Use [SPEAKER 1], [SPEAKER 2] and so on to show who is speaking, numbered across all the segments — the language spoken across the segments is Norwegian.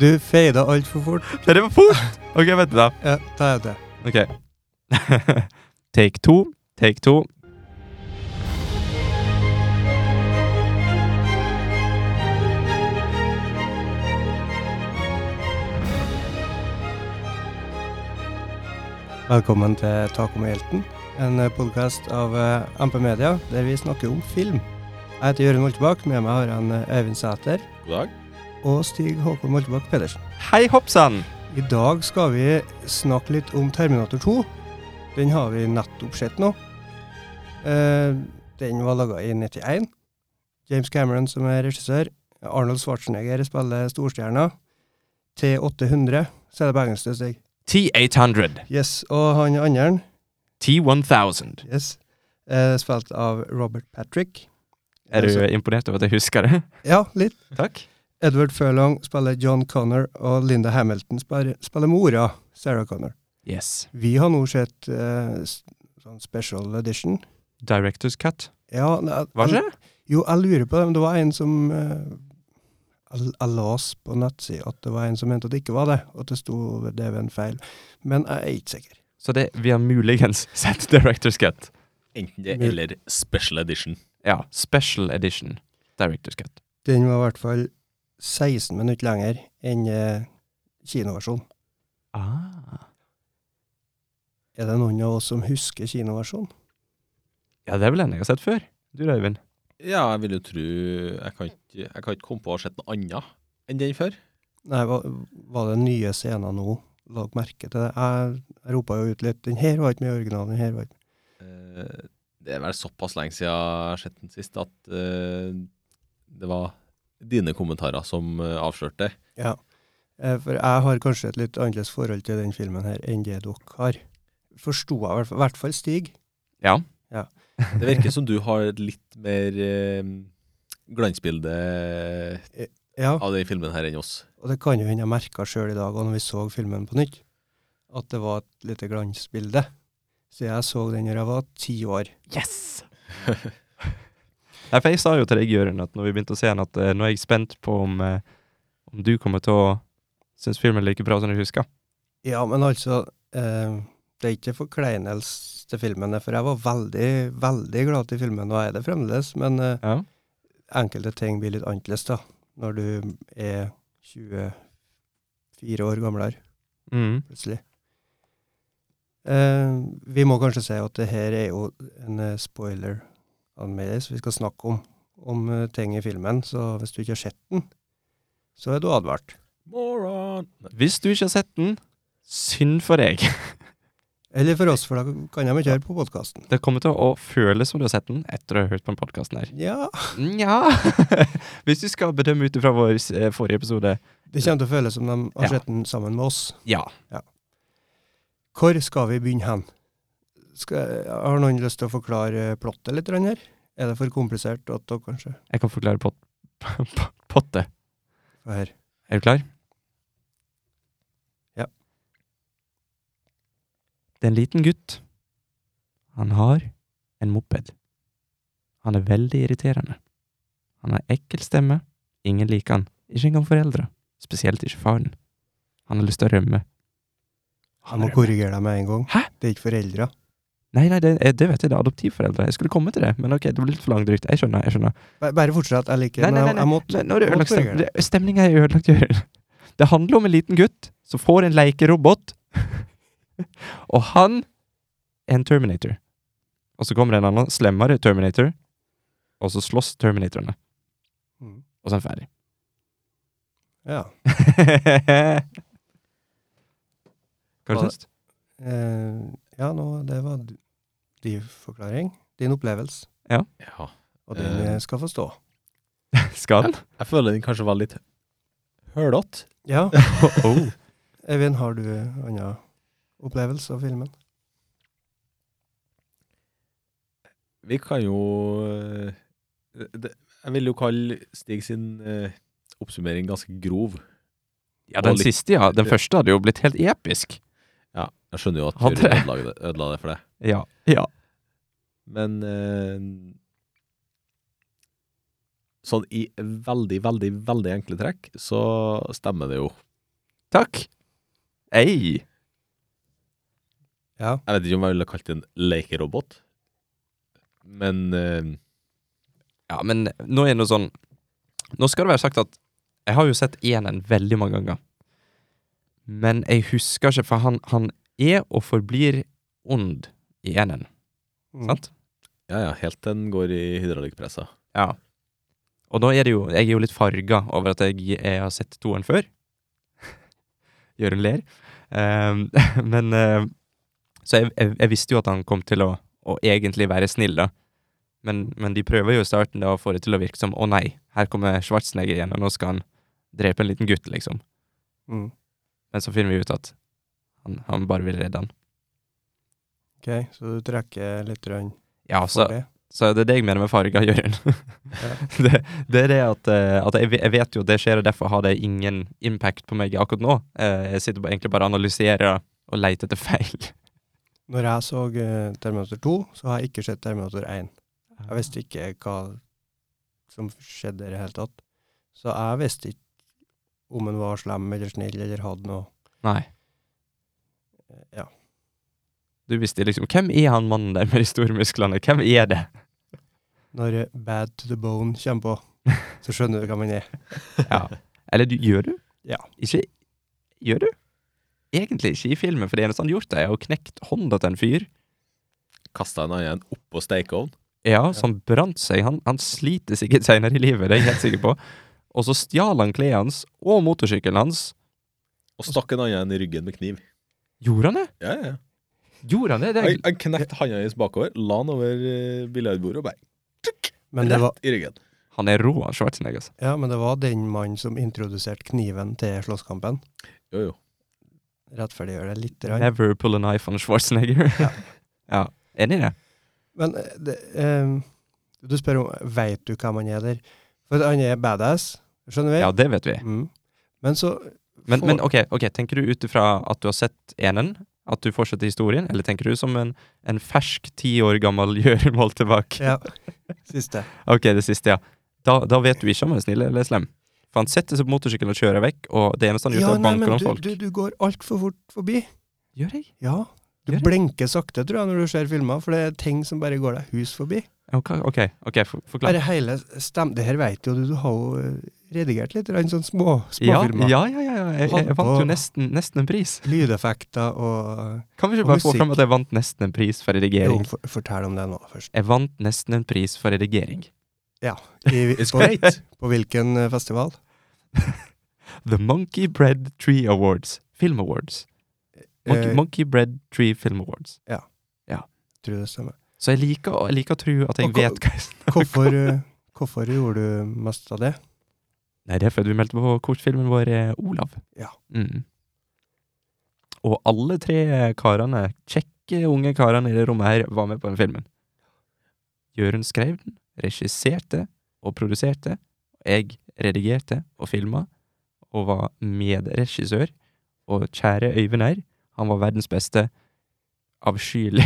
[SPEAKER 1] Du feida altfor fort.
[SPEAKER 2] Det var fort! OK, vet du det.
[SPEAKER 1] Ja, da er det.
[SPEAKER 2] Ok. take to, take to.
[SPEAKER 1] Velkommen til Taco med hjelten, en podkast av eh, MP Media der vi snakker om film. Jeg heter Jørund Moltebakk, med meg har jeg en, eh, Øyvind Sæter
[SPEAKER 3] God dag.
[SPEAKER 1] og Stig Håkon Moltebakk Pedersen.
[SPEAKER 2] Hei hoppsann!
[SPEAKER 1] I dag skal vi snakke litt om Terminator 2. Den har vi nettopp sett nå. Eh, den var laga i 91. James Cameron som er regissør. Arnold Schwarzenegger spiller storstjerna. T800, sier det på engelsk. det Stig.
[SPEAKER 2] T800.
[SPEAKER 1] Yes, Og han andre,
[SPEAKER 2] T1000.
[SPEAKER 1] yes, eh, spilt av Robert Patrick.
[SPEAKER 2] Er du
[SPEAKER 1] Altså-
[SPEAKER 2] imponert over at jeg husker det?
[SPEAKER 1] Ja, litt.
[SPEAKER 2] Takk.
[SPEAKER 1] Edward Furlong spiller John Connor, og Linda Hamilton spiller, spiller mora, Sarah Connor.
[SPEAKER 2] Yes.
[SPEAKER 1] Vi har nå sett eh, s- sånn special edition.
[SPEAKER 2] Directors cut.
[SPEAKER 1] Ja, ne-
[SPEAKER 2] Var det?
[SPEAKER 1] Jo, jeg lurer på det, men det var en som eh, Jeg jeg las på nettsida at det var en som mente at det ikke var det, og at det sto ved det ved en feil. Men jeg er ikke sikker.
[SPEAKER 2] Så det, vi har muligens sett Directors cut.
[SPEAKER 3] Enten det eller special edition.
[SPEAKER 2] Ja, special edition Directors cut.
[SPEAKER 1] Den var i hvert fall 16 minutter lenger enn eh, kinoversjonen.
[SPEAKER 2] Ah.
[SPEAKER 1] Er det noen av oss som husker kinoversjonen?
[SPEAKER 2] Ja, det er vel en jeg har sett før. Du da, Øyvind?
[SPEAKER 3] Ja, jeg vil jo tro Jeg kan ikke, jeg kan ikke komme på å ha sett noe annet enn den før.
[SPEAKER 1] Nei, var, var det nye scener nå? Lag merke til det. Jeg, jeg ropa jo ut litt. Den her var ikke med i originalen. Den her var ikke
[SPEAKER 3] Eh, Det er vel såpass lenge siden jeg har sett den sist at eh, det var dine kommentarer som eh, avslørte det.
[SPEAKER 1] Ja, Eh, for jeg har kanskje et litt annerledes forhold til den filmen her enn det dere har. Forsto jeg i hvert fall- i hvert fall Stig.
[SPEAKER 2] Ja.
[SPEAKER 3] Det virker som du har et litt mer eh, glansbilde
[SPEAKER 1] Ja,
[SPEAKER 3] av den filmen her enn oss.
[SPEAKER 1] og det kan jo hende jeg merka sjøl i dag, og når vi så filmen på nytt, at det var et lite glansbilde. Så jeg så den når jeg var ti år.
[SPEAKER 2] Yes! Nei, for jeg sa jo til deg, Jørund, at når vi begynte å se den, at eh, nå er jeg spent på om, eh, om du kommer til å synes filmen er like bra som du husker.
[SPEAKER 1] Ja, men altså, eh, det er ikke forkleinelse til filmen, for jeg var veldig, veldig glad til filmen, og jeg er det fremdeles, men eh,
[SPEAKER 2] Ja.
[SPEAKER 1] enkelte ting blir litt annerledes da, når du er 24 år gamlere.
[SPEAKER 2] Mm.
[SPEAKER 1] plutselig. Eh, vi må kanskje si at det her er jo en eh, spoiler anmeldelse vi skal snakke om, om eh, ting i filmen, så hvis du ikke har sett den, så er du advart.
[SPEAKER 3] Moron! Nei,
[SPEAKER 2] Hvis du ikke har sett den, synd for deg.
[SPEAKER 1] Eller for oss, for da kan de ikke høre på podkasten.
[SPEAKER 2] Det kommer til å føles som du har sett den etter å ha hørt på den podkasten her.
[SPEAKER 1] Ja,
[SPEAKER 2] Nja Hvis du skal bedømme ut ifra vår eh, forrige episode,
[SPEAKER 1] det kommer til å føles som de
[SPEAKER 2] Ja.
[SPEAKER 1] har sett den sammen med oss.
[SPEAKER 2] ja.
[SPEAKER 1] Hvor skal vi begynne hen? Skal, har noen lyst til å forklare eh, plottet litt grann her? Er det for komplisert at dere kanskje
[SPEAKER 2] Jeg kan forklare pot potte.
[SPEAKER 1] Hva her?
[SPEAKER 2] Er du klar?
[SPEAKER 1] Ja.
[SPEAKER 2] Det er en liten gutt. Han har en moped. Han er veldig irriterende. Han har ekkel stemme. Ingen liker han. Ikke engang foreldre. Spesielt ikke faren. Han har lyst til å rømme.
[SPEAKER 1] Jeg må
[SPEAKER 2] rømmer.
[SPEAKER 1] korrigere deg med en gang.
[SPEAKER 2] Hæ?
[SPEAKER 1] Det er ikke foreldra.
[SPEAKER 2] Nei, nei, det, eh, det vet jeg, det er adoptivforeldre. Jeg skulle komme til det, men ok, det ble litt for langdrygt. Jeg skjønner, jeg skjønner.
[SPEAKER 1] Bare bare fortsett. Jeg liker
[SPEAKER 2] Nei,
[SPEAKER 1] den.
[SPEAKER 2] nei, nei,
[SPEAKER 1] Jeg- Jeg må
[SPEAKER 2] Nei, nå har du
[SPEAKER 1] Hvorfor
[SPEAKER 2] ødelagt
[SPEAKER 1] gjør
[SPEAKER 2] stemninga.
[SPEAKER 1] det?
[SPEAKER 2] Stemninga er ødelagt. Jørgen. Det handler om en liten gutt som får en lekerobot, og han er en Terminator. Og så kommer det en annen slemmere Terminator, og så slåss Terminatorene,
[SPEAKER 1] Mm.
[SPEAKER 2] og så er han ferdig.
[SPEAKER 1] Ja.
[SPEAKER 2] Hva har
[SPEAKER 1] Hva-
[SPEAKER 2] du syns?
[SPEAKER 1] Eh, ja, nå, det var d- din forklaring. Din opplevelse.
[SPEAKER 3] Ja.
[SPEAKER 1] Og den
[SPEAKER 3] Eh.
[SPEAKER 1] eh, skal få stå.
[SPEAKER 2] Skal han?
[SPEAKER 3] Jeg føler den kanskje var litt hølete.
[SPEAKER 1] Ja.
[SPEAKER 2] Oh.
[SPEAKER 1] Eivind, har du annen opplevelse av filmen?
[SPEAKER 3] Vi kan jo eh, det, Jeg vil jo kalle Stig sin eh, oppsummering ganske grov.
[SPEAKER 2] Ja, den
[SPEAKER 3] Og litt-
[SPEAKER 2] siste, ja. Den første hadde jo blitt helt episk.
[SPEAKER 3] Ja, jeg skjønner jo at
[SPEAKER 2] Hadde
[SPEAKER 3] Jørund
[SPEAKER 2] det.
[SPEAKER 3] ødela det- ødela det for deg.
[SPEAKER 2] Ja. ja.
[SPEAKER 3] Men eh, sånn i veldig, veldig, veldig enkle trekk så stemmer det jo
[SPEAKER 2] Takk! Ei!
[SPEAKER 1] Ja.
[SPEAKER 3] Jeg vet ikke om jeg ville kalt det en lekerobot, men eh,
[SPEAKER 2] Ja, men nå er det noe sånn Nå skal det være sagt at jeg har jo sett Enen veldig mange ganger. Men jeg husker ikke, for han, han er og forblir ond i Enen,
[SPEAKER 1] Mm.
[SPEAKER 2] sant?
[SPEAKER 3] ja ja, helt til den går i hydraulikkpressa.
[SPEAKER 2] Ja. Og nå er det jo Jeg er jo litt farga over at jeg, jeg har sett toeren før. Jørund ler. Ehm, men eh, Så jeg, jeg, jeg visste jo at han kom til å, å egentlig være snill, da. Men, men de prøver jo i starten da å få det til å virke som å nei, her kommer Schwarzenegger igjen, og nå skal han drepe en liten gutt, liksom.
[SPEAKER 1] Mm.
[SPEAKER 2] Men så finner vi ut at han, han bare vil redde han.
[SPEAKER 1] Ok, så du trekker litt rann
[SPEAKER 2] Ja,
[SPEAKER 1] for
[SPEAKER 2] så,
[SPEAKER 1] det.
[SPEAKER 2] Så det er det jeg mener med farga, Jørund. det, det er det at, eh, at jeg, ve- jeg vet jo det skjer, og derfor har det ingen impact på meg akkurat nå. Eh, Jeg sitter bare- egentlig bare og analyserer og leter etter feil.
[SPEAKER 1] Når jeg så eh, Terminator 2, så har jeg ikke sett Terminator 1. Jeg visste ikke hva som skjedde i det hele tatt. Så jeg visste ikke om han var slem eller snill eller hadde noe
[SPEAKER 2] Nei.
[SPEAKER 1] eh, Ja.
[SPEAKER 2] Du visste liksom Hvem er han mannen der med de store musklene? Hvem er det?
[SPEAKER 1] Når eh, Bad to the Bone kommer på, så skjønner du hva man er.
[SPEAKER 2] Ja. Eller du, gjør du?
[SPEAKER 1] Ja.
[SPEAKER 2] Ikke Gjør du? Egentlig ikke i filmen, for det eneste han har gjort, er å knekt hånda til en fyr.
[SPEAKER 3] Kasta en annen oppå stekeovnen.
[SPEAKER 2] Ja, som brant seg. Han, han sliter sikkert senere i livet, det er jeg helt sikker på. Og så stjal han klærne hans og motorsykkelen hans.
[SPEAKER 3] Og stakk en annen i ryggen med kniv.
[SPEAKER 2] Gjorde han det?
[SPEAKER 3] Ja, ja, ja.
[SPEAKER 2] Gjorde han det? det er...
[SPEAKER 3] Han, han knekte handa hennes bakover, la den over eh, biljardbordet og bare
[SPEAKER 1] Men det, var,
[SPEAKER 3] rett i ryggen.
[SPEAKER 2] Han er rå, han Schwarzenegger. altså.
[SPEAKER 1] ja, men det var den mannen som introduserte kniven til slåsskampen.
[SPEAKER 3] Jo, jo.
[SPEAKER 1] Rettferdiggjør det litt. Rann.
[SPEAKER 2] Never pull a knife on Schwarzenegger.
[SPEAKER 1] Ja.
[SPEAKER 2] ja. Enig i det?
[SPEAKER 1] Men eh, det, eh, du spør om Veit du hva man er der? For han er badass, skjønner vi?
[SPEAKER 2] Ja, det vet vi.
[SPEAKER 1] Mm. Men så
[SPEAKER 2] Men,
[SPEAKER 1] får-
[SPEAKER 2] men ok, ok, tenker du ut ifra at du har sett enen, at du fortsetter historien, eller tenker du som en, en fersk ti år gammel Jørund Moltebakk?
[SPEAKER 1] Ja. Siste.
[SPEAKER 2] Ok, det siste, ja. Da, da vet du ikke om han er snill eller slem. For han setter seg på motorsykkelen og kjører vekk, og det eneste han gjør,
[SPEAKER 1] Ja,
[SPEAKER 2] er å
[SPEAKER 1] nei,
[SPEAKER 2] banke
[SPEAKER 1] men
[SPEAKER 2] noen
[SPEAKER 1] du,
[SPEAKER 2] folk.
[SPEAKER 1] du, du går altfor fort forbi.
[SPEAKER 2] Gjør jeg?
[SPEAKER 1] Ja. Du
[SPEAKER 2] Gjør det?
[SPEAKER 1] blinker sakte, tror jeg, når du ser filmer, for det er ting som bare går deg hus forbi.
[SPEAKER 2] Ok, ok, ok, for, forklar.
[SPEAKER 1] Bare hele stem... Det her veit jo du, du har jo eh, redigert litt grann sånn små,
[SPEAKER 2] Ja, ja,
[SPEAKER 1] småfilmer.
[SPEAKER 2] ja, ja, ja. Jeg, jeg, jeg vant jo nesten, nesten en pris.
[SPEAKER 1] Lydeffekter og
[SPEAKER 2] Kan
[SPEAKER 1] Og
[SPEAKER 2] vi ikke bare få
[SPEAKER 1] musikk.
[SPEAKER 2] fram at jeg vant nesten en pris for
[SPEAKER 1] Jo,
[SPEAKER 2] redigering?
[SPEAKER 1] for, fortell om det nå først.
[SPEAKER 2] Jeg vant nesten en pris for redigering.
[SPEAKER 1] I,
[SPEAKER 3] It's
[SPEAKER 1] på,
[SPEAKER 3] great.
[SPEAKER 1] på hvilken eh, festival?
[SPEAKER 2] The Monkey Bread Tree Awards. Film Awards. Monkey,
[SPEAKER 1] Eh,
[SPEAKER 2] Monkey Bread Tree Film Awards.
[SPEAKER 1] Tror jeg det stemmer.
[SPEAKER 2] Så jeg liker, å- jeg liker å tro at jeg
[SPEAKER 1] Og hva-
[SPEAKER 2] vet hva jeg snakker
[SPEAKER 1] Hvorfor, eh, hvorfor gjorde du mest av det?
[SPEAKER 2] Nei, det er fordi vi meldte på kortfilmen vår eh, Olav.
[SPEAKER 1] Ja.
[SPEAKER 2] Mm. Og alle tre karene, kjekke unge karene i det rommet her, var med på den filmen. Jørund skrev den, regisserte og produserte. Jeg redigerte og filma, og var medregissør. Og kjære Øyvind her, han var verdens beste avskyelig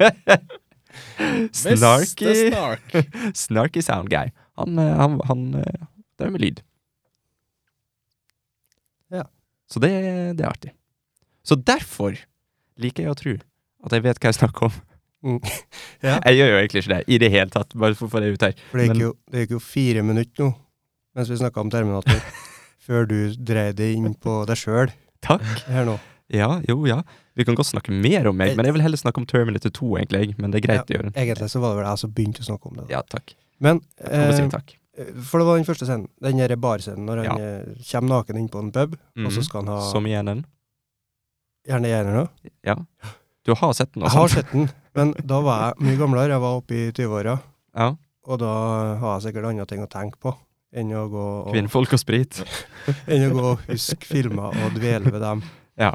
[SPEAKER 3] Mr.
[SPEAKER 2] Snarky
[SPEAKER 3] Snark.
[SPEAKER 2] Snarky sound guy. Han, eh, han, han eh, drev med lyd.
[SPEAKER 1] Ja.
[SPEAKER 2] Så det, det er artig. Så derfor liker jeg å tro at jeg vet hva jeg snakker om.
[SPEAKER 1] Mm. Ja.
[SPEAKER 2] Jeg gjør jo egentlig ikke det i det hele tatt, bare for å få det ut her.
[SPEAKER 1] For det gikk,
[SPEAKER 2] Men-
[SPEAKER 1] jo, det gikk jo fire minutter nå mens vi snakka om Terminator, før du dreide det inn på deg sjøl
[SPEAKER 2] Takk.
[SPEAKER 1] her nå.
[SPEAKER 2] Ja, jo, ja. Vi kan godt snakke mer om meg, men jeg vil heller snakke om Terminator 2, egentlig. jeg. Men det er greit, Jørund.
[SPEAKER 1] Egentlig så var det vel jeg som begynte å snakke om det. da.
[SPEAKER 2] Ja, takk.
[SPEAKER 1] Men
[SPEAKER 2] Du må si
[SPEAKER 1] eh,
[SPEAKER 2] takk.
[SPEAKER 1] For det var den første scenen, den derre barscenen, når han
[SPEAKER 2] Ja.
[SPEAKER 1] eh, kommer naken inn på en pub, og så
[SPEAKER 2] Mhm.
[SPEAKER 1] skal han ha
[SPEAKER 2] Som igjen en.
[SPEAKER 1] gjerne gjerne noe.
[SPEAKER 2] Ja. Du har sett den, altså.
[SPEAKER 1] Jeg har sett den, men da var jeg mye gamlere, jeg var oppe i 20-åra,
[SPEAKER 2] Ja.
[SPEAKER 1] og da har jeg sikkert andre ting å tenke på enn å gå og,
[SPEAKER 2] Kvinnfolk og sprit.
[SPEAKER 1] enn å gå og huske filmer og dvele ved dem.
[SPEAKER 2] Ja.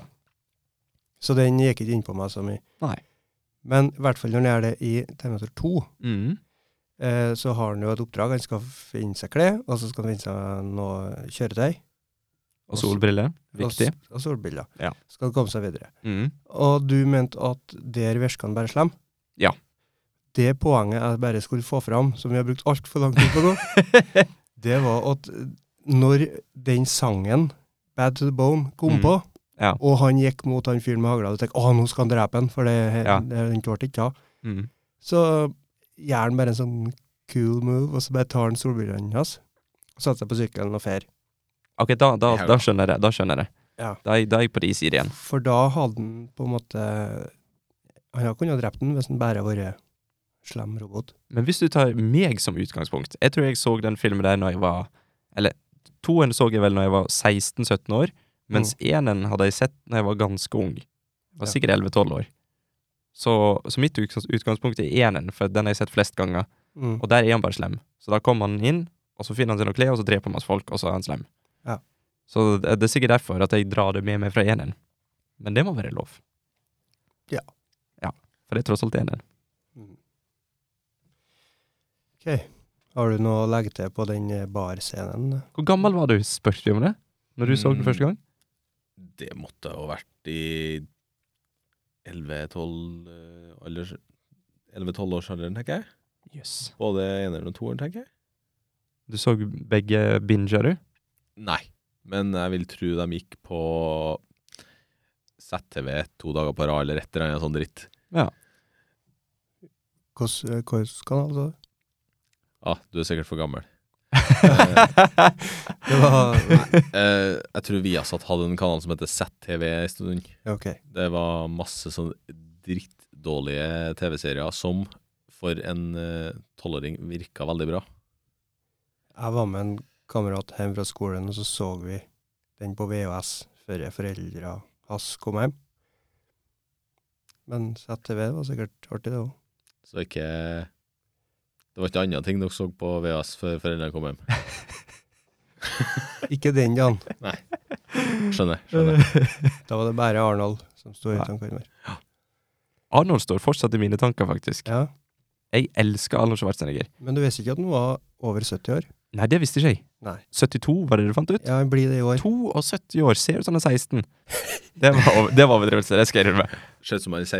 [SPEAKER 1] Så den gikk ikke inn på meg så mye.
[SPEAKER 2] Nei.
[SPEAKER 1] Men i hvert fall når han gjør det i Terminator 2,
[SPEAKER 2] Mm.
[SPEAKER 1] eh, så har han jo et oppdrag. Han skal finne seg klær, og så skal han finne seg noe kjøretøy.
[SPEAKER 2] Og solbriller.
[SPEAKER 1] og s-
[SPEAKER 2] Viktig.
[SPEAKER 1] Og solbriller.
[SPEAKER 2] Ja.
[SPEAKER 1] Skal komme seg videre.
[SPEAKER 2] Mm.
[SPEAKER 1] Og du mente at der virker han bare slem?
[SPEAKER 2] Ja.
[SPEAKER 1] Det poenget jeg bare skulle få fram, som vi har brukt altfor lang tid på nå, det var at når den sangen Bad to the Bone kom
[SPEAKER 2] Mm.
[SPEAKER 1] på,
[SPEAKER 2] Ja.
[SPEAKER 1] og han gikk mot han fyren med hagla og tenkte å, nå skal han drepe han, for det,
[SPEAKER 2] Ja.
[SPEAKER 1] det, den ble ikke av.
[SPEAKER 2] Mm.
[SPEAKER 1] Så gjør han bare en sånn cool move, og så bare tar han solbrillene hans, og setter seg på sykkelen og fer.
[SPEAKER 2] Ok, da, da,
[SPEAKER 3] Ja.
[SPEAKER 2] da skjønner jeg det. Da skjønner jeg det.
[SPEAKER 1] Ja.
[SPEAKER 2] Da, er jeg- da er jeg på de side igjen.
[SPEAKER 1] For da hadde han på en måte Han hadde kunnet drept den hvis han bare hadde vært slem robot.
[SPEAKER 2] Men hvis du tar meg som utgangspunkt Jeg tror jeg så den filmen der når jeg var Eller toen så jeg vel når jeg var 16-17 år, mens enen hadde jeg sett når jeg var ganske ung. Jeg
[SPEAKER 1] Mm.
[SPEAKER 2] var
[SPEAKER 1] Ja.
[SPEAKER 2] sikkert 11-12 år. Så, så mitt utgangs- utgangspunkt er enen, for den har jeg sett flest ganger.
[SPEAKER 1] Mm.
[SPEAKER 2] Og der er han bare slem. Så da kommer han inn, og så finner han seg noen klær, og så dreper han masse folk, og så er han slem.
[SPEAKER 1] Ja.
[SPEAKER 2] Så det det er sikkert derfor at jeg drar det med meg fra eneren. Men det må være lov.
[SPEAKER 1] Ja.
[SPEAKER 2] Ja, for det er tross alt eneren.
[SPEAKER 1] Mm. OK. Har du noe å legge til på den eh, barscenen?
[SPEAKER 2] Hvor gammel var du, spurte vi om det, når du så den
[SPEAKER 3] Mm.
[SPEAKER 2] første gang?
[SPEAKER 3] Det måtte ha vært i 11-12 alders- 11-12 årsalderen, tenker jeg.
[SPEAKER 2] Jøss. Yes.
[SPEAKER 3] Både eneren og toeren, tenker jeg.
[SPEAKER 2] Du så begge binger, du?
[SPEAKER 3] Nei, men jeg vil tro de gikk på ZTV to dager på rad, eller et eller annet sånn dritt.
[SPEAKER 1] Hvordan eh, hvordan skal han altså?
[SPEAKER 3] Ja, du er sikkert for gammel.
[SPEAKER 1] Det var
[SPEAKER 3] Eh, jeg tror Viasat hadde en kanal som heter ZTV en stund.
[SPEAKER 1] OK.
[SPEAKER 3] Det var masse sånn drittdårlige TV-serier som for en eh, tolvåring virka veldig bra.
[SPEAKER 1] Jeg var med en kamerat hjem fra skolen, og så så vi den på VHS før foreldra hans kom hjem. Men ZTV var sikkert artig, det òg.
[SPEAKER 3] Så ikke Det var ikke andre ting dere så på VHS før foreldrene kom hjem.
[SPEAKER 1] Ikke den dagen.
[SPEAKER 3] Skjønner. skjønner.
[SPEAKER 1] Da var det bare Arnold som sto i tankene våre.
[SPEAKER 2] Arnold står fortsatt i mine tanker, faktisk.
[SPEAKER 1] Ja.
[SPEAKER 2] Jeg elsker Arnold Schwarzenegger.
[SPEAKER 1] Men du visste ikke at han var over 70 år?
[SPEAKER 2] Nei, det visste ikke jeg.
[SPEAKER 1] Nei.
[SPEAKER 2] 72 var det du fant ut?
[SPEAKER 1] Ja, han blir det i år.
[SPEAKER 2] 72 år, ser ut som han er 16. Det var, over- det var overdrivelse, det skal jeg innrømme.
[SPEAKER 3] Ser ut som han er 16. I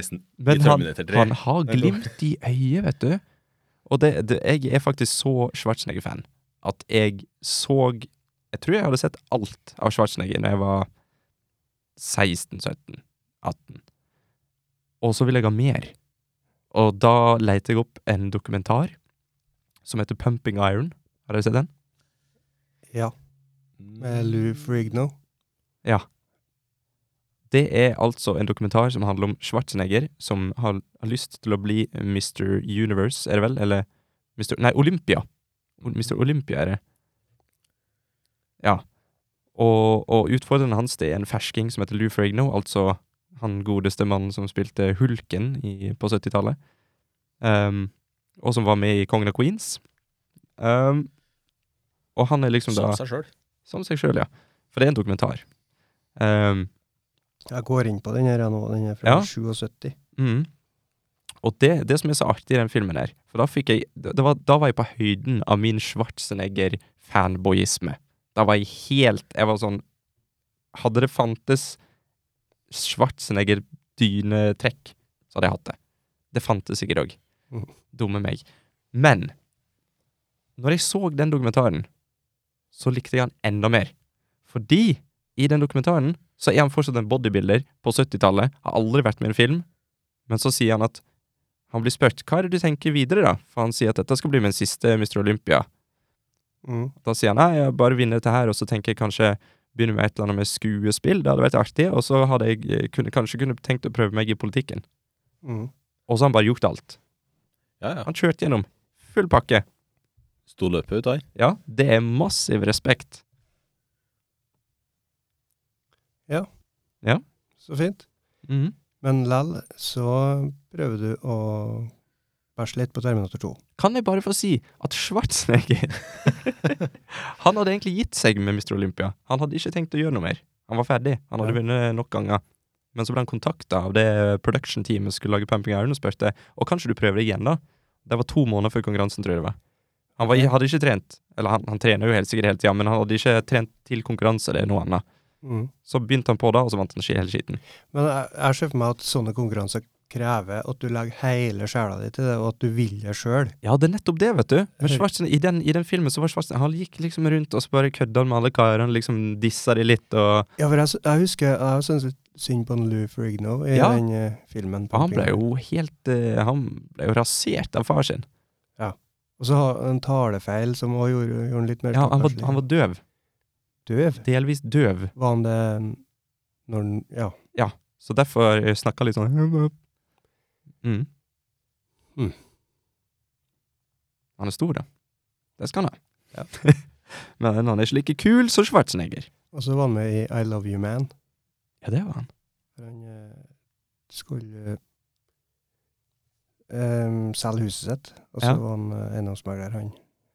[SPEAKER 2] Men han,
[SPEAKER 3] Terminator 3.
[SPEAKER 2] Eh, han har glimt i øyet, vet du. Og det, det, jeg er faktisk så Schwarzenegger-fan at jeg så Jeg tror jeg hadde sett alt av Schwarzenegger når jeg var 16-17-18. Og så ville jeg ha mer. Og da leite jeg opp en dokumentar som heter Pumping Iron. Har dere sett den?
[SPEAKER 1] Ja.
[SPEAKER 3] Mm.
[SPEAKER 1] Med Lou Frigno.
[SPEAKER 2] Det er altså en dokumentar som handler om Schwarzenegger, som har, har lyst til å bli Mr. Universe, er det vel? Eller Mr. Nei, Olympia. O- Mr. Olympia er det. Ja. Og, og utfordreren hans det er en fersking som heter Lou Ferrigno, altså han godeste mannen som spilte Hulken i, på 70-tallet, Ehm, og som var med i Kongen av Queens. Ehm, og han er liksom da
[SPEAKER 3] Som seg sjøl.
[SPEAKER 2] Som seg sjøl, ja. For det er en dokumentar. Um,
[SPEAKER 1] Jeg går inn på den her nå, den er
[SPEAKER 2] Ja.
[SPEAKER 1] fra 77.
[SPEAKER 2] Mm. Og det, det som er så artig i den filmen her, for da fikk jeg det det var, Da var jeg på høyden av min Schwarzenegger-fanboyisme. Da var jeg helt Jeg var sånn Hadde det fantes Schwarzenegger-dynetrekk, så hadde jeg hatt det. Det fantes sikkert òg.
[SPEAKER 1] Mhm.
[SPEAKER 2] Dumme meg. Men når jeg så den dokumentaren, så likte jeg han enda mer. Fordi i den dokumentaren så er han fortsatt en bodybuilder på 70-tallet, har aldri vært med i en film. Men så sier han at han blir spurt hva er det du tenker videre, da? For han sier at dette skal bli min siste Mr. Olympia.
[SPEAKER 1] Mm.
[SPEAKER 2] Da sier han nei, jeg bare vinner dette her, og så tenker jeg kanskje begynne med et eller annet med skuespill, det hadde vært artig, og så hadde jeg eh, kunne, kanskje kunne tenkt å prøve meg i politikken.
[SPEAKER 1] Mm.
[SPEAKER 2] Og så har han bare gjort alt.
[SPEAKER 3] Ja, ja.
[SPEAKER 2] Han kjørte gjennom. Full pakke.
[SPEAKER 3] Sto løpet ut, han.
[SPEAKER 2] Ja, det er massiv respekt.
[SPEAKER 1] Så fint.
[SPEAKER 2] Mhm.
[SPEAKER 1] Men lell så prøver du å bæsje litt på Terminator 2.
[SPEAKER 2] Kan jeg bare få si at Schwarzenegger Han hadde egentlig gitt seg med Mr. Olympia. Han hadde ikke tenkt å gjøre noe mer. Han var ferdig. Han hadde
[SPEAKER 1] Ja.
[SPEAKER 2] vunnet nok ganger. Men så ble han kontakta av det production-teamet som skulle lage Pumping Iron, og spurte Og kanskje du prøver det igjen, da. Det var to måneder før konkurransen, tror jeg det var. Han var, hadde ikke trent. Eller han, han trener jo helt sikkert hele tida, men han hadde ikke trent til konkurranse eller noe annet.
[SPEAKER 1] Mm.
[SPEAKER 2] Så begynte han på da, og så vant han hele skiten.
[SPEAKER 1] Men jeg, jeg ser for meg at sånne konkurranser krever at du legger hele sjela di til det, og at du vil det sjøl.
[SPEAKER 2] Ja, det er nettopp det, vet du. Men
[SPEAKER 1] Høy.
[SPEAKER 2] Schwarzenegger- i, den, I den filmen så var Schwarzenegger Han gikk liksom rundt og så bare kødda med alle karene, liksom dissa de litt, og
[SPEAKER 1] Ja, for jeg, s- jeg husker jeg syntes litt synd på en Lou Ferrigno i
[SPEAKER 2] Ja.
[SPEAKER 1] den eh, filmen.
[SPEAKER 2] og Han ble jo helt eh, Han ble jo rasert av far sin.
[SPEAKER 1] Og så har han en talefeil som også gjorde, gjorde han litt mer
[SPEAKER 2] Ja, han var,
[SPEAKER 1] stakkarslig.
[SPEAKER 2] han var døv.
[SPEAKER 1] døv.
[SPEAKER 2] Delvis døv.
[SPEAKER 1] Var han det mm, når han Ja.
[SPEAKER 2] Så derfor eh, snakka litt sånn mm.
[SPEAKER 1] Mm.
[SPEAKER 2] Hm. Han er stor, da. Det skal han ha.
[SPEAKER 1] Ja.
[SPEAKER 2] Men han er ikke like kul som Schwarzenegger.
[SPEAKER 1] Og så var han med i I Love You Man.
[SPEAKER 2] Ja, det var han.
[SPEAKER 1] For han eh, skulle eh, selge huset sitt, og så
[SPEAKER 2] Ja.
[SPEAKER 1] var han eh, eiendomsmegler, han.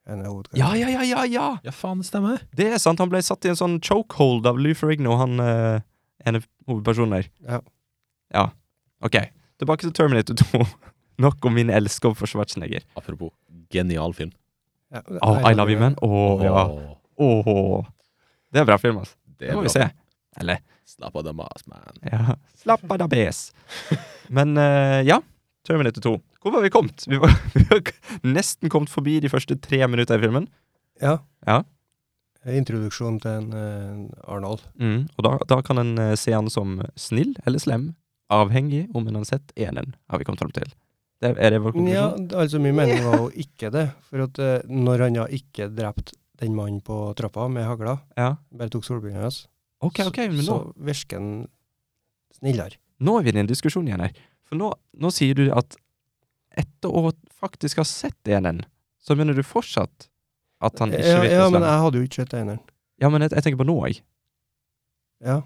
[SPEAKER 1] En av hovedkarakteren.
[SPEAKER 2] Ja, ja, ja, ja! ja.
[SPEAKER 3] Ja, faen, det stemmer.
[SPEAKER 2] Det er sant, han ble satt i en sånn chokehold av Lou Ferrigno, han eh, ene hovedpersonen der.
[SPEAKER 1] Ja.
[SPEAKER 2] Ja. Ok, tilbake til Terminator 2. Nok om min elskov for Schwarzenegger.
[SPEAKER 3] Apropos genial film.
[SPEAKER 1] Ja,
[SPEAKER 2] Åh, I Love You Man. Åh, ja.
[SPEAKER 3] Åh,
[SPEAKER 2] Åh. Det er en bra film, altså.
[SPEAKER 3] Det
[SPEAKER 2] Det
[SPEAKER 3] er
[SPEAKER 2] må
[SPEAKER 3] bra.
[SPEAKER 2] vi se. Eller,
[SPEAKER 3] Slapp av dem, ass, man.
[SPEAKER 2] ja. Slapp av da, BS. Men eh, ja, Terminator 2. Hvor var vi kommet? Vi var, vi var nesten kommet forbi de første tre minutter i filmen.
[SPEAKER 1] Ja.
[SPEAKER 2] Ja.
[SPEAKER 1] Introduksjon til en eh, Arnold.
[SPEAKER 2] Mm, og da, da kan en eh, se han som snill eller slem, avhengig om en har sett enen, har vi kommet fram til. Det, er det vår
[SPEAKER 1] Ja,
[SPEAKER 2] konklusjon?
[SPEAKER 1] altså min mening var jo ikke det. For at eh, når han da ikke drepte den mannen på trappa med hagla,
[SPEAKER 2] Ja.
[SPEAKER 1] bare tok solbrillene hans,
[SPEAKER 2] Ok, ok, men
[SPEAKER 1] så,
[SPEAKER 2] nå,
[SPEAKER 1] så virker han snillere.
[SPEAKER 2] nå er vi inne i en diskusjon igjen her. For nå, nå sier du at etter å faktisk ha sett enen, så mener du fortsatt at han Sånn, ikke
[SPEAKER 1] ja,
[SPEAKER 2] virker
[SPEAKER 1] ja, men
[SPEAKER 2] slem?
[SPEAKER 1] jeg hadde jo ikke sett eneren.
[SPEAKER 2] Ja, men jeg, jeg tenker på nå, jeg.
[SPEAKER 1] Ja.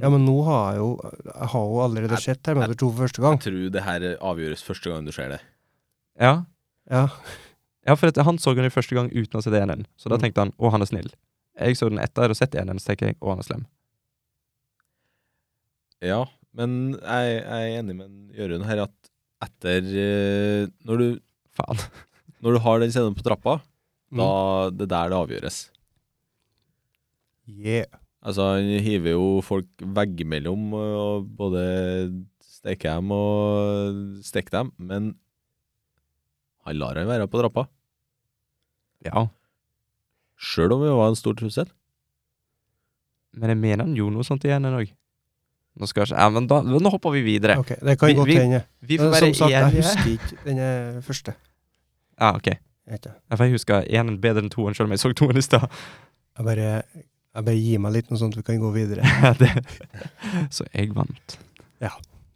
[SPEAKER 1] ja, men nå har jeg jo Jeg har jo allerede
[SPEAKER 3] Jeg-
[SPEAKER 1] sett Terminator 2 for første gang.
[SPEAKER 3] Jeg tror det her avgjøres første gang du ser det.
[SPEAKER 2] Ja,
[SPEAKER 1] Ja.
[SPEAKER 2] ja for at han så den jo første gang uten å ha sett enen, så da
[SPEAKER 1] Mm.
[SPEAKER 2] tenkte han 'Å, han er snill'. Jeg så den etter å ha sett enen, så tenker jeg 'Å, han er slem'.
[SPEAKER 3] Ja, men jeg, jeg er enig med Jørund her at etter eh, når, du,
[SPEAKER 2] Faen.
[SPEAKER 3] når du har den scenen på trappa,
[SPEAKER 1] Mm.
[SPEAKER 3] da det er der det avgjøres.
[SPEAKER 1] Yeah.
[SPEAKER 3] Altså, han hiver jo folk veggimellom og både steker dem og steker dem, men han lar han være på trappa.
[SPEAKER 2] Ja.
[SPEAKER 3] Sjøl om det var en stor trussel.
[SPEAKER 2] Men jeg mener han gjorde noe sånt igjen en dag. Nå skal jeg ikke Ja, men da, nå hopper vi videre.
[SPEAKER 1] Ok, det kan
[SPEAKER 2] Vi-
[SPEAKER 1] godt
[SPEAKER 2] vi-
[SPEAKER 1] hende.
[SPEAKER 2] Vi
[SPEAKER 1] Men
[SPEAKER 2] får være
[SPEAKER 1] Eh, Som sagt, jeg
[SPEAKER 2] enige.
[SPEAKER 1] husker ikke den første.
[SPEAKER 2] Ja, ok.
[SPEAKER 1] Jeg vet ikke.
[SPEAKER 2] Ja, for Jeg husker én bedre enn toen, selv om jeg så toen i stad.
[SPEAKER 1] Jeg bare, jeg bare gir meg litt, noe sånt vi kan gå videre.
[SPEAKER 2] Det- så jeg vant.
[SPEAKER 1] Det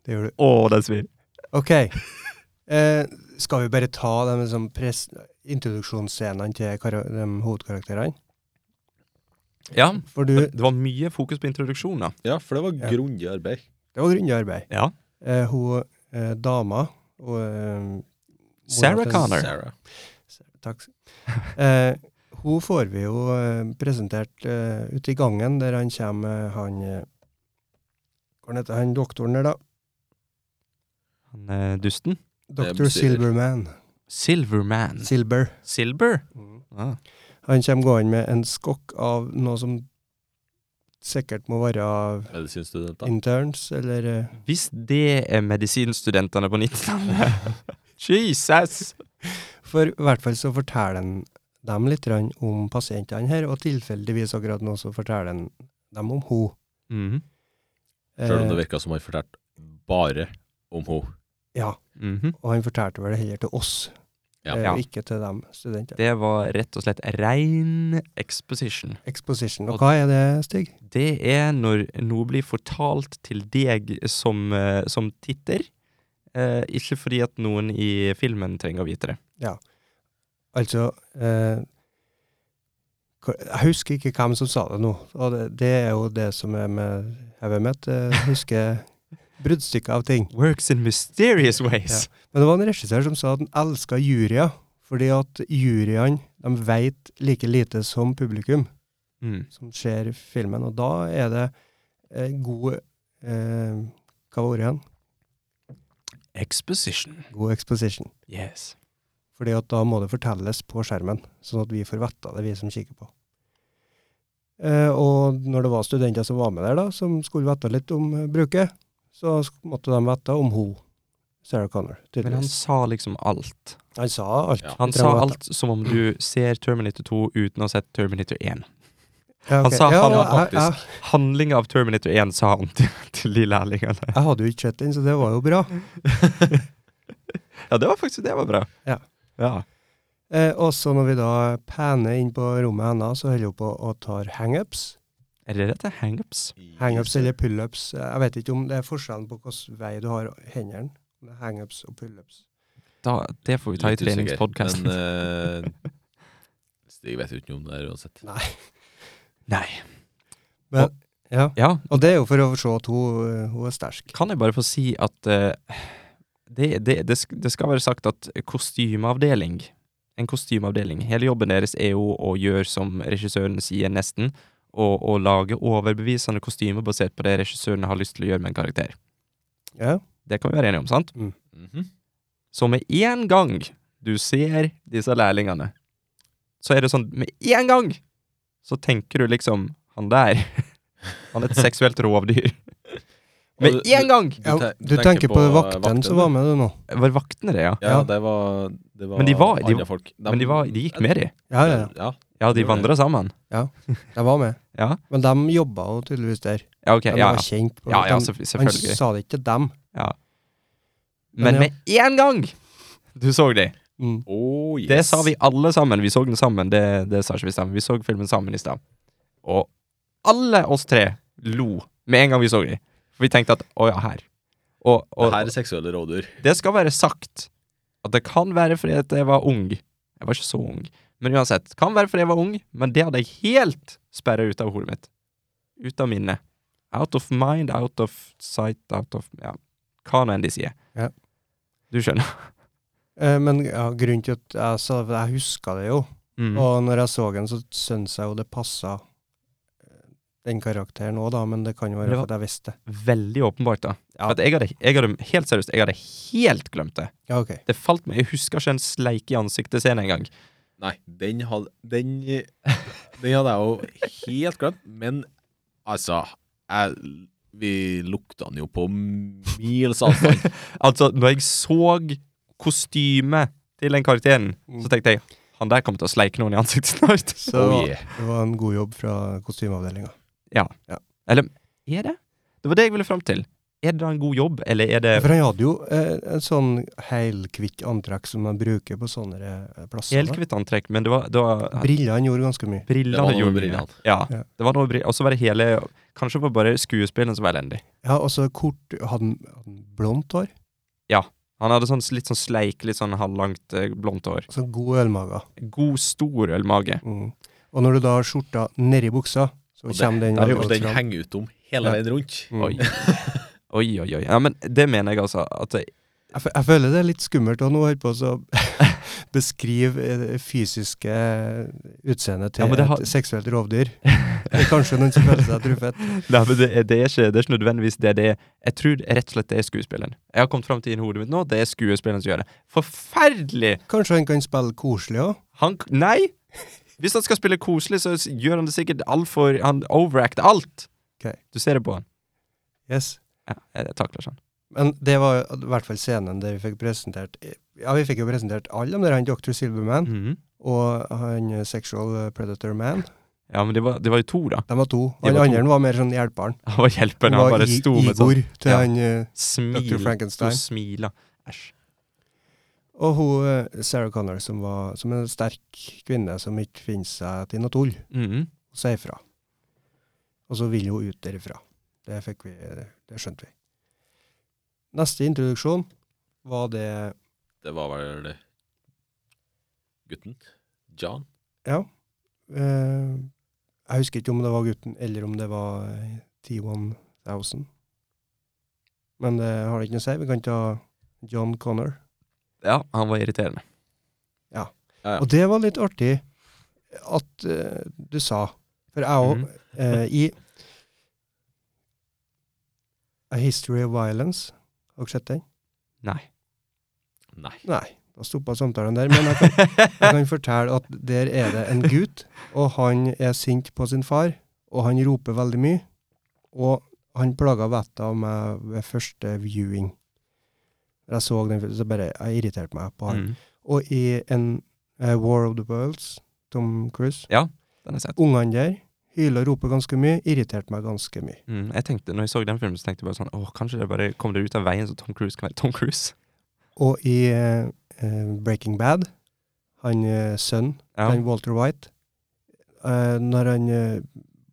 [SPEAKER 1] gjør du.
[SPEAKER 2] Å, den svir.
[SPEAKER 1] Ok. Eh, skal vi bare ta de liksom, pres- introduksjonsscenene til kara- de hovedkarakterene?
[SPEAKER 2] Ja.
[SPEAKER 1] For du,
[SPEAKER 2] Det var mye fokus på introduksjoner.
[SPEAKER 3] Ja, for det var
[SPEAKER 1] Ja.
[SPEAKER 3] grundig arbeid.
[SPEAKER 1] det var grundig arbeid.
[SPEAKER 2] Ja.
[SPEAKER 1] Eh, hun eh, dama og eh, mora
[SPEAKER 2] Sarah
[SPEAKER 1] til-
[SPEAKER 2] Connor.
[SPEAKER 3] Sarah.
[SPEAKER 1] Takk. Eh, hun får vi jo eh, presentert eh, ute i gangen, der han kommer, eh, han eh, Hva heter han doktoren der, da?
[SPEAKER 2] Han eh, dusten.
[SPEAKER 1] Dr.
[SPEAKER 3] betyr-
[SPEAKER 1] Silverman.
[SPEAKER 2] Silverman.
[SPEAKER 1] Silber.
[SPEAKER 2] Silver?
[SPEAKER 1] Ah. Han kommer gående med en skokk av noe som sikkert må være av
[SPEAKER 3] Medisinstudenter.
[SPEAKER 1] interns, eller eh,
[SPEAKER 2] Hvis det er medisinstudentene på 90-tallet Jesus!
[SPEAKER 1] For i hvert fall så forteller han dem litt grann om pasientene her, og tilfeldigvis akkurat nå så forteller han dem om henne.
[SPEAKER 2] Mhm.
[SPEAKER 1] eh,
[SPEAKER 3] Sjøl om det virka som han fortalte bare om henne.
[SPEAKER 1] Ja,
[SPEAKER 2] Mhm.
[SPEAKER 1] og han fortalte vel det heller til oss,
[SPEAKER 3] Ja.
[SPEAKER 1] eh,
[SPEAKER 2] Ja.
[SPEAKER 1] ikke til dem studentene.
[SPEAKER 2] Det var rett og slett rein exposition.
[SPEAKER 1] Exposition.
[SPEAKER 2] Og-
[SPEAKER 1] Og hva er det, Stig?
[SPEAKER 2] Det er når noe blir fortalt til deg som, eh, som titter, eh, ikke fordi at noen i filmen trenger å vite det.
[SPEAKER 1] Altså eh, hva- Jeg husker ikke hvem som sa det nå, og det, det er jo det som er med hodet mitt. Jeg husker bruddstykker av ting.
[SPEAKER 2] Works in mysterious ways.
[SPEAKER 1] Men det var en regissør som sa at han elska juryer, fordi at juryene de veit like lite som publikum
[SPEAKER 2] Mm.
[SPEAKER 1] som ser filmen, og da er det eh, god eh, Hva var ordet igjen?
[SPEAKER 2] Exposition.
[SPEAKER 1] God exposition.
[SPEAKER 2] Yes.
[SPEAKER 1] Fordi at da må det fortelles på skjermen, sånn at vi får vite det, vi som kikker på. Eh, og når det var studenter som var med der, da, som skulle vite litt om eh, bruket, så sk- måtte de vite om hun Sarah Connor,
[SPEAKER 2] Men han
[SPEAKER 1] tydeligvis.
[SPEAKER 2] sa liksom alt.
[SPEAKER 1] Han, sa alt.
[SPEAKER 3] Ja.
[SPEAKER 2] Han
[SPEAKER 1] Bra
[SPEAKER 2] sa
[SPEAKER 1] data.
[SPEAKER 2] alt som om du ser Terminator 2 uten å ha sett Terminator 1.
[SPEAKER 1] Ja,
[SPEAKER 2] han
[SPEAKER 1] ok.
[SPEAKER 2] sa han var
[SPEAKER 1] jeg- jeg-
[SPEAKER 2] Handlinga av Terminator 1 sa han til, til de lærlingene.
[SPEAKER 1] Jeg hadde jo ikke sett den, så det var jo bra.
[SPEAKER 2] Ja, det var faktisk det var bra.
[SPEAKER 1] Ja.
[SPEAKER 2] ja.
[SPEAKER 1] Eh, og så når vi da paner inn på rommet hennes, så holder hun på og tar hangups.
[SPEAKER 2] Er det dette hangups?
[SPEAKER 1] Hangups eller pullups. Eh, Jeg vet ikke om det er forskjellen på hvilken vei du har hendene. om det er Hangups og pullups.
[SPEAKER 2] Da, det får vi ta i treningspodkasten.
[SPEAKER 3] Men eh, Stig vet jo ikke noe om det her uansett.
[SPEAKER 2] Nei.
[SPEAKER 1] Ja.
[SPEAKER 2] Ja,
[SPEAKER 1] Og det er jo for å se at hun, eh, hun er sterk.
[SPEAKER 2] kan jeg bare få si at eh, det, det, det, sk- det skal være sagt at kostymeavdeling En kostymeavdeling Hele jobben deres er jo å gjøre som regissøren sier, nesten. Og, og lage overbevisende kostymer basert på det regissøren har lyst til å gjøre med en karakter.
[SPEAKER 1] Ja.
[SPEAKER 2] Det kan vi være enige om, sant?
[SPEAKER 3] Mhm.
[SPEAKER 2] Så med en gang du ser disse lærlingene, så er det sånn Med en gang så tenker du liksom Han der, han er et seksuelt rovdyr. Med
[SPEAKER 3] Og du-
[SPEAKER 2] en gang!
[SPEAKER 1] Ja,
[SPEAKER 3] te-
[SPEAKER 1] du tenker på vakten som var med, du nå.
[SPEAKER 2] Var vaktene det, ja?
[SPEAKER 3] Ja,
[SPEAKER 1] Ja.
[SPEAKER 3] det var, det var
[SPEAKER 2] Men de var- de-
[SPEAKER 3] andre folk.
[SPEAKER 2] Men de, var, de gikk med, de.
[SPEAKER 1] Ja, ja, ja.
[SPEAKER 3] ja.
[SPEAKER 2] Ja, de vandra sammen.
[SPEAKER 1] De var med.
[SPEAKER 2] Ja,
[SPEAKER 1] Men de jobba jo tydeligvis der.
[SPEAKER 2] ja ok.
[SPEAKER 1] De
[SPEAKER 2] Ja,
[SPEAKER 1] var kjent på
[SPEAKER 2] ja, ja
[SPEAKER 1] de-
[SPEAKER 2] selvfø-
[SPEAKER 1] Han
[SPEAKER 2] selvfølgelig.
[SPEAKER 1] sa det ikke til dem.
[SPEAKER 2] Ja.
[SPEAKER 1] Men
[SPEAKER 2] Men
[SPEAKER 1] ja.
[SPEAKER 2] med én gang du så de!
[SPEAKER 1] Mm.
[SPEAKER 3] Oh, yes.
[SPEAKER 2] Det sa vi alle sammen. Vi så den sammen. Det, det sa ikke vi sammen. Vi så filmen sammen i stad. Og alle oss tre lo med en gang vi så de. For vi tenkte at å ja, her. Og,
[SPEAKER 3] Det
[SPEAKER 2] og
[SPEAKER 3] her er seksuelle rådyr.
[SPEAKER 2] det skal være sagt at det kan være fordi at jeg var ung. Jeg var ikke så ung. Men uansett, kan være fordi jeg var ung, men det hadde jeg helt sperra ut av hodet mitt. Ut av minnet. Out of mind, out of sight, out of Ja, hva nå enn de sier.
[SPEAKER 1] Ja.
[SPEAKER 2] Du skjønner.
[SPEAKER 1] Eh, Men ja, grunnen til at jeg sa for Jeg huska det jo.
[SPEAKER 3] Mm.
[SPEAKER 1] Og når jeg så den, så syntes jeg jo det passa eh, den karakteren òg, da. Men det kan jo
[SPEAKER 2] Det
[SPEAKER 1] være
[SPEAKER 2] var-
[SPEAKER 1] fordi jeg visste det.
[SPEAKER 2] Veldig åpenbart, da.
[SPEAKER 1] Ja.
[SPEAKER 2] At jeg hadde, jeg hadde Helt seriøst, jeg hadde helt glemt det.
[SPEAKER 1] Ja, ok.
[SPEAKER 2] Det falt meg Jeg husker ikke en sleik i ansiktet scenen engang.
[SPEAKER 3] Nei, den hadde Den, den hadde jeg jo helt glemt, men altså jeg, Vi lukta den jo på mils avstand.
[SPEAKER 2] Altså, når jeg så kostymet til den karakteren,
[SPEAKER 1] Mm.
[SPEAKER 2] så tenkte jeg han der kommer til å sleike noen i ansiktet snart.
[SPEAKER 1] Så
[SPEAKER 3] Oh, yeah.
[SPEAKER 1] det var en god jobb fra kostymeavdelinga.
[SPEAKER 2] Er det? Det var det jeg ville fram til. Er det da en god jobb, eller er det
[SPEAKER 1] For han hadde jo eh, en sånn helkvitt antrekk som man bruker på sånne eh, plasser. da.
[SPEAKER 2] helkvitt antrekk, men det var, det var
[SPEAKER 1] Brillene gjorde ganske mye.
[SPEAKER 3] Det var
[SPEAKER 2] Brillene
[SPEAKER 3] noe
[SPEAKER 2] gjorde
[SPEAKER 3] med
[SPEAKER 2] mye.
[SPEAKER 3] brillene.
[SPEAKER 2] Ja.
[SPEAKER 1] Ja.
[SPEAKER 2] Det var noe brill... Og så var det hele Kanskje det var bare skuespilleren som var elendig.
[SPEAKER 1] Ja, og så kort Hadde han- hadde han blondt hår?
[SPEAKER 2] Han hadde sånn, litt sånn sleik, litt sånn halvlangt eh, blondt hår.
[SPEAKER 1] Altså god ølmage.
[SPEAKER 2] God, stor ølmage.
[SPEAKER 1] Mm. Og når du da har skjorta nedi buksa, så
[SPEAKER 3] Og det-
[SPEAKER 1] kommer den
[SPEAKER 2] der er jo
[SPEAKER 1] veldig
[SPEAKER 3] Og
[SPEAKER 1] godt
[SPEAKER 3] den
[SPEAKER 1] fram.
[SPEAKER 3] henger ut om hele
[SPEAKER 1] Ja.
[SPEAKER 3] veien rundt.
[SPEAKER 1] Mm.
[SPEAKER 2] Oi. Oi, oi, oi. Ja, men det mener jeg altså. At det,
[SPEAKER 1] Jeg, fø- jeg føler det er litt skummelt å nå holde på å så beskrive eh, det fysiske eh, utseendet
[SPEAKER 2] Ja,
[SPEAKER 1] til
[SPEAKER 2] men det har-
[SPEAKER 1] et seksuelt rovdyr. Det er kanskje noen som føler seg truffet.
[SPEAKER 2] Nei, men det, er- det, er ikke, det er ikke nødvendigvis det det er. Jeg tror rett og slett det er skuespilleren. Jeg har kommet fram til i hodet mitt nå, det er skuespilleren som gjør det. Forferdelig!
[SPEAKER 1] Kanskje han kan spille koselig òg?
[SPEAKER 2] Han k- Nei! Hvis han skal spille koselig, så s- gjør han det sikkert altfor Han overacter alt!
[SPEAKER 1] Ok.
[SPEAKER 2] Du ser det på han.
[SPEAKER 1] Yes.
[SPEAKER 2] Ja, jeg, jeg takler sånn. ikke han.
[SPEAKER 1] Men det var i hvert fall scenen der vi fikk presentert Ja, vi fikk jo presentert alle om det, han Dr. Silverman
[SPEAKER 2] Mhm.
[SPEAKER 1] og han eh, Sexual Predator Man.
[SPEAKER 2] Ja, men det var, det var jo to, da.
[SPEAKER 1] De var to.
[SPEAKER 2] De
[SPEAKER 1] Han
[SPEAKER 2] var to.
[SPEAKER 1] andre var mer sånn hjelperen.
[SPEAKER 2] Han var hjelperen. Han
[SPEAKER 1] var
[SPEAKER 2] bare
[SPEAKER 1] I-
[SPEAKER 2] sto med
[SPEAKER 1] Igor
[SPEAKER 2] sånn
[SPEAKER 1] til
[SPEAKER 2] Ja.
[SPEAKER 1] han eh, Dr.
[SPEAKER 2] smil. Sto
[SPEAKER 1] Frankenstein.
[SPEAKER 2] og smila. Æsj.
[SPEAKER 1] Og hun, eh, Sarah Connor, som var som en sterk kvinne som ikke finner seg til noe tull.
[SPEAKER 2] Mhm.
[SPEAKER 1] og si ifra. Og så ville hun ut derifra. Det, fikk vi, det skjønte vi. Neste introduksjon var det
[SPEAKER 3] Det var vel gutten. John.
[SPEAKER 1] Ja. Eh, jeg husker ikke om det var gutten, eller om det var eh, T1000. Men det har det ikke noe å si. Vi kan ta John Connor.
[SPEAKER 2] Ja, han var irriterende.
[SPEAKER 3] Ja, ja.
[SPEAKER 1] Og det var litt artig at eh, du sa. For jeg òg
[SPEAKER 2] Mhm.
[SPEAKER 1] eh, I A History of Violence Har dere sett den?
[SPEAKER 2] Nei.
[SPEAKER 3] Nei.
[SPEAKER 1] Nei. Da stoppa samtalen der. Men jeg kan, jeg kan fortelle at der er det en gutt, og han er sint på sin far, og han roper veldig mye. Og han plaga vettet av meg ved første viewing. Når jeg så den filmen, så bare jeg irriterte meg på han.
[SPEAKER 2] Mm.
[SPEAKER 1] Og i en eh, War of the Worlds, Tom Cruise,
[SPEAKER 2] Den er søt.
[SPEAKER 1] ungene der hyler og roper ganske mye, irriterte meg ganske mye.
[SPEAKER 2] Mm. Jeg tenkte, når jeg så den filmen, så tenkte jeg bare sånn Åh, kanskje det bare kom det ut av veien, så Tom Cruise kan være Tom Cruise.
[SPEAKER 1] Og i eh, eh, Breaking Bad, han eh, sønnen,
[SPEAKER 2] Ja.
[SPEAKER 1] han Walter White, eh, når han eh,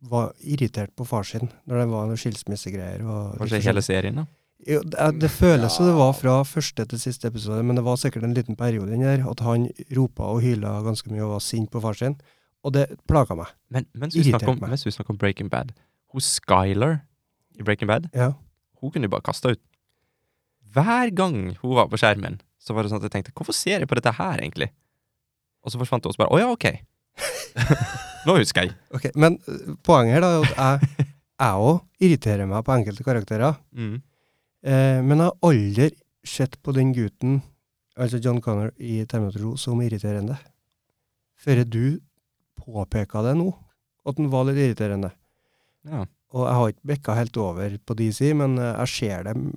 [SPEAKER 1] var irritert på far sin, når det var noen skilsmissegreier og
[SPEAKER 2] Kanskje hele serien, da.
[SPEAKER 1] Jo, det, er- det føles som det
[SPEAKER 3] Ja.
[SPEAKER 1] var fra første til siste episode, men det var sikkert en liten periode inni der at han ropa og hyla ganske mye og var sint på far sin, og det plaga meg.
[SPEAKER 2] Men mens vi
[SPEAKER 1] Irritert
[SPEAKER 2] snakker om,
[SPEAKER 1] meg.
[SPEAKER 2] mens vi snakker om Breaking Bad Hun Skyler i Breaking Bad,
[SPEAKER 1] Ja.
[SPEAKER 2] hun kunne de bare kasta ut. Hver gang hun var på skjermen, så var det sånn at jeg tenkte Hvorfor ser jeg på dette her, egentlig? Og så forsvant det også bare Å ja, ok. Nå husker jeg.
[SPEAKER 1] Ok, Men eh, poenget her da, er jo at jeg- jeg òg irriterer meg på enkelte karakterer,
[SPEAKER 2] Mm.
[SPEAKER 1] eh, men jeg har aldri sett på den gutten, altså John Connor i Terminator 2, som irriterende. Før du påpeka det nå, at han var litt irriterende.
[SPEAKER 2] Ja.
[SPEAKER 1] Og jeg har ikke bikka helt over på DC, men eh, jeg ser dem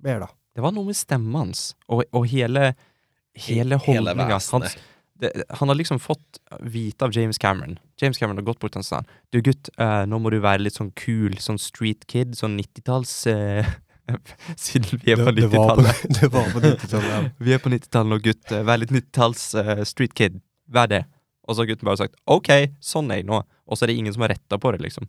[SPEAKER 1] mer, da.
[SPEAKER 2] Det var noe med stemmen hans og, og hele Hele
[SPEAKER 3] Hele
[SPEAKER 2] holdninga hans.
[SPEAKER 3] vesenet.
[SPEAKER 2] Det, han har liksom fått vite av James Cameron. James Cameron har gått bort til han og sagt Du, gutt, eh, nå må du være litt sånn kul, sånn street kid, sånn 90-talls eh, Siden vi er på
[SPEAKER 1] det, var på,
[SPEAKER 2] 90-tallet.
[SPEAKER 1] det var på 90-tallet. ja.
[SPEAKER 2] Vi er på 90-tallet nå, gutt. Eh, Vær litt 90-talls eh, street kid. Vær det. Og så har gutten bare sagt OK, sånn er jeg nå. Og så er det ingen som har retta på det, liksom.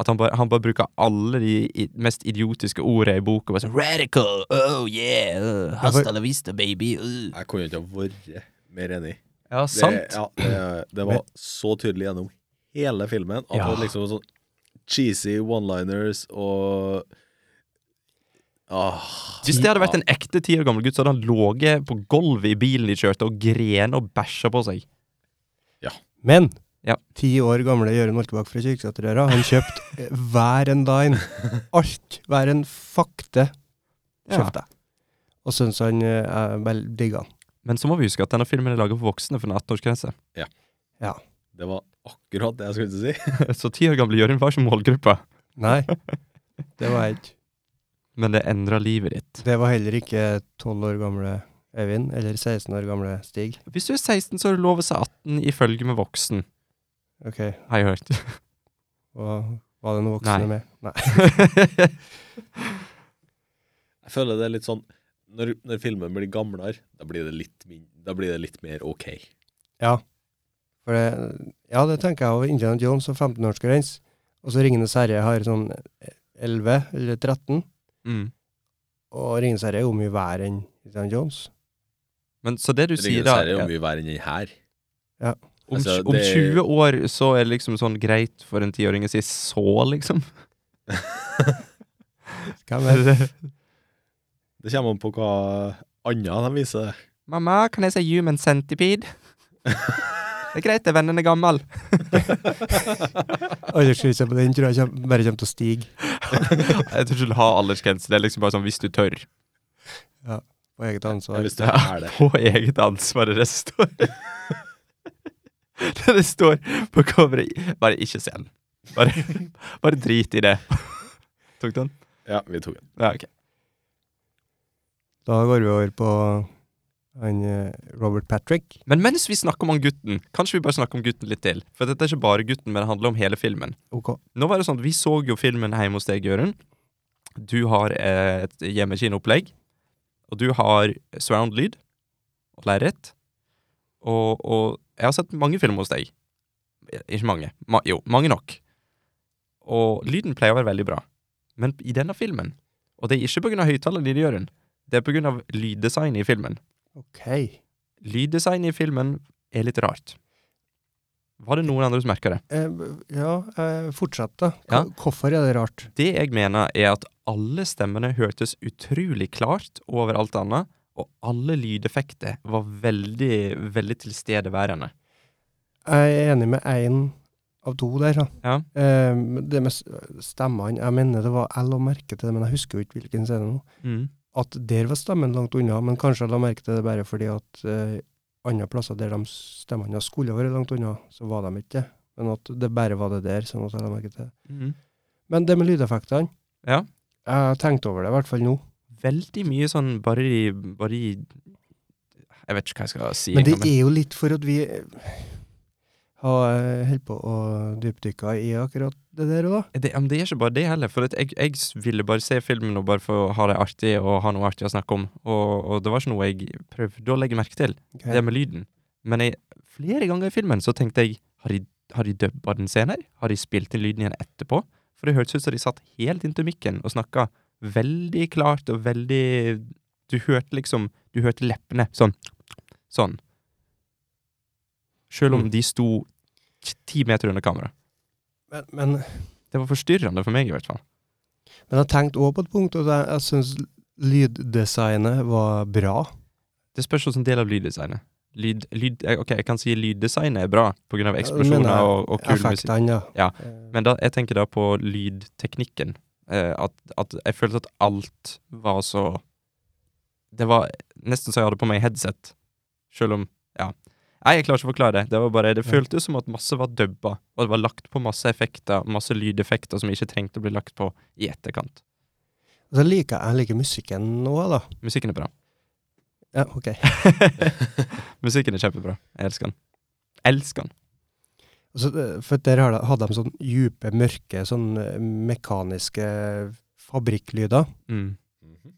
[SPEAKER 2] At han bare, han bare bruker alle de i, mest idiotiske ordene i boka. Bare sånn Radical! Oh yeah! Uh,
[SPEAKER 1] Ja,
[SPEAKER 2] hasta la vista, baby! Uh.
[SPEAKER 3] Jeg kunne ikke ha vært mer enig.
[SPEAKER 2] Ja,
[SPEAKER 3] Det,
[SPEAKER 2] sant?
[SPEAKER 3] ja, det, det var så tydelig gjennom hele filmen at det
[SPEAKER 2] Ja.
[SPEAKER 3] var liksom sånn cheesy one-liners og ah,
[SPEAKER 2] Hvis det hadde vært en ekte ti år gammel gutt, så hadde han ligget på gulvet i bilen de kjørte, og grene og bæsja på seg.
[SPEAKER 1] Men
[SPEAKER 2] Ja.
[SPEAKER 1] ti år gamle Jørund Oltebakk fra Kirkesaterøra, han kjøpte eh, hver en dime. Alt. Hver en fakte
[SPEAKER 2] Ja.
[SPEAKER 1] kjøpte jeg. Og syns han eh, jeg vel digger han.
[SPEAKER 2] Men så må vi huske at denne filmen er laga for voksne for en 18-årsgrense.
[SPEAKER 3] Det var akkurat det jeg skulle til å si.
[SPEAKER 2] Så ti år gamle Jørund var ikke målgruppa.
[SPEAKER 1] Nei, det var jeg ikke.
[SPEAKER 2] Men det endra livet ditt.
[SPEAKER 1] Det var heller ikke tolv år gamle Øyvind, eller 16 år gamle Stig.
[SPEAKER 2] Hvis du er 16, så er det lov å si 18 i følge med voksen,
[SPEAKER 1] Ok,
[SPEAKER 2] har jeg hørt.
[SPEAKER 1] og var det noen voksne
[SPEAKER 2] Nei.
[SPEAKER 1] med? Nei.
[SPEAKER 3] Jeg føler det er litt sånn Når, når filmen blir gamlere, da blir det litt, min, da blir det litt mer OK.
[SPEAKER 1] Ja. For det, ja, det tenker jeg over Indiana Jones og 15-årsgrense. Og så Ringenes herre har sånn 11 eller 13.
[SPEAKER 2] mm.
[SPEAKER 1] Og Ringenes herre er jo mye verre enn Indiana Jones.
[SPEAKER 2] Men så det du sier,
[SPEAKER 3] Ringenes
[SPEAKER 2] da
[SPEAKER 3] herre er jo
[SPEAKER 2] ja,
[SPEAKER 3] mye verre enn den her.
[SPEAKER 2] om,
[SPEAKER 3] altså,
[SPEAKER 2] tj- om
[SPEAKER 3] det-
[SPEAKER 2] 20 år så er det liksom sånn greit for en tiåring å si så, liksom.
[SPEAKER 1] Hvem er det?
[SPEAKER 3] Det kommer an på hva annet de viser.
[SPEAKER 2] Mamma, kan jeg si human centipede? Det er greit, det, vennen er gammel.
[SPEAKER 1] Aldersgrensa på den tror jeg kjem, bare kommer til å stige
[SPEAKER 2] Jeg tror ikke du har aldersgrense. Det er liksom bare sånn hvis du tør.
[SPEAKER 1] på eget ansvar.
[SPEAKER 3] Hvis det er det.
[SPEAKER 2] På eget ansvar, det er det som står. Det det står på coveret. Bare ikke se den. Bare, bare drit i det. Tok du den?
[SPEAKER 3] Ja, vi tok den.
[SPEAKER 2] Ja, ok.
[SPEAKER 1] Da går vi over på han eh, Robert Patrick.
[SPEAKER 2] Men mens vi snakker om han gutten, kanskje vi bare snakker om gutten litt til. For dette er ikke bare gutten, men det handler om hele filmen.
[SPEAKER 1] Ok.
[SPEAKER 2] Nå var det sånn at Vi så jo filmen hjemme hos deg, Jørund. Du har eh, et hjemmekinoopplegg. Og du har surround-lyd og lerret. Og, og jeg har sett mange filmer hos deg. Eh, Ikke mange. Ma jo, mange nok. Og lyden pleier å være veldig bra. Men i denne filmen Og det er ikke pga. høyttaleren din, Jørund. Det er pga. lyddesignet i filmen.
[SPEAKER 1] Ok.
[SPEAKER 2] Lyddesignet i filmen er litt rart. Var det noen andre som merka det?
[SPEAKER 1] Eh, b- ja, eh, fortsett, da.
[SPEAKER 2] Ja.
[SPEAKER 1] Hva- Hvorfor er det rart?
[SPEAKER 2] Det jeg mener er at alle stemmene hørtes utrolig klart over alt annet, og alle lydeffekter var veldig, veldig tilstedeværende.
[SPEAKER 1] Jeg er enig med én av to der, da.
[SPEAKER 2] Ja.
[SPEAKER 1] Eh, men det med s- stemmene Jeg mener det var Jeg la merke til det, men jeg husker jo ikke hvilken scene nå. At der var stemmen langt unna, men kanskje jeg la merke til det bare fordi at eh, andre plasser der de stemmene skulle vært langt unna, så var de ikke det. Men at det bare var det der, sånn at jeg la merke til det. Men det med lydeffektene
[SPEAKER 2] Ja.
[SPEAKER 1] Jeg har tenkt over det, i hvert fall nå.
[SPEAKER 2] veldig mye sånn bare i, bare i Jeg vet ikke hva jeg skal si.
[SPEAKER 1] Men det
[SPEAKER 2] engang,
[SPEAKER 1] er jo litt for at vi eh, har eh, holdt på å dypdykke i akkurat det der òg, da.
[SPEAKER 2] Det, ja, men det er ikke bare det heller. For at jeg, jeg s- ville bare se filmen og bare for å ha det artig og ha noe artig å snakke om. Og, og det var ikke noe jeg prøvde å legge merke til,
[SPEAKER 1] Ok.
[SPEAKER 2] det med lyden. Men jeg, flere ganger i filmen så tenkte jeg Har de, har de dubba den scenen? her? Har de spilt inn lyden igjen etterpå? For det hørtes ut som de satt helt inntil mikken og snakka veldig klart og veldig Du hørte liksom Du hørte leppene sånn. Sånn. Sjøl om
[SPEAKER 1] Mm.
[SPEAKER 2] de sto t- ti meter under kamera.
[SPEAKER 1] Men, men,
[SPEAKER 2] Det var forstyrrende for meg, i hvert fall.
[SPEAKER 1] men jeg tenkte òg på et punkt at jeg, jeg syns lyddesignet var bra.
[SPEAKER 2] Det spørs hvilken del av lyddesignet. Lyd, lyd, eh, ok, Jeg kan si lyddesignet er bra pga.
[SPEAKER 1] Ja,
[SPEAKER 2] eksplosjoner
[SPEAKER 1] men, eh,
[SPEAKER 2] og, og kul musikk.
[SPEAKER 1] Effektene,
[SPEAKER 2] Ja,
[SPEAKER 1] Eh,
[SPEAKER 2] Men da, jeg tenker da på lydteknikken. Eh, at, at jeg følte at alt var så Det var nesten så jeg hadde på meg headset. Selv om Ja. Nei, jeg klarer ikke å forklare det. Det var bare, det
[SPEAKER 1] Ja.
[SPEAKER 2] føltes som at masse var dubba, og det var lagt på masse effekter, masse lydeffekter som ikke trengte å bli lagt på i etterkant.
[SPEAKER 1] Så liker jeg- jeg liker musikken nå, da.
[SPEAKER 2] Musikken er bra.
[SPEAKER 1] Ja, ok.
[SPEAKER 2] Musikken er kjempebra. Jeg elsker den. Elsker den.
[SPEAKER 1] Altså, det- for der har de- hadde de sånn dype, mørke, sånn eh, mekaniske fabrikklyder.
[SPEAKER 2] Mm.
[SPEAKER 3] Mhm.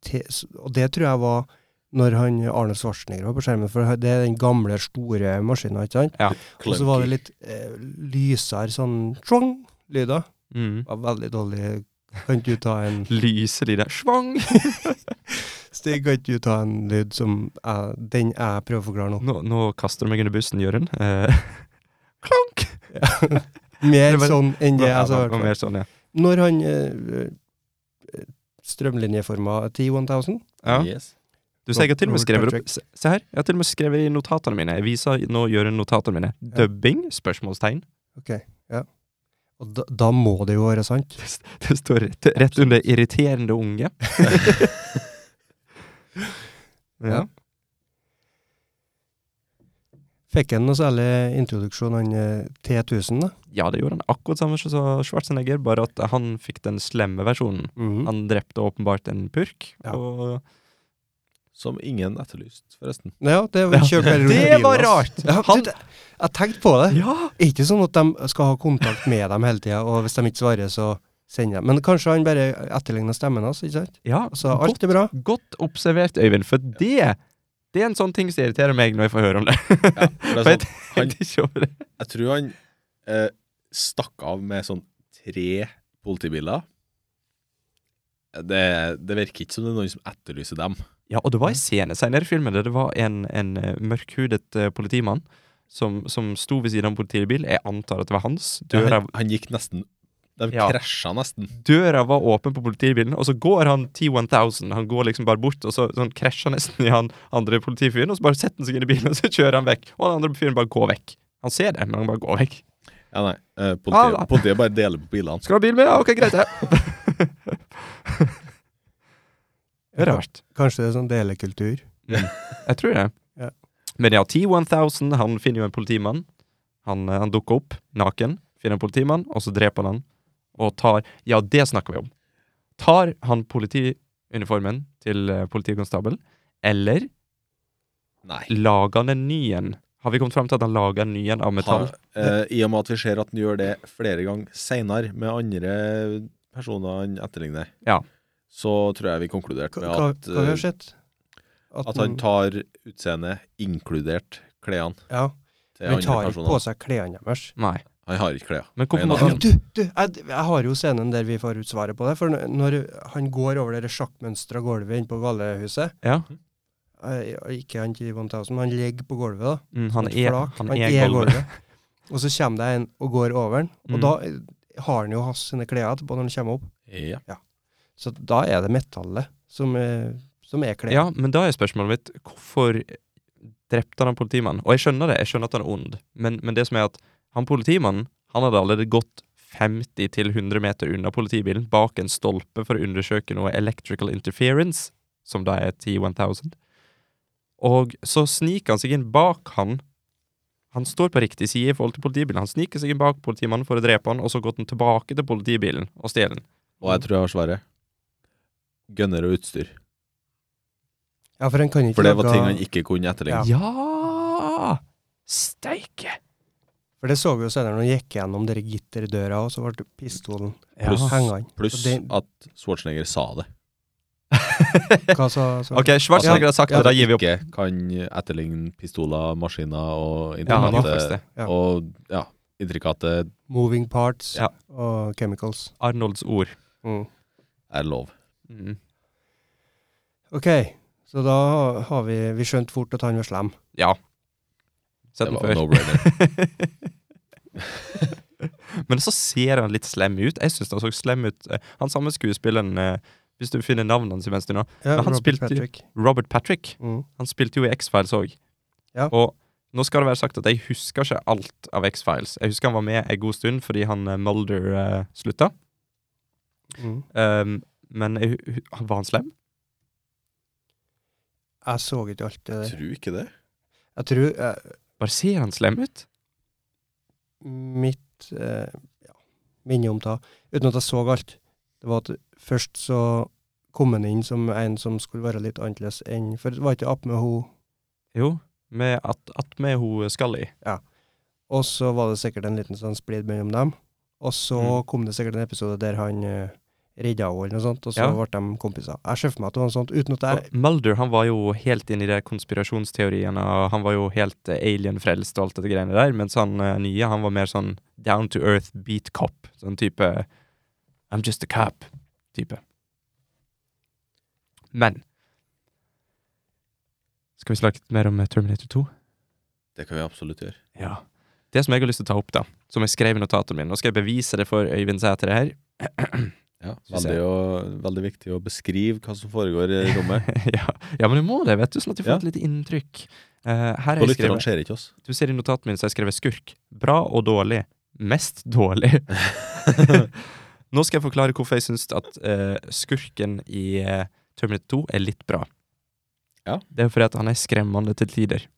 [SPEAKER 1] Te- s- Og det tror jeg var når han Arne Schwarzenegger var på skjermen, for det er den gamle, store maskinen, ikke sant? Og så var det litt eh, lysere sånn tjong-lyder.
[SPEAKER 2] Mm.
[SPEAKER 1] Var veldig dårlig. Kan ikke du ta en
[SPEAKER 2] lyser de der Svang!
[SPEAKER 1] Stig, kan ikke du ta en lyd som jeg, den jeg prøver å forklare nå?
[SPEAKER 2] Nå, nå kaster du meg under bussen, Jørund. Eh, klonk!
[SPEAKER 1] Mer
[SPEAKER 2] Det var-
[SPEAKER 1] sånn enn det jeg
[SPEAKER 2] Ja,
[SPEAKER 1] har
[SPEAKER 2] det var mer sånn, ja.
[SPEAKER 1] Når han eh, eh, strømlinjeforma T1000
[SPEAKER 2] ja.
[SPEAKER 3] Yes.
[SPEAKER 2] Du ser jeg har til og med
[SPEAKER 1] Robert
[SPEAKER 2] skrevet opp
[SPEAKER 1] Patrick.
[SPEAKER 2] se, se her, jeg har til og med skrevet i notatene mine. Jeg viser nå Jørund notatene mine.
[SPEAKER 1] Ja.
[SPEAKER 2] Dubbing? Spørsmålstegn.
[SPEAKER 1] Og da, da må det jo være sant.
[SPEAKER 2] Det står rett, rett under 'irriterende unge'. ja.
[SPEAKER 1] Fikk han noe særlig introduksjon, han eh, T1000, da?
[SPEAKER 2] ja, det gjorde han akkurat samme som Schwarzenegger, bare at han fikk den slemme versjonen. Han drepte åpenbart en purk,
[SPEAKER 1] Ja.
[SPEAKER 2] og
[SPEAKER 3] Som ingen etterlyst, forresten.
[SPEAKER 1] Ja, det var, kjørt bare rundt
[SPEAKER 2] Det
[SPEAKER 1] bilen
[SPEAKER 2] var
[SPEAKER 1] hans.
[SPEAKER 2] rart!
[SPEAKER 1] Ja,
[SPEAKER 2] Han-
[SPEAKER 1] det- jeg tenkte på det.
[SPEAKER 2] Ja!
[SPEAKER 1] Er ikke sånn at de skal ha kontakt med dem hele tida, og hvis de ikke svarer, så sender de. Men kanskje han bare etterligner stemmen hans, ikke sant?
[SPEAKER 2] ja
[SPEAKER 1] Og så alt er bra.
[SPEAKER 2] Godt observert, Øyvind, for det Det er en sånn ting som irriterer meg når jeg får høre om det.
[SPEAKER 3] Ja, for det er sånn,
[SPEAKER 2] Jeg tenkte ikke over det.
[SPEAKER 3] jeg tror han eh, stakk av med sånn tre politibiler. Det, det virker ikke som det er noen som etterlyser dem.
[SPEAKER 2] Ja, og det var en scene senere i filmen der det var en, en eh, mørkhudet eh, politimann som, som sto ved siden av en politibil. Jeg antar at det var hans. Døra,
[SPEAKER 3] Han, han gikk nesten De
[SPEAKER 2] Ja.
[SPEAKER 3] krasja nesten.
[SPEAKER 2] døra var åpen på politibilen, og så går han T1000. Han går liksom bare bort, og så sånn, krasjer han nesten i han andre politifyren, og så bare setter han seg inn i bilen, og så kjører han vekk. Og den andre fyren bare går vekk. Han ser det, men han bare går vekk.
[SPEAKER 3] Ja, nei. eh,
[SPEAKER 2] Ah,
[SPEAKER 3] Politiet,
[SPEAKER 2] da.
[SPEAKER 3] politiet bare deler på bilene.
[SPEAKER 2] Skal du ha bil med? Ja, ok, greit, det. Det er rart.
[SPEAKER 1] Kanskje det er sånn delekultur.
[SPEAKER 2] Jeg tror det.
[SPEAKER 1] Ja.
[SPEAKER 2] Men ja, T1000, han finner jo en politimann. Han, eh, han dukker opp naken, finner en politimann, og så dreper han han. Og tar Ja, det snakker vi om. Tar han politiuniformen til eh, politikonstabel, eller
[SPEAKER 3] Nei.
[SPEAKER 2] lager han en ny en? Har vi kommet fram til at han lager en ny en av metall?
[SPEAKER 3] Han, eh, I og med at vi ser at han gjør det flere ganger seinere med andre personer han etterligner,
[SPEAKER 2] Ja.
[SPEAKER 3] så tror jeg vi konkluderte
[SPEAKER 1] Hva,
[SPEAKER 3] med
[SPEAKER 1] hva,
[SPEAKER 3] at,
[SPEAKER 1] hva har
[SPEAKER 3] eh,
[SPEAKER 1] skjedd?
[SPEAKER 3] at han tar utseendet, inkludert klærne,
[SPEAKER 1] Ja,
[SPEAKER 3] til
[SPEAKER 1] men
[SPEAKER 3] andre
[SPEAKER 1] tar ikke på
[SPEAKER 3] personer.
[SPEAKER 1] seg klærne deres.
[SPEAKER 2] Nei.
[SPEAKER 3] Han har ikke klær.
[SPEAKER 2] Men hvorfor
[SPEAKER 3] Han er
[SPEAKER 2] må
[SPEAKER 3] naken.
[SPEAKER 2] han
[SPEAKER 1] Men du, du jeg, jeg har jo scenen der vi får ut svaret på det. For når- når han går over det sjakkmønstra gulvet inne på galehuset
[SPEAKER 2] Ja.
[SPEAKER 1] eh, Ikke han til 1000, men han ligger på gulvet, da.
[SPEAKER 2] Mm, han,
[SPEAKER 1] Et
[SPEAKER 2] er,
[SPEAKER 1] flak.
[SPEAKER 2] han er gulvet.
[SPEAKER 1] Og så kommer det en og går over den. Og
[SPEAKER 2] Mm.
[SPEAKER 1] da eh, har han jo hans sine klær etterpå når han kommer opp.
[SPEAKER 3] Ja.
[SPEAKER 1] Så da er det metallet som, eh, som er klær.
[SPEAKER 2] Ja, men da er spørsmålet mitt hvorfor drepte han en politimann? Og jeg skjønner det, jeg skjønner at han er ond, men, men det som er at han politimannen, han hadde allerede gått 50-100 meter unna politibilen, bak en stolpe for å undersøke noe electrical interference, som da er T1000. Og så sniker han seg inn bak han. Han står på riktig side i forhold til politibilen. Han sniker seg inn bak politimannen for å drepe han, og så gått han tilbake til politibilen og stjele den.
[SPEAKER 3] Og jeg tror jeg har svaret. gunner og utstyr.
[SPEAKER 1] Ja, for en kan ikke
[SPEAKER 3] For det var
[SPEAKER 1] lage-
[SPEAKER 3] ting han ikke kunne etterligne.
[SPEAKER 2] Ja! Steike!
[SPEAKER 1] For det så vi jo senere når han gikk gjennom dere gitterdøra, og så ble pistolen
[SPEAKER 2] Ja.
[SPEAKER 3] Pluss-
[SPEAKER 1] hengende.
[SPEAKER 3] Pluss
[SPEAKER 1] Og det-
[SPEAKER 3] at Schwarzenegger sa det.
[SPEAKER 1] Hva sa så,
[SPEAKER 2] Ok, Schwarzenegger har sagt det,
[SPEAKER 1] Ja,
[SPEAKER 2] da gir vi opp.
[SPEAKER 3] Ikke kan etterligne pistoler, maskiner og
[SPEAKER 2] Ja, han var
[SPEAKER 3] internett.
[SPEAKER 2] faktisk det.
[SPEAKER 1] ja.
[SPEAKER 3] og ja, intrikate
[SPEAKER 1] Moving parts
[SPEAKER 2] Ja.
[SPEAKER 1] og chemicals.
[SPEAKER 2] Arnolds ord.
[SPEAKER 1] Mm.
[SPEAKER 3] er lov.
[SPEAKER 2] Mm.
[SPEAKER 1] Ok, så da har vi, vi skjønt fort at han var slem.
[SPEAKER 2] Ja.
[SPEAKER 3] Det
[SPEAKER 2] Sett den
[SPEAKER 3] var
[SPEAKER 2] før.
[SPEAKER 3] no-brainer.
[SPEAKER 2] Men så ser han litt slem ut. Jeg syns han så slem ut. Eh, Han samme skuespilleren, eh, hvis du finner navnet hans imens du nå,
[SPEAKER 1] Ja,
[SPEAKER 2] Men han
[SPEAKER 1] Robert
[SPEAKER 2] spilte jo-
[SPEAKER 1] Patrick.
[SPEAKER 2] Robert Patrick.
[SPEAKER 1] Mm.
[SPEAKER 2] Han spilte jo i X-Files òg.
[SPEAKER 1] Ja.
[SPEAKER 2] Og nå skal det være sagt at jeg husker ikke alt av X-Files. Jeg husker han var med en god stund fordi han eh, Mulder eh, slutta.
[SPEAKER 1] Mm.
[SPEAKER 2] Um, men jeg, hu- hu- var han slem?
[SPEAKER 1] Jeg så ikke alt det der.
[SPEAKER 3] Tror ikke det.
[SPEAKER 1] Jeg tror eh,
[SPEAKER 2] Bare ser han slem ut?
[SPEAKER 1] mitt eh, ja, minne om det, uten at jeg så alt, det var at først så kom han inn som en som skulle være litt annerledes enn For det var ikke opp med henne.
[SPEAKER 2] Jo. Med at, at med hun eh, skal i.
[SPEAKER 1] Og så var det sikkert en liten sånn splid mellom dem. Og så
[SPEAKER 2] Mm.
[SPEAKER 1] kom det sikkert en episode der han eh, redda henne, eller noe sånt, og så
[SPEAKER 2] Ja.
[SPEAKER 1] ble de kompiser. Jeg ser for meg at det var noe sånt, uten at jeg
[SPEAKER 2] Og Mulder han var jo helt inne i de konspirasjonsteoriene, og han var jo helt eh, alien-frelst og alt dette greiene der, mens han eh, nye han var mer sånn down to earth beat cop. Sånn type I'm just a cop-type. Men Skal vi snakke litt mer om eh, Terminator 2?
[SPEAKER 3] Det kan vi absolutt gjøre.
[SPEAKER 2] Ja. Det som jeg har lyst til å ta opp, da, som jeg skrev i notatene mine Nå skal jeg bevise det for Øyvind Sæter her.
[SPEAKER 3] Ja,
[SPEAKER 2] Synes
[SPEAKER 3] veldig,
[SPEAKER 2] jeg.
[SPEAKER 3] å- veldig viktig å beskrive hva som foregår i rommet.
[SPEAKER 2] ja. ja, men du må det, vet du, sånn at de får
[SPEAKER 3] Ja.
[SPEAKER 2] et lite inntrykk. Eh, her
[SPEAKER 3] Og
[SPEAKER 2] har jeg skrevet
[SPEAKER 3] lytterne ser ikke oss.
[SPEAKER 2] Du ser i notatene mine så har jeg skrevet skurk. Bra og dårlig. Mest dårlig. Nå skal jeg forklare hvorfor jeg syns at eh, skurken i eh, Terminator 2 er litt bra.
[SPEAKER 3] Ja.
[SPEAKER 2] Det er fordi at han er skremmende til tider.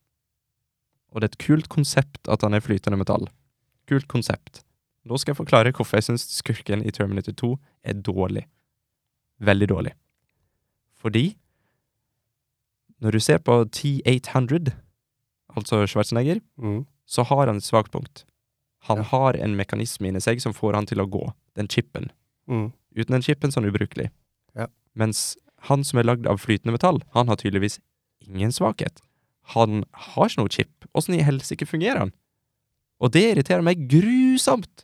[SPEAKER 2] Og det er et kult konsept at han er flytende metall. Kult konsept. Nå skal jeg forklare hvorfor jeg syns skurken i Terminator 2 er dårlig. Veldig dårlig. Fordi når du ser på T800, altså Schwarzenegger
[SPEAKER 1] mm.
[SPEAKER 2] så har han et svakt punkt.
[SPEAKER 1] Ja.
[SPEAKER 2] Han har en mekanisme inni seg som får han til å gå, den chipen.
[SPEAKER 1] Mm.
[SPEAKER 2] Uten den chipen så er han ubrukelig.
[SPEAKER 1] Ja.
[SPEAKER 2] Mens han som er lagd av flytende metall, han har tydeligvis ingen svakhet. Han har ikke noe chip. Åssen i helsike fungerer han? Og det irriterer meg grusomt!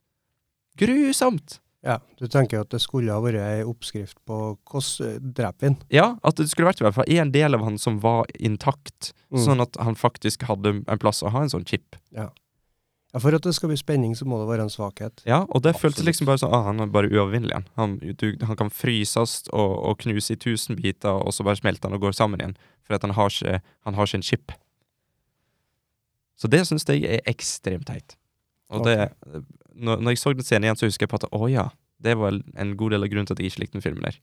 [SPEAKER 2] Grusomt!
[SPEAKER 1] Ja, du tenker jo at det skulle ha vært ei oppskrift på hvordan dreper vi den?
[SPEAKER 2] Ja, at det skulle vært i hvert fall en del av han som var intakt,
[SPEAKER 1] Mm.
[SPEAKER 2] sånn at han faktisk hadde en plass å ha en sånn chip.
[SPEAKER 1] Ja, for at det skal bli spenning, så må det være en svakhet.
[SPEAKER 2] Ja, og det føltes
[SPEAKER 3] Absolutt.
[SPEAKER 2] liksom bare sånn ah, Han er bare uovervinnelig. han. Han, du, han kan fryses og, og knuse i tusen biter, og så bare smelter han og går sammen igjen. For at han har ikke, han har ikke en chip. Så det syns jeg er ekstremt teit. Og det når, når jeg så den scenen igjen, så husker jeg på at å ja, det var en god del av grunnen til at jeg ikke likte den filmen der.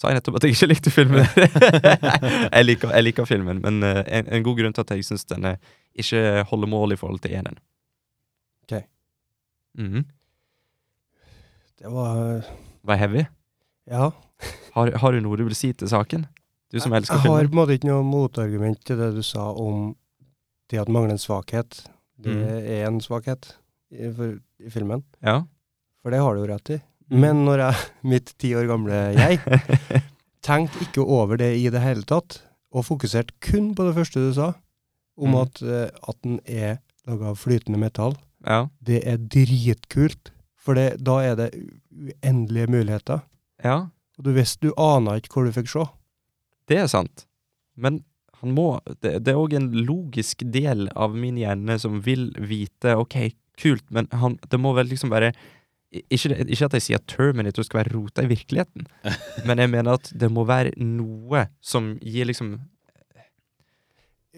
[SPEAKER 2] Sa jeg nettopp at jeg ikke likte filmen? jeg, liker, jeg liker filmen, men eh, en, en god grunn til at jeg syns den eh, ikke holder mål i forhold til eneren.
[SPEAKER 1] Ok.
[SPEAKER 2] Mhm.
[SPEAKER 1] Det var
[SPEAKER 2] Var jeg heavy?
[SPEAKER 1] Ja.
[SPEAKER 2] Har, har du noe du vil si til saken? Du som elsker
[SPEAKER 1] Jeg har
[SPEAKER 2] filmen.
[SPEAKER 1] på en måte ikke noe motargument til det du sa om det at det mangler en svakhet. Det
[SPEAKER 2] Mm.
[SPEAKER 1] er en svakhet i, for, i filmen,
[SPEAKER 2] Ja.
[SPEAKER 1] for det har du jo rett i.
[SPEAKER 2] Mm.
[SPEAKER 1] Men når jeg, mitt ti år gamle jeg, tenkte ikke over det i det hele tatt, og fokuserte kun på det første du sa, om
[SPEAKER 2] Mm.
[SPEAKER 1] at, eh, at den er laga av flytende metall.
[SPEAKER 2] ja.
[SPEAKER 1] Det er dritkult, for det, da er det uendelige muligheter.
[SPEAKER 2] Ja,
[SPEAKER 1] Og du visste, du aner ikke hvor du fikk se.
[SPEAKER 2] det er sant. Men han må Det, det er òg en logisk del av min hjerne som vil vite OK, kult, men han, det må vel liksom være i- ikke, det- ikke at jeg sier at Terminator skal være rota i virkeligheten, men jeg mener at det må være noe som gir liksom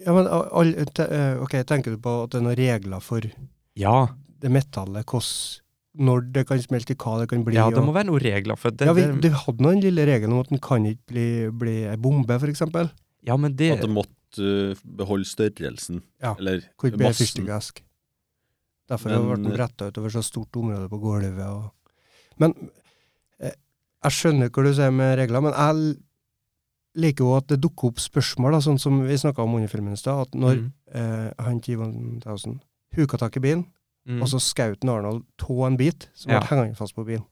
[SPEAKER 1] Ja, men a- all, te, eh, ok, tenker du på at det er noen regler for
[SPEAKER 2] Ja,
[SPEAKER 1] det metallet, hvordan, når det kan smelte, hva det kan bli?
[SPEAKER 2] ja det må
[SPEAKER 1] og,
[SPEAKER 2] være noen regler for det.
[SPEAKER 1] ja, vi,
[SPEAKER 2] det-
[SPEAKER 1] du hadde nå den lille regelen om at den kan ikke bli, bli ei bombe, for eksempel.
[SPEAKER 2] ja men det Mm.
[SPEAKER 3] At det måtte uh, beholde størrelsen.
[SPEAKER 1] Ja.
[SPEAKER 3] Eller
[SPEAKER 1] Kan ikke bli ei
[SPEAKER 3] massen.
[SPEAKER 1] fyrstikkesk. Derfor har
[SPEAKER 3] Men-
[SPEAKER 1] den ble den bretta utover så stort område på gulvet og Men eh, Jeg skjønner hva du sier med regler, men jeg l- liker jo at det dukker opp spørsmål, da, sånn som vi snakka om under filmen i stad. At når
[SPEAKER 2] Mm.
[SPEAKER 1] eh, han T. 1000 huka tak i bilen,
[SPEAKER 2] Mm.
[SPEAKER 1] og så skjøt han Arnold tå en bit, så ble
[SPEAKER 2] Ja.
[SPEAKER 1] hengende fast på bilen.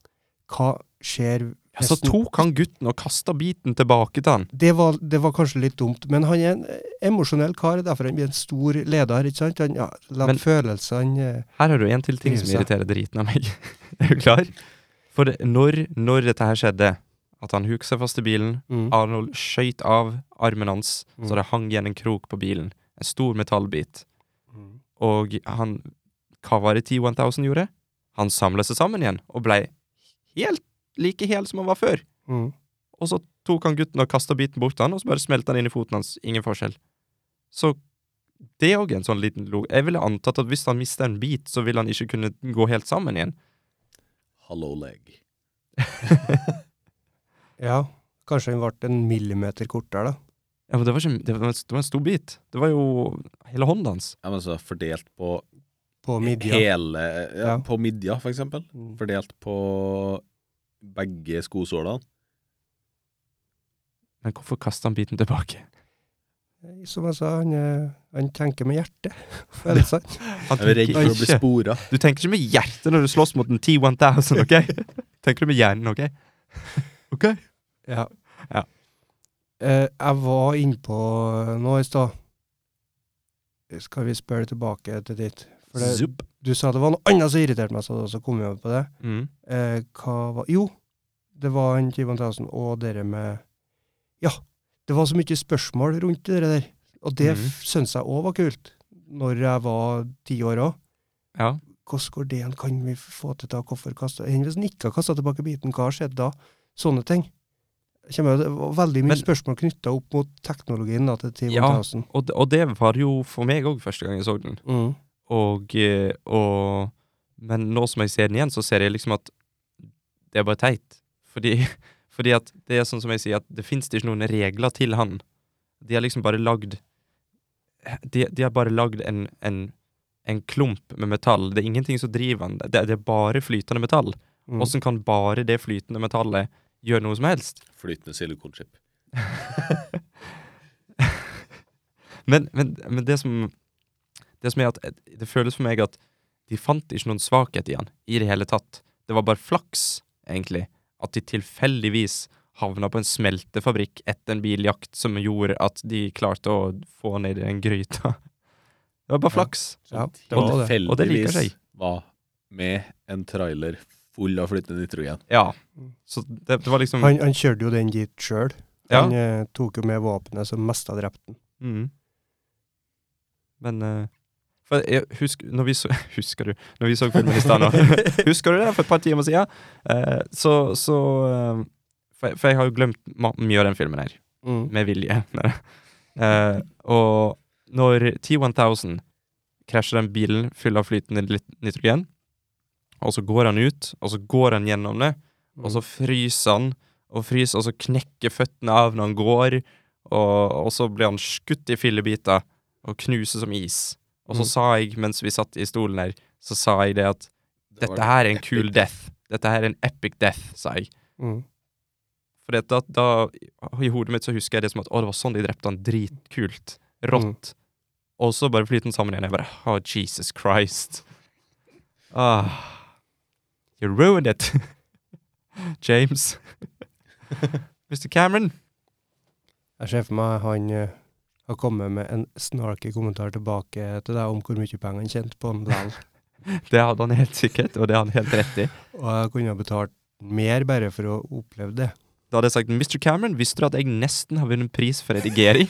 [SPEAKER 1] Hva skjer
[SPEAKER 2] Ja, så tok han gutten og kasta biten tilbake til han.
[SPEAKER 1] det var, det var kanskje litt dumt, men han er en eh, emosjonell kar, derfor han blir en stor leder, ikke sant? Han ja, lar
[SPEAKER 2] Men-
[SPEAKER 1] følelsene eh,
[SPEAKER 2] Her har du en til ting som
[SPEAKER 1] Grusa.
[SPEAKER 2] irriterer driten av meg. er du klar? For det- når, når dette her skjedde, at han huket seg fast i bilen,
[SPEAKER 1] mm.
[SPEAKER 2] Arnold skøyt av armen hans,
[SPEAKER 1] Mm.
[SPEAKER 2] så det hang igjen en krok på bilen. En stor metallbit.
[SPEAKER 1] Mm.
[SPEAKER 2] Og han Hva var det T1000 gjorde? Han samla seg sammen igjen og blei helt like hel som han var før.
[SPEAKER 1] Mm.
[SPEAKER 2] Og så tok han gutten og kasta biten bort til han, og så bare smelta han inn i foten hans. Ingen forskjell. Så det er òg en sånn liten log... Jeg ville antatt at hvis han mister en bit, så vil han ikke kunne gå helt sammen igjen.
[SPEAKER 3] Hello leg.
[SPEAKER 1] Ja, kanskje han ble en millimeter kortere, da.
[SPEAKER 2] Ja, men det var, ikke, det var, det var en stor bit. Det var jo hele hånda hans.
[SPEAKER 3] Ja, men så fordelt på
[SPEAKER 1] På midja.
[SPEAKER 3] hele ja,
[SPEAKER 1] Ja.
[SPEAKER 3] På midja, for eksempel.
[SPEAKER 1] Mm.
[SPEAKER 3] Fordelt på begge skosålene.
[SPEAKER 2] Men hvorfor kasta han biten tilbake?
[SPEAKER 1] Mm. Som jeg sa, han, eh, han tenker med hjertet. Følelsene.
[SPEAKER 2] Han
[SPEAKER 3] Jeg er redd for å bli
[SPEAKER 2] ikke-
[SPEAKER 3] spora.
[SPEAKER 2] Du tenker ikke med hjertet når du slåss mot en T1000, OK? tenker du med hjernen, OK? OK?
[SPEAKER 1] Ja.
[SPEAKER 2] Ja.
[SPEAKER 1] Eh, jeg var innpå nå i stad. Skal vi spørre tilbake til dit? For det,
[SPEAKER 2] Zup.
[SPEAKER 1] du sa det var noe annet som irriterte meg, så, så kom jeg over på det.
[SPEAKER 2] Mm.
[SPEAKER 1] Eh, hva var Jo, det var en 20.000, og dere med Ja, det var så mye spørsmål rundt det der. Og det
[SPEAKER 2] Mhm.
[SPEAKER 1] mm. syns jeg òg var kult, når jeg var ti år òg.
[SPEAKER 2] Ja.
[SPEAKER 1] Hvordan går det an, kan vi få til da, hvorfor kasta Enn hvis han ikke har kasta tilbake biten, hva har skjedd da? Sånne ting. Kjemmer, det var veldig mye
[SPEAKER 2] Men-
[SPEAKER 1] spørsmål knytta opp mot teknologien da, til 10
[SPEAKER 2] Ja.
[SPEAKER 1] 000.
[SPEAKER 2] Og, det- og det var jo for meg òg første gang jeg så den.
[SPEAKER 1] Mm.
[SPEAKER 2] Og, eh, og Men nå som jeg ser den igjen, så ser jeg liksom at det er bare teit. Fordi, fordi at det er sånn som jeg sier, at det fins ikke noen regler til han. De har liksom bare lagd De, de har bare lagd en, en, en klump med metall. Det er ingenting som driver han. Det, det er bare flytende metall.
[SPEAKER 1] Mm.
[SPEAKER 2] Åssen kan bare det flytende metallet gjøre noe som helst?
[SPEAKER 3] Flytende silikonchip.
[SPEAKER 2] Men, men, men det som Det som er at eh, Det føles for meg at de fant ikke noen svakhet i han i det hele tatt. Det var bare flaks, egentlig, at de tilfeldigvis havna på en smeltefabrikk etter en biljakt som gjorde at de klarte å få han ned i den gryta. Det var bare
[SPEAKER 1] Ja.
[SPEAKER 2] flaks.
[SPEAKER 1] Ja, det
[SPEAKER 3] Som
[SPEAKER 1] var det.
[SPEAKER 2] Og det liker
[SPEAKER 3] tilfeldigvis
[SPEAKER 2] jeg.
[SPEAKER 3] var med en trailer full av flytende nitrogen.
[SPEAKER 2] Ja. Så det, det var liksom
[SPEAKER 1] Han, han kjørte jo den dit sjøl.
[SPEAKER 2] ja.
[SPEAKER 1] Han eh, tok jo med våpenet som mest har drept den.
[SPEAKER 2] Mm. Men eh, for jeg husker, når vi så, Husker du? Når vi så filmen i stad nå. husker du det for et par timer siden? Eh, så så eh, for, jeg- for jeg har jo glemt ma- mye av den filmen her.
[SPEAKER 1] Mm.
[SPEAKER 2] Med vilje. Eh, og når T1000 krasjer den bilen full av flytende lit- nitrogen, og så går han ut, og så går han gjennom det,
[SPEAKER 1] Mm.
[SPEAKER 2] Mm. og så fryser han, og fryser, og så knekker føttene av når han går, og, og så blir han skutt i fillebiter, og knuser som is. Og så
[SPEAKER 1] Mm.
[SPEAKER 2] sa jeg, mens vi satt i stolen her, så sa jeg det at
[SPEAKER 3] Det
[SPEAKER 2] dette
[SPEAKER 3] var-
[SPEAKER 2] her er en
[SPEAKER 3] epic
[SPEAKER 2] cool death. Dette her er en epic death, sa jeg.
[SPEAKER 1] Mm.
[SPEAKER 2] For da, da, i hodet mitt så husker jeg det som at å, det var sånn de drepte han, dritkult,
[SPEAKER 1] Mm.
[SPEAKER 2] rått. Og så bare flyter den sammen igjen, jeg bare, å, Jesus Christ. Ah, you ruined it. James. Mr. Cameron.
[SPEAKER 1] Jeg ser for meg han eh, har kommet med en snarky kommentar tilbake til deg om hvor mye penger han tjente på den likevel.
[SPEAKER 2] Det hadde han helt sikkert, og det har han helt rett i.
[SPEAKER 1] Og jeg kunne ha betalt mer bare for å oppleve det.
[SPEAKER 2] Da hadde jeg sagt, Mr. Cameron, visste du at jeg nesten har vunnet pris for redigering?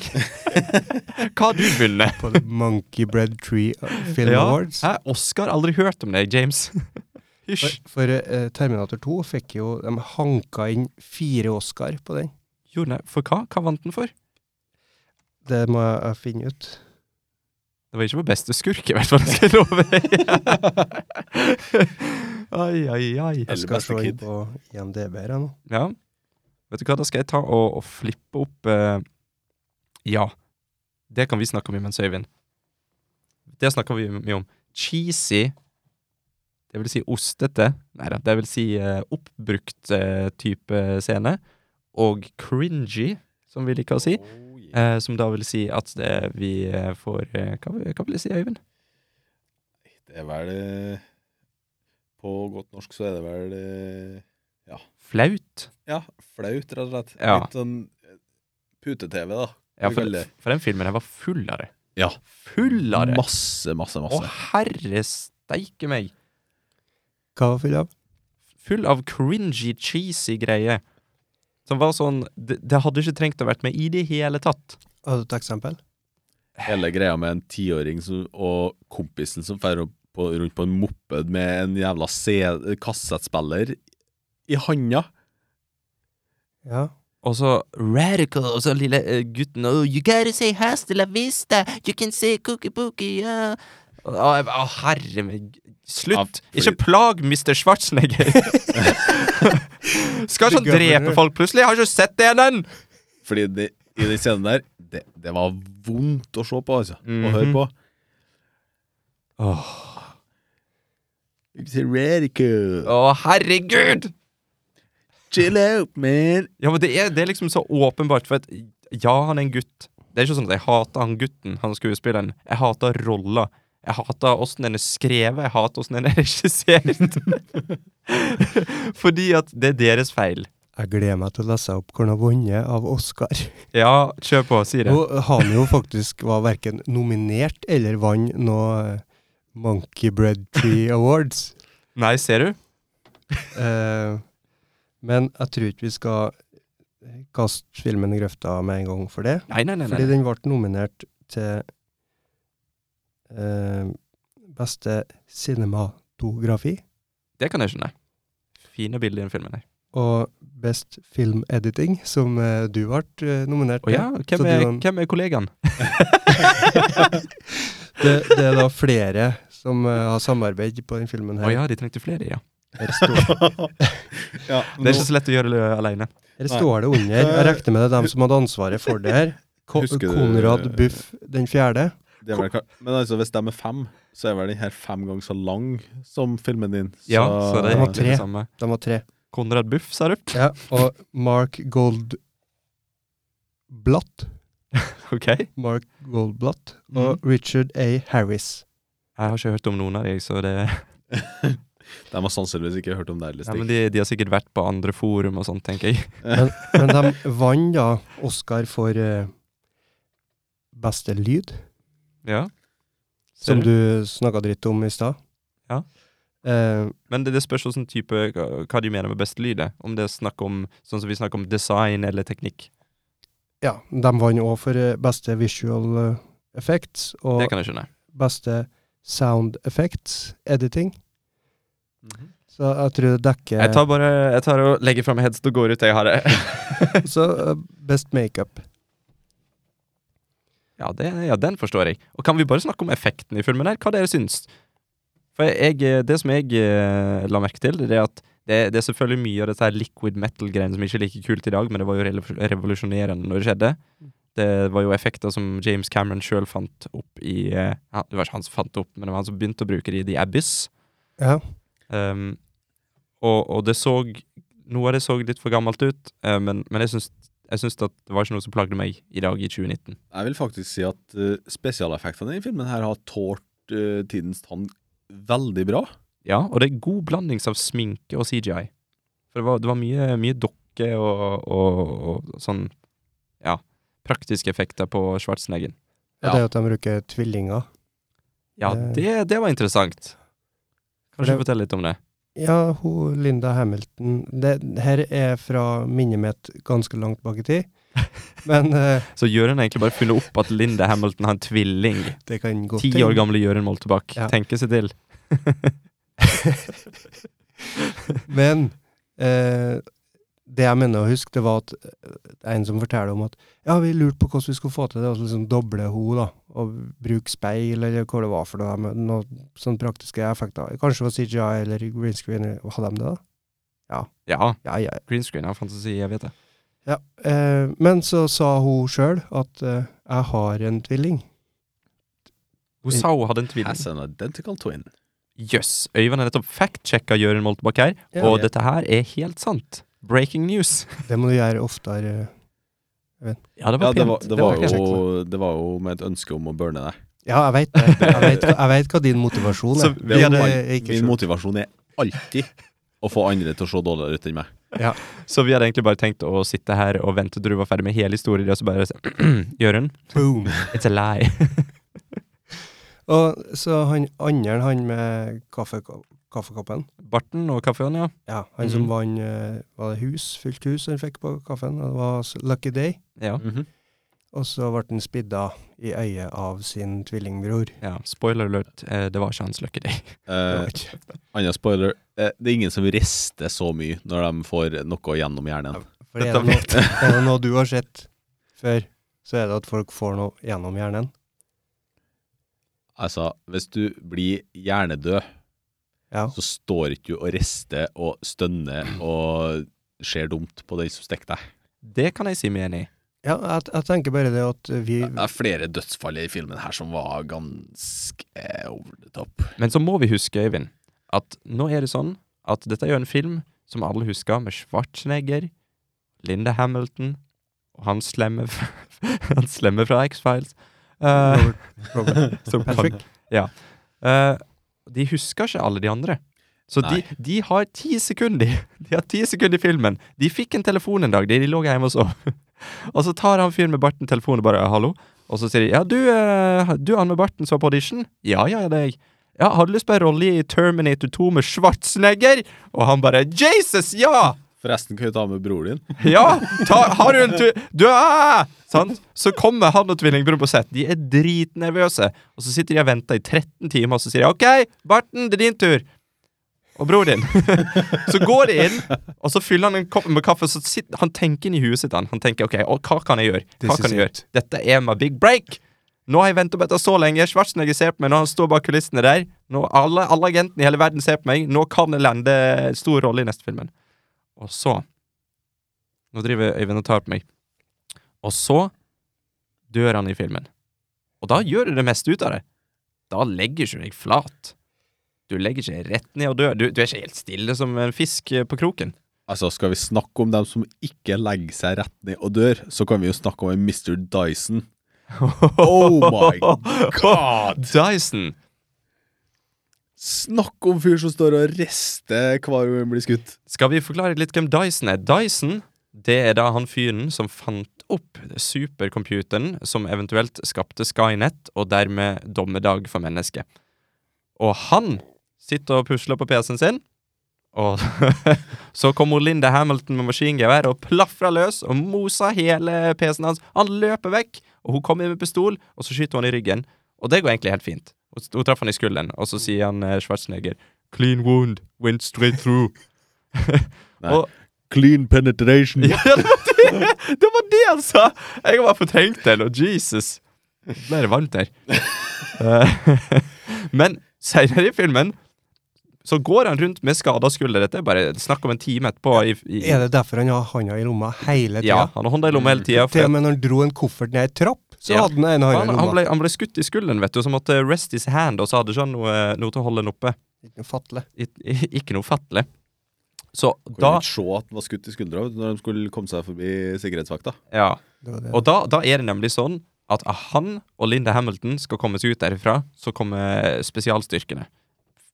[SPEAKER 2] Hva har du vunnet?
[SPEAKER 1] På The Monkey Bread Tree Film
[SPEAKER 2] Ja,
[SPEAKER 1] Awards.
[SPEAKER 2] Hæ? Oscar har aldri hørt om deg, James. Hysj.
[SPEAKER 1] For, for eh, Terminator 2 fikk jo De hanka inn fire Oscar på den.
[SPEAKER 2] Jo, nei, for hva? Hva vant den for?
[SPEAKER 1] Det må jeg, jeg finne ut.
[SPEAKER 2] Det var ikke på beste skurk, i hvert fall, skal jeg love deg. ai, ai, ai.
[SPEAKER 3] Eller
[SPEAKER 1] Jeg skal
[SPEAKER 3] beste
[SPEAKER 1] se inn
[SPEAKER 3] kid.
[SPEAKER 1] på IMDb her nå.
[SPEAKER 2] Ja. Vet du hva, da skal jeg ta og, og flippe opp eh, Ja, det kan vi snakke om imens, Øyvind. Det snakker vi mye om. Cheesy Det Det vil si ostete Nei da. Det vil si eh, oppbrukt eh, type scene. Og cringy, som vi liker å si.
[SPEAKER 3] Oh, yeah.
[SPEAKER 2] Eh, som da vil si at det, vi eh, får eh, hva, hva vil det si, Øyvind?
[SPEAKER 3] Det er vel eh, På godt norsk så er det vel eh,
[SPEAKER 2] Flaut?
[SPEAKER 3] Ja, flaut, rett og slett.
[SPEAKER 2] Ja.
[SPEAKER 3] Litt sånn eh, pute-TV, da.
[SPEAKER 2] Ja, for,
[SPEAKER 3] Veldig.
[SPEAKER 2] for den filmen her var full av det.
[SPEAKER 3] Ja.
[SPEAKER 2] Full av det!
[SPEAKER 3] Masse, masse,
[SPEAKER 2] Å,
[SPEAKER 3] masse.
[SPEAKER 2] herre steike meg!
[SPEAKER 1] Hva var full av?
[SPEAKER 2] Full av cringy, cheesy greier. Som var sånn Det, det hadde ikke trengt å vært med i det hele tatt.
[SPEAKER 1] Har du et eksempel?
[SPEAKER 3] Hele greia med en tiåring som- og kompisen som drar på, rundt på en moped med en jævla C kassettspiller i handa.
[SPEAKER 1] Ja.
[SPEAKER 2] Og så radical, og så lille eh, gutten oh, You gotta say hasta la vista, you can say cookie pookie yeah. Å, jeg ba- å, herre meg
[SPEAKER 3] Ja,
[SPEAKER 2] Slutt!
[SPEAKER 3] fordi-
[SPEAKER 2] Ikke plag Mr. Schwarzenegger! Skal ikke han
[SPEAKER 1] The
[SPEAKER 2] drepe
[SPEAKER 1] governor.
[SPEAKER 2] folk plutselig? Jeg har ikke sett det ennå!
[SPEAKER 3] Fordi det, i den scenen der, det, det var vondt å se på, altså. Å
[SPEAKER 2] Mhm.
[SPEAKER 3] høre på.
[SPEAKER 2] Åh,
[SPEAKER 3] Radical.
[SPEAKER 2] Å, herregud!
[SPEAKER 3] Chill out, man.
[SPEAKER 2] Ja, men det er, det er liksom så åpenbart, for at ja, han er en gutt. Det er ikke sånn at jeg hater han gutten, han skuespilleren. Jeg hater rolla. Jeg hater åssen den er skrevet, jeg hater åssen den er regissert. Fordi at det er deres feil.
[SPEAKER 1] Jeg gleder meg til å lese opp hvor han har vunnet av Oscar.
[SPEAKER 2] Ja, kjør på, si det.
[SPEAKER 1] Og han jo faktisk var verken nominert eller vant noe eh, Monkey Bread Tree Awards.
[SPEAKER 2] Nei, ser du?
[SPEAKER 1] Eh, men jeg tror ikke vi skal eh, kaste filmen i grøfta med en gang for det.
[SPEAKER 2] Nei, nei, nei.
[SPEAKER 1] Fordi
[SPEAKER 2] nei.
[SPEAKER 1] den ble nominert til eh, beste cinematografi
[SPEAKER 2] Det kan jeg skjønne. Fine bilder i den filmen. her.
[SPEAKER 1] og best filmediting, som eh, du ble eh, nominert
[SPEAKER 2] Å ja,
[SPEAKER 1] Så
[SPEAKER 2] hvem er,
[SPEAKER 1] du-
[SPEAKER 2] hvem er kollegaen?
[SPEAKER 1] Det, det er da flere som eh, har samarbeid på den filmen
[SPEAKER 2] Å
[SPEAKER 1] her.
[SPEAKER 2] ja, de trengte flere, ja.
[SPEAKER 1] Her står,
[SPEAKER 3] ja,
[SPEAKER 2] Det er ikke så lett å gjøre det alene.
[SPEAKER 1] her står det under. Jeg regner med det er dem som hadde ansvaret for det her. Ko
[SPEAKER 3] Husker du-
[SPEAKER 1] Konrad Buff den fjerde.
[SPEAKER 3] Det er vel, klart. men altså, hvis de er fem, så er vel den her fem ganger så lang som filmen din.
[SPEAKER 2] Ja, så det
[SPEAKER 1] Det
[SPEAKER 2] er
[SPEAKER 1] var
[SPEAKER 2] egentlig
[SPEAKER 1] tre.
[SPEAKER 2] det samme.
[SPEAKER 1] De var tre.
[SPEAKER 2] Konrad Buff, sa du?
[SPEAKER 1] Ja, og Mark Goldblatt
[SPEAKER 2] Ok. Jeg
[SPEAKER 1] Mark Goldblatt og Richard A. Harris.
[SPEAKER 2] har ikke hørt om noen av dem, så det
[SPEAKER 3] De har sannsynligvis sånn ikke hørt om det.
[SPEAKER 2] Ja, men de, de har sikkert vært på andre forum og sånt, tenker jeg.
[SPEAKER 1] Men de vant da Oscar for eh, beste lyd,
[SPEAKER 2] Ja. Ser
[SPEAKER 1] som du snakka dritt om i stad.
[SPEAKER 2] Ja.
[SPEAKER 1] Eh,
[SPEAKER 2] Men det, det spørs hvilken type hva hva de mener med best lyd. er. Om det er snakk om sånn som vi snakker om design eller teknikk.
[SPEAKER 1] ja, de vant òg for eh, beste visual eh, effects og
[SPEAKER 2] Det kan jeg skjønne.
[SPEAKER 1] beste sound effects editing. Så jeg tror det dekker
[SPEAKER 2] Mhm. Jeg tar bare Jeg tar og legger fram heads og går ut, jeg har det.
[SPEAKER 1] Så eh, best makeup.
[SPEAKER 2] Ja, det, ja, den forstår jeg. Og kan vi bare snakke om effekten i filmen her? Hva dere syns? For jeg, eh, det som jeg eh, la merke til, det er at det, det er selvfølgelig mye av dette her liquid metal-greiene som ikke er like kult i dag, men det var jo relev- revolusjonerende når det skjedde. Det var jo effekter som James Cameron sjøl fant opp i eh, han- Det var ikke han som fant det opp, men det var han som begynte å bruke det i The Abyss.
[SPEAKER 1] Ja.
[SPEAKER 2] Um, og, og det så Noe av det så litt for gammelt ut, eh, men, men jeg syns, jeg syns at det var ikke noe som plagde meg i dag, i 2019.
[SPEAKER 3] Jeg vil faktisk si at eh, spesialeffektene i filmen her har tålt eh, tidens tann veldig bra.
[SPEAKER 2] Ja, og det er god blandings av sminke og CGI. For det var, det var mye, mye dokke og, og, og, sånn Ja, praktiske effekter på Schwarzeneggen.
[SPEAKER 1] Og det er jo at de bruker tvillinger.
[SPEAKER 2] Ja,
[SPEAKER 1] Det-
[SPEAKER 2] det, det var interessant. Kanskje
[SPEAKER 1] Eh. Det-
[SPEAKER 2] fortell litt om det.
[SPEAKER 1] Ja, hun Linda Hamilton det, Her er fra minnet mitt ganske langt bak i tid. Men eh,
[SPEAKER 2] Så Jørund egentlig bare fyller opp at Linda Hamilton har en tvilling.
[SPEAKER 1] det kan gå
[SPEAKER 2] Ti år gamle Jørund Moltebakk.
[SPEAKER 1] Ja.
[SPEAKER 2] Tenke seg til.
[SPEAKER 1] Men eh, det jeg mener å huske, det var at eh, det er en som forteller om at ja, vi lurte på hvordan vi skulle få til det, og så liksom doble hun da, og bruke speil, eller hva det var for noe, men noen sånne praktiske effekter. Kanskje det var CGI eller green screen, eller- hadde de det da?
[SPEAKER 2] Ja,
[SPEAKER 1] Ja, ja,
[SPEAKER 2] green screen har fantasi, jeg vet det.
[SPEAKER 1] ja. Eh, men så sa hun sjøl at eh, jeg har en tvilling.
[SPEAKER 2] Hun sa hun hadde en tvilling.
[SPEAKER 3] As an identical twin.
[SPEAKER 2] Jøss. Øyvind har nettopp fact-sjekka Jørund Moltebakk her,
[SPEAKER 1] Ja.
[SPEAKER 2] og
[SPEAKER 3] Ja.
[SPEAKER 2] dette her er helt sant. Breaking news.
[SPEAKER 1] Det må du gjøre oftere.
[SPEAKER 2] Ja, det
[SPEAKER 3] Ja,
[SPEAKER 2] var
[SPEAKER 3] det
[SPEAKER 2] pent.
[SPEAKER 3] var, det,
[SPEAKER 1] Det
[SPEAKER 3] var
[SPEAKER 1] var ikke
[SPEAKER 3] jo, det var jo med et ønske om å burne deg.
[SPEAKER 1] Ja, jeg veit det. Jeg vet, jeg vet hva din motivasjon er.
[SPEAKER 2] Så vi
[SPEAKER 1] Men,
[SPEAKER 2] hadde-
[SPEAKER 1] eh, ikke
[SPEAKER 3] Min
[SPEAKER 1] skjult.
[SPEAKER 3] motivasjon er alltid å få andre til å se dårligere ut enn meg.
[SPEAKER 2] Så vi hadde egentlig bare tenkt å sitte her og vente til du var ferdig med hele historien, og så bare sånn, Jørund,
[SPEAKER 1] Boom.
[SPEAKER 2] it's a lie.
[SPEAKER 1] Og så han andre, han med kaffeko- kaffekoppen
[SPEAKER 2] Barten og kaffen, ja.
[SPEAKER 1] Ja, han som
[SPEAKER 2] Mhm.
[SPEAKER 1] vant eh, Var det hus? Fullt hus han fikk på kaffen. og Det var s- Lucky Day.
[SPEAKER 2] Ja,
[SPEAKER 3] Mhm.
[SPEAKER 1] Og så ble han spidda i øyet av sin tvillingbror.
[SPEAKER 2] ja. Spoiler alert, eh, det var ikke hans Lucky Day.
[SPEAKER 3] Eh, Annen spoiler. Eh, det er ingen som rister så mye når de får noe gjennom hjernen.
[SPEAKER 1] For er
[SPEAKER 2] Dette
[SPEAKER 1] det, noe, er det noe du har sett før, så er det at folk får noe gjennom hjernen.
[SPEAKER 3] Altså, hvis du blir hjernedød,
[SPEAKER 1] Ja.
[SPEAKER 3] så står ikke du og rister og stønner og ser dumt på den som stikker deg.
[SPEAKER 2] Det kan jeg si meg enig i.
[SPEAKER 1] Ja, jeg, jeg tenker bare det at vi
[SPEAKER 3] Det er flere dødsfall i filmen her som var ganske eh, over the top.
[SPEAKER 2] Men så må vi huske, Øyvind, at nå er det sånn at dette er jo en film som alle husker, med Schwarzenegger, Linda Hamilton og han slemme, han slemme fra X-Files. Eh,
[SPEAKER 1] Robert, Robert
[SPEAKER 2] som kan-
[SPEAKER 1] Patrick.
[SPEAKER 2] Eh, de husker ikke alle de andre. Så de, de har ti sekunder De har ti sekunder i filmen. De fikk en telefon en dag, de, de lå hjemme og sov. Og så tar han fyren med barten telefonen og bare «Ja, 'hallo', og så sier de 'ja, du, eh, du han med barten som var på audition'? 'Ja, ja, ja, det er jeg'. 'Ja, har du lyst på en rolle i Terminator 2 med Schwarzenegger?' Og han bare 'Jesus, ja!'
[SPEAKER 3] Forresten kan vi ta med broren din.
[SPEAKER 2] Ja! Ta, har du en tu... Du ah! Sant? Så kommer han og tvillingbroren på sett. De er dritnervøse. Og så sitter de og venter i 13 timer, og så sier de OK, Barten, det er din tur. Og bror din. så går de inn, og så fyller han en kopp med kaffe. Så sitter, han tenker inn i huet sitt. Han, han tenker OK, og hva kan jeg gjøre? Hva
[SPEAKER 1] This
[SPEAKER 2] kan
[SPEAKER 1] is it.
[SPEAKER 2] jeg gjøre? Dette er my big break! Nå har jeg venta på dette så lenge. Schwarzenegger ser på meg når han står bak kulissene der. Nå alle, alle agentene i hele verden ser på meg. Nå kan jeg lande en stor rolle i neste filmen. Og så Nå driver Øyvind og tar på meg. Og så dør han i filmen. Og da gjør du det meste ut av det. Da legger ikke du deg flat. Du legger ikke rett ned og dør. Du, du er ikke helt stille som en fisk eh, på kroken.
[SPEAKER 3] Altså, skal vi snakke om dem som ikke legger seg rett ned og dør, så kan vi jo snakke om en Mr. Dyson. Oh my god!
[SPEAKER 2] Dyson!
[SPEAKER 3] Snakk om fyr som står og rister hver gang han blir skutt.
[SPEAKER 2] Skal vi forklare litt hvem Dyson er? Dyson det er da han fyren som fant opp supercomputeren som eventuelt skapte Skynet, og dermed dommedag for mennesket. Og han sitter og pusler på PC-en sin, og så kommer Linda Hamilton med maskingevær og plafra løs og mosa hele PC-en hans. Han løper vekk, og hun kommer med pistol, og så skyter hun i ryggen. Og det går egentlig helt fint. Hun hun traff han i skulden, og så sier han eh, Schwarzenegger 'Clean wound. Went straight through'.
[SPEAKER 3] Clean penetration.
[SPEAKER 2] Ja, ja, det var det! Det var det han sa! Jeg har bare fortrengt det. nå. Jesus. Nå Ble det varmt her. Eh, Men senere i filmen så går han rundt med skada skulder. Dette er bare snakk om en time etterpå. I, i,
[SPEAKER 1] Er det derfor han har handa i lomma hele
[SPEAKER 2] ja,
[SPEAKER 1] tida?
[SPEAKER 2] han har hånda i lomma hele tida.
[SPEAKER 1] Til og med når han dro en koffert ned ei trapp, så
[SPEAKER 2] Ja.
[SPEAKER 1] hadde han en hånd
[SPEAKER 2] Han,
[SPEAKER 1] i
[SPEAKER 2] han,
[SPEAKER 1] lomma.
[SPEAKER 2] ble, han ble skutt i skulden, vet du, så måtte rest his hand, og så hadde ikke han noe, noe til å holde den oppe.
[SPEAKER 1] Ikke noe fatle.
[SPEAKER 2] I, i, ikke noe fattelig. Så
[SPEAKER 3] Kunne
[SPEAKER 2] da
[SPEAKER 3] ikke se at den var skutt i skuldra vet du, når de skulle komme seg forbi sikkerhetsvakta.
[SPEAKER 2] Ja.
[SPEAKER 1] Det var det.
[SPEAKER 2] Og da, da er det nemlig sånn at han og Linda Hamilton skal komme seg ut derifra, så kommer spesialstyrkene.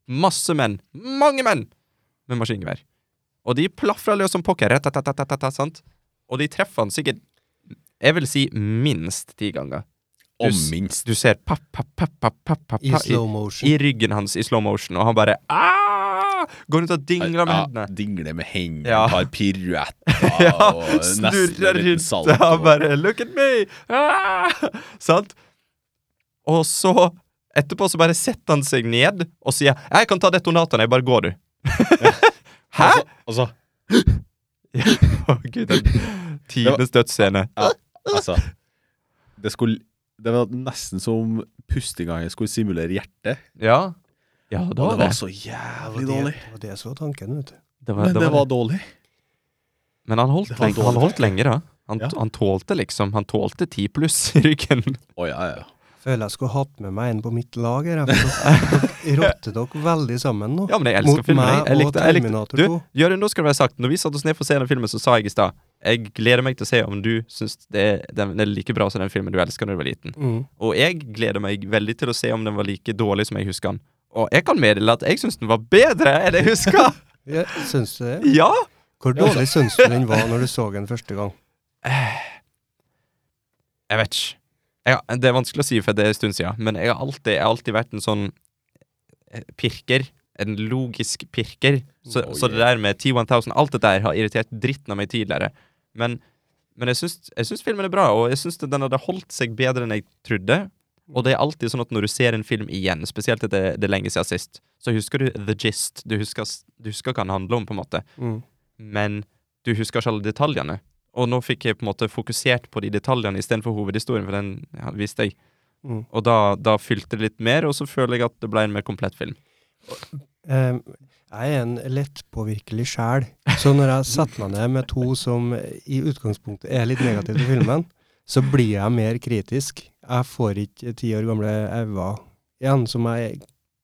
[SPEAKER 2] Masse menn. Mange menn! Med maskingevær. Og de plafrer løs som pokker. ratatatatata, Sant? Og de treffer han sikkert Jeg vil si minst ti ganger. Du
[SPEAKER 3] Om
[SPEAKER 2] s-
[SPEAKER 3] minst.
[SPEAKER 2] Du ser papp, papp, papp, papp, papp, papp,
[SPEAKER 1] I
[SPEAKER 2] papp i,
[SPEAKER 1] slow motion.
[SPEAKER 2] i ryggen hans i slow motion, og han bare «Ah!» Går rundt og dingler med
[SPEAKER 3] Ja,
[SPEAKER 2] hendene.
[SPEAKER 3] Dingler med hendene,
[SPEAKER 2] Ja.
[SPEAKER 3] tar piruetter
[SPEAKER 2] Ja,
[SPEAKER 3] og nesten
[SPEAKER 2] snurrer
[SPEAKER 3] en liten
[SPEAKER 2] rundt
[SPEAKER 3] salto.
[SPEAKER 2] og han bare 'Look at me!' Ah! Sant? Og så, etterpå, så bare setter han seg ned og sier 'Jeg kan ta detonatoren, jeg bare går, du'. Hæ?!
[SPEAKER 3] Altså, altså,
[SPEAKER 2] Å, Gud, den Tidenes dødsscene.
[SPEAKER 3] altså det, skulle, det var nesten som pustinga jeg skulle simulere hjertet.
[SPEAKER 2] Ja. Ja, det
[SPEAKER 3] Og
[SPEAKER 2] var
[SPEAKER 3] det var
[SPEAKER 2] det.
[SPEAKER 3] så
[SPEAKER 1] Det
[SPEAKER 3] jævlig
[SPEAKER 1] var det,
[SPEAKER 3] dårlig.
[SPEAKER 1] det var det som var tanken, vet du.
[SPEAKER 2] Det var,
[SPEAKER 3] Men det var
[SPEAKER 2] det.
[SPEAKER 3] dårlig.
[SPEAKER 2] Men han holdt,
[SPEAKER 3] det var
[SPEAKER 2] lenge, han
[SPEAKER 3] dårlig.
[SPEAKER 2] holdt lenge, da. Han,
[SPEAKER 3] Ja.
[SPEAKER 2] han tålte liksom Han tålte ti pluss i ryggen.
[SPEAKER 3] Å ja, ja.
[SPEAKER 1] Føler jeg skulle hatt med meg en på mitt lag her. jeg, for Dere rotter dere veldig sammen nå.
[SPEAKER 2] Ja, men jeg elsker filmen. Jeg, jeg likte, jeg likte.
[SPEAKER 1] Terminator
[SPEAKER 2] Du,
[SPEAKER 1] 2.
[SPEAKER 2] Jørgen, nå skal det være sagt, når vi satt oss ned for å se den filmen, så sa jeg i stad Jeg gleder meg til å se om du syns det er, den er like bra som den filmen du elsker når du var liten.
[SPEAKER 1] Mm.
[SPEAKER 2] Og jeg gleder meg veldig til å se om den var like dårlig som jeg husker den. Og jeg kan meddele at jeg syns den var bedre enn jeg husker!
[SPEAKER 1] Ja, syns du det?
[SPEAKER 2] ja!
[SPEAKER 1] Hvor
[SPEAKER 3] Ja, altså.
[SPEAKER 1] dårlig syns du den var når du så den første gang?
[SPEAKER 2] Jeg vet ikke. Jeg, har- det er vanskelig å si, for det er en stund siden. Men jeg har alltid, jeg har alltid vært en sånn eh, pirker. En logisk pirker. Så,
[SPEAKER 3] Oh,
[SPEAKER 2] så det der med T1000 Alt dette her har irritert dritten av meg tidligere. Men, men jeg, syns, jeg syns filmen er bra, og jeg syns den hadde holdt seg bedre enn jeg trodde. Og det er alltid sånn at når du ser en film igjen, spesielt etter det er lenge siden sist, så husker du the gist. Du husker, s- du husker hva den handler om, på en måte
[SPEAKER 1] Mm.
[SPEAKER 2] men du husker ikke alle detaljene. Og nå fikk jeg på en måte fokusert på de detaljene istedenfor hovedhistorien, for den ja, visste jeg.
[SPEAKER 1] Mm.
[SPEAKER 2] Og da, da fylte det litt mer, og så føler jeg at det ble en mer komplett film.
[SPEAKER 1] Eh, jeg er en lettpåvirkelig sjel, så når jeg setter meg ned med to som i utgangspunktet er litt negative til filmen, så blir jeg mer kritisk. Jeg får ikke ti år gamle Eva igjen, som jeg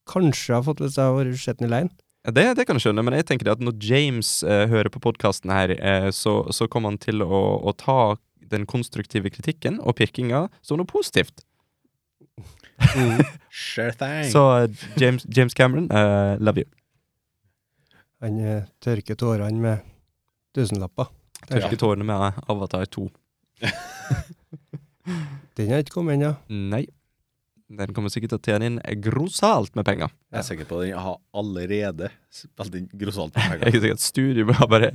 [SPEAKER 1] kanskje har fått hvis jeg har vært sett den i leiren.
[SPEAKER 2] Ja, Det, det kan jeg skjønne, men jeg tenker det at når James eh, hører på podkasten her, eh, så, så kommer han til å, å ta den konstruktive kritikken og pirkinga som noe positivt.
[SPEAKER 3] Sure thing.
[SPEAKER 2] Så eh, James, James Cameron, eh, love you.
[SPEAKER 1] Han eh, tørker tårene med tusenlapper.
[SPEAKER 2] Tørke tårene med Avatar 2.
[SPEAKER 1] Den har ikke kommet ennå.
[SPEAKER 2] Nei. Den kommer sikkert til å tjene inn grossalt med penger.
[SPEAKER 3] Jeg er sikker på at den har allerede spilt inn grossalt på
[SPEAKER 2] Jeg er
[SPEAKER 3] penger.
[SPEAKER 2] ikke sikker at studio har bare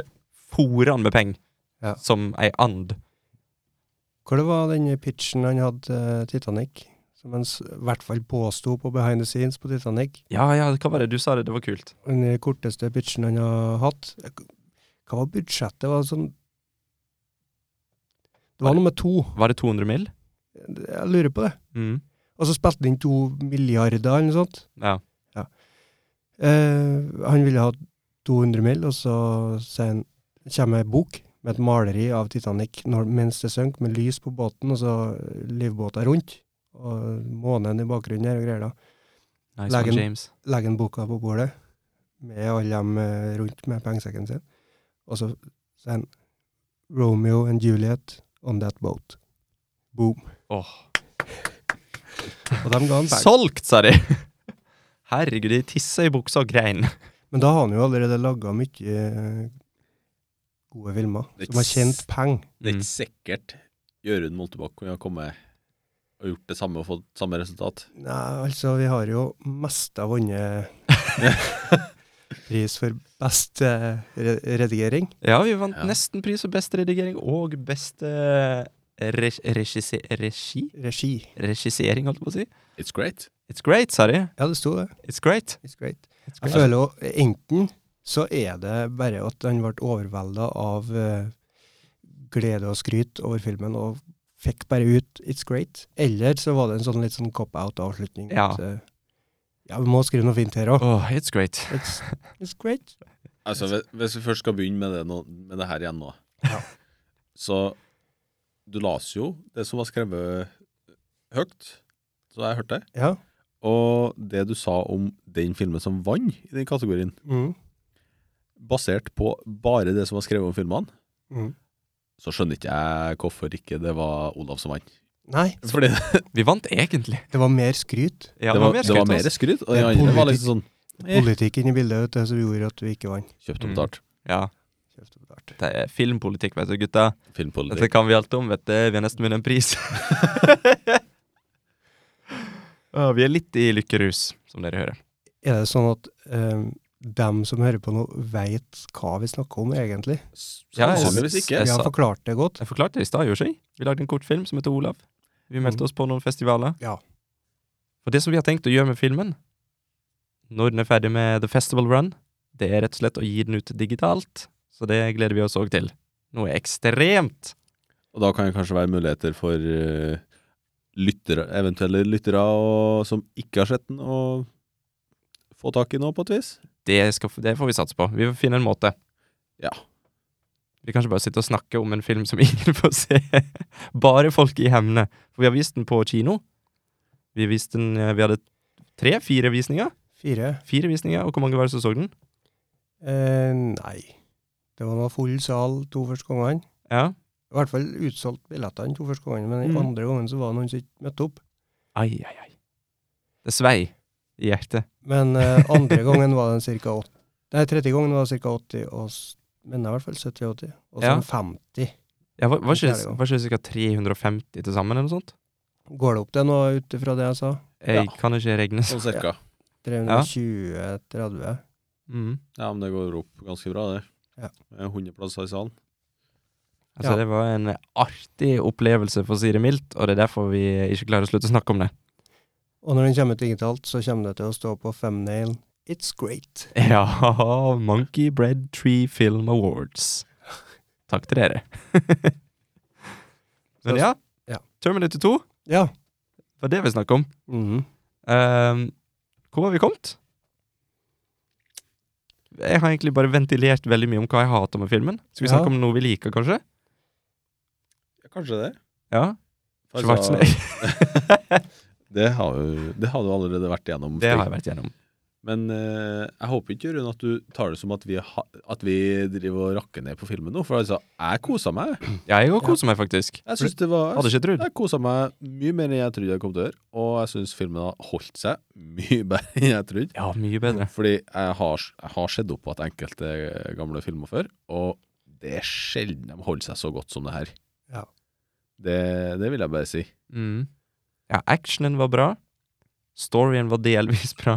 [SPEAKER 2] fôret han med penger.
[SPEAKER 1] Ja.
[SPEAKER 2] Som ei and.
[SPEAKER 1] Hvor det var den pitchen han hadde til Titanic? Som han s- i hvert fall påsto på behind the scenes på Titanic.
[SPEAKER 2] Ja, ja, hva var det du sa? det, det var kult.
[SPEAKER 1] Den korteste pitchen han har hatt. eh, Hva var budsjettet? Det var sånn Det var nummer to.
[SPEAKER 2] Var det 200 mill.?
[SPEAKER 1] Jeg lurer på det.
[SPEAKER 2] Mm.
[SPEAKER 1] Og så spilte han inn to milliarder eller noe sånt.
[SPEAKER 2] Ja.
[SPEAKER 1] Eh, han ville ha 200 mill., og så sier han kommer ei bok med et maleri av Titanic når, mens det synker, med lys på båten, og så livbåter rundt. Og månen i bakgrunnen her og greier da.
[SPEAKER 2] Nice
[SPEAKER 1] Legg
[SPEAKER 2] one,
[SPEAKER 1] en-
[SPEAKER 2] James.
[SPEAKER 1] legger han boka på bordet, med alle dem eh, rundt med pengesekken sin, og så sier han Romeo and Juliet on that boat. Boom.
[SPEAKER 2] Åh.
[SPEAKER 1] Og de ga han penger.
[SPEAKER 2] Solgt, sa de! Herregud, de tissa i buksa og grein.
[SPEAKER 1] Men da har han jo allerede laga mye eh, gode filmer
[SPEAKER 3] Det er
[SPEAKER 1] som har
[SPEAKER 3] ikke
[SPEAKER 1] tjent
[SPEAKER 3] s-
[SPEAKER 1] penger.
[SPEAKER 3] Det er
[SPEAKER 2] Mm.
[SPEAKER 3] ikke sikkert Jørund Moltebakk kunne ha kommet og gjort det samme og fått samme resultat.
[SPEAKER 1] Nei, altså, vi har jo mest av vunnet pris for best eh, re redigering.
[SPEAKER 2] Ja, vi vant
[SPEAKER 3] Ja.
[SPEAKER 2] nesten pris for beste redigering og beste reg regisse regi?
[SPEAKER 1] Regi.
[SPEAKER 2] Regissering, holdt jeg på å si.
[SPEAKER 3] It's great.
[SPEAKER 2] It's great, sa de.
[SPEAKER 1] Ja, det sto det.
[SPEAKER 2] It's great.
[SPEAKER 1] It's great.
[SPEAKER 2] It's
[SPEAKER 1] Jeg
[SPEAKER 2] great.
[SPEAKER 1] føler jo enten så er det bare at han ble overvelda av eh, glede og skryt over filmen og fikk bare ut 'It's Great', eller så var det en sånn litt sånn cop-out-avslutning.
[SPEAKER 2] Ja.
[SPEAKER 1] At, eh, ja, vi må skrive noe fint her òg.
[SPEAKER 2] Åh, it's great.
[SPEAKER 1] It's, it's great.
[SPEAKER 3] Altså, hvis- Hvis vi først skal begynne med det, nå, med det her igjen nå
[SPEAKER 1] Ja.
[SPEAKER 3] Så du las jo det som var skrevet høyt, så jeg hørte det.
[SPEAKER 1] Ja.
[SPEAKER 3] Og det du sa om den filmen som vant i den kategorien,
[SPEAKER 1] Mm.
[SPEAKER 3] basert på bare det som var skrevet om filmene,
[SPEAKER 1] Mm.
[SPEAKER 3] så skjønner ikke jeg hvorfor ikke det var Olav som vant.
[SPEAKER 1] Nei,
[SPEAKER 3] Fordi
[SPEAKER 2] Vi vant egentlig.
[SPEAKER 1] det var mer skryt.
[SPEAKER 2] Ja,
[SPEAKER 3] det var, det var
[SPEAKER 2] skryt,
[SPEAKER 3] mer
[SPEAKER 2] altså.
[SPEAKER 3] skryt,
[SPEAKER 1] Det
[SPEAKER 3] og den
[SPEAKER 1] er
[SPEAKER 3] andre var
[SPEAKER 1] politikk.
[SPEAKER 3] liksom sånn Eh.
[SPEAKER 1] Politikken i bildet vet du, som gjorde at vi ikke vant.
[SPEAKER 3] kjøpt og
[SPEAKER 2] Mm.
[SPEAKER 3] betalt.
[SPEAKER 2] Ja,
[SPEAKER 1] Kjeft og betalt.
[SPEAKER 2] det er filmpolitikk, vet du, gutta. Dette
[SPEAKER 3] Filmpolitikk.
[SPEAKER 2] kan vi alt om, vet du. Vi har nesten vunnet en pris. Å, vi er litt i lykkerus, som dere hører.
[SPEAKER 1] Er det sånn at eh, dem som hører på nå, veit hva vi snakker om, egentlig?
[SPEAKER 2] Ja, jeg-
[SPEAKER 3] Sannsynligvis ikke.
[SPEAKER 2] jeg
[SPEAKER 1] Vi har
[SPEAKER 2] sa-
[SPEAKER 1] forklart det godt.
[SPEAKER 2] Jeg forklarte det i stad, gjorde jeg ikke? Vi lagde en kortfilm som heter Olav. Vi meldte
[SPEAKER 1] Mhm.
[SPEAKER 2] oss på noen festivaler.
[SPEAKER 1] Ja.
[SPEAKER 2] Og det som vi har tenkt å gjøre med filmen, når den er ferdig med The Festival Run, det er rett og slett å gi den ut digitalt. Så det gleder vi oss òg til. Noe ekstremt!
[SPEAKER 3] Og da kan det kanskje være muligheter for eh, lyttere, eventuelle lyttere og, som ikke har sett den, å få tak i noe på et vis.
[SPEAKER 2] Det, skal, det får vi satse på. Vi får finne en måte.
[SPEAKER 3] Ja.
[SPEAKER 2] Vi kan ikke bare sitte og snakke om en film som ingen får se. Bare folk i hemne. For vi har vist den på kino, Vi, viste den, eh, vi hadde tre-fire visninger.
[SPEAKER 1] Fire?
[SPEAKER 2] Fire visninger, og hvor mange var det som så den?
[SPEAKER 1] Eh, nei. Det var nå full sal to første gangene.
[SPEAKER 2] Ja.
[SPEAKER 1] I hvert fall utsolgt billettene to første gangene, men den
[SPEAKER 2] Mm.
[SPEAKER 1] andre gangen så var det noen som ikke møtte opp.
[SPEAKER 2] Ai, ai, ai. Det svei i hjertet.
[SPEAKER 1] Men eh, andre gangen var den ca. 80 Nei, tredje gangen var det ca. 80, og s- men i hvert fall 70-80. Og så
[SPEAKER 2] Ja.
[SPEAKER 1] 50.
[SPEAKER 2] Ja, var, var,
[SPEAKER 1] Det er det
[SPEAKER 2] ikke,
[SPEAKER 1] jo.
[SPEAKER 2] var ikke det ca. 350 til sammen, eller noe sånt?
[SPEAKER 1] Går det opp til noe ut ifra det jeg sa?
[SPEAKER 2] Jeg
[SPEAKER 3] Ja.
[SPEAKER 2] kan ikke regne. så-
[SPEAKER 3] Sånn cirka.
[SPEAKER 1] 320-30?
[SPEAKER 2] Mm.
[SPEAKER 3] Ja, men det går opp ganske bra, det.
[SPEAKER 1] Ja.
[SPEAKER 3] Det er 100 plasser i salen.
[SPEAKER 2] Altså,
[SPEAKER 1] Ja.
[SPEAKER 2] Det var en artig opplevelse, for å si det mildt, og det er derfor vi ikke klarer å slutte å snakke om det.
[SPEAKER 1] Og når den kommer ut digitalt, så kommer det til å stå på thumbnail It's great.
[SPEAKER 2] Ja, Monkey Bread Tree Film Awards. Takk til dere. Men ja,
[SPEAKER 1] Ja.
[SPEAKER 2] Terminator 2
[SPEAKER 1] Ja.
[SPEAKER 2] var det vi snakket om.
[SPEAKER 1] Mhm.
[SPEAKER 2] Ehm, hvor har vi kommet? Jeg har egentlig bare ventilert veldig mye om hva jeg hater med filmen. Skal vi
[SPEAKER 1] Ja.
[SPEAKER 2] snakke om noe vi liker, kanskje?
[SPEAKER 3] Ja, kanskje det.
[SPEAKER 2] Ja,
[SPEAKER 3] Altså,
[SPEAKER 2] Schwarzenegger.
[SPEAKER 3] Det har, jo- det har du allerede vært igjennom.
[SPEAKER 2] Det har jeg vært gjennom.
[SPEAKER 3] Men eh, jeg håper ikke, Rune, at du tar det som at vi, ha, at vi driver og rakker ned på filmen nå. For altså, jeg kosa meg.
[SPEAKER 2] Jeg òg koser meg, faktisk.
[SPEAKER 3] Jeg synes det var
[SPEAKER 2] Hadde
[SPEAKER 3] Jeg,
[SPEAKER 2] ikke trodd.
[SPEAKER 3] jeg koset meg mye mer enn jeg trodde jeg kom til å gjøre. Og jeg syns filmen har holdt seg mye bedre enn jeg trodde.
[SPEAKER 2] Ja, mye bedre.
[SPEAKER 3] Fordi jeg har, jeg har sett opp på at enkelte gamle filmer før, og det er sjelden de holder seg så godt som det her.
[SPEAKER 1] Ja.
[SPEAKER 3] Det, det vil jeg bare si.
[SPEAKER 2] Mm. Ja, actionen var bra. Storyen var delvis bra.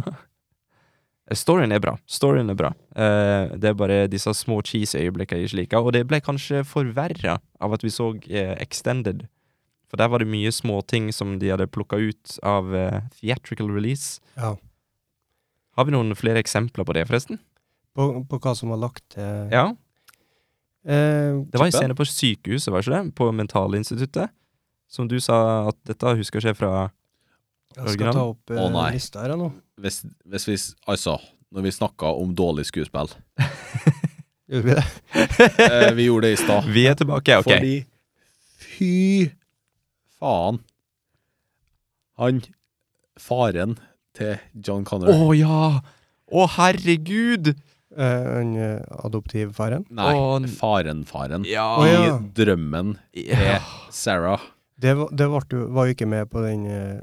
[SPEAKER 2] Eh, Storyen er bra. Storyen er bra. Eh, det er bare disse små cheesy øyeblikkene jeg ikke liker. Og det ble kanskje forverra av at vi så eh, Extended. For der var det mye små ting som de hadde plukka ut av eh, theatrical release.
[SPEAKER 1] Ja.
[SPEAKER 2] Har vi noen flere eksempler på det, forresten?
[SPEAKER 1] På, på hva som var lagt til
[SPEAKER 2] Ja.
[SPEAKER 1] eh,
[SPEAKER 2] Det var en
[SPEAKER 3] Typen.
[SPEAKER 2] scene på sykehuset, var det ikke det? På Mentalinstituttet. Som du sa at dette husker ikke jeg fra
[SPEAKER 1] Jeg skal
[SPEAKER 2] Original?
[SPEAKER 1] ta opp eh,
[SPEAKER 3] Å, nei.
[SPEAKER 1] lista her jeg, nå.
[SPEAKER 3] Hvis, hvis vi s- Altså, når vi snakka om dårlig skuespill
[SPEAKER 1] Gjorde vi det?
[SPEAKER 3] eh, Vi gjorde det i stad.
[SPEAKER 2] Vi er tilbake, OK.
[SPEAKER 3] Fordi Fy faen. Han Faren til John
[SPEAKER 2] Å
[SPEAKER 3] Connery.
[SPEAKER 2] ja! Å herregud!
[SPEAKER 1] Eh, han, eh, adoptivfaren.
[SPEAKER 3] Nei,
[SPEAKER 2] Å, n-
[SPEAKER 3] faren-faren.
[SPEAKER 2] Ja.
[SPEAKER 1] Å, ja.
[SPEAKER 3] I drømmen
[SPEAKER 2] ja.
[SPEAKER 3] Sarah.
[SPEAKER 1] Det, var- det vart jo- var jo ikke med på den eh,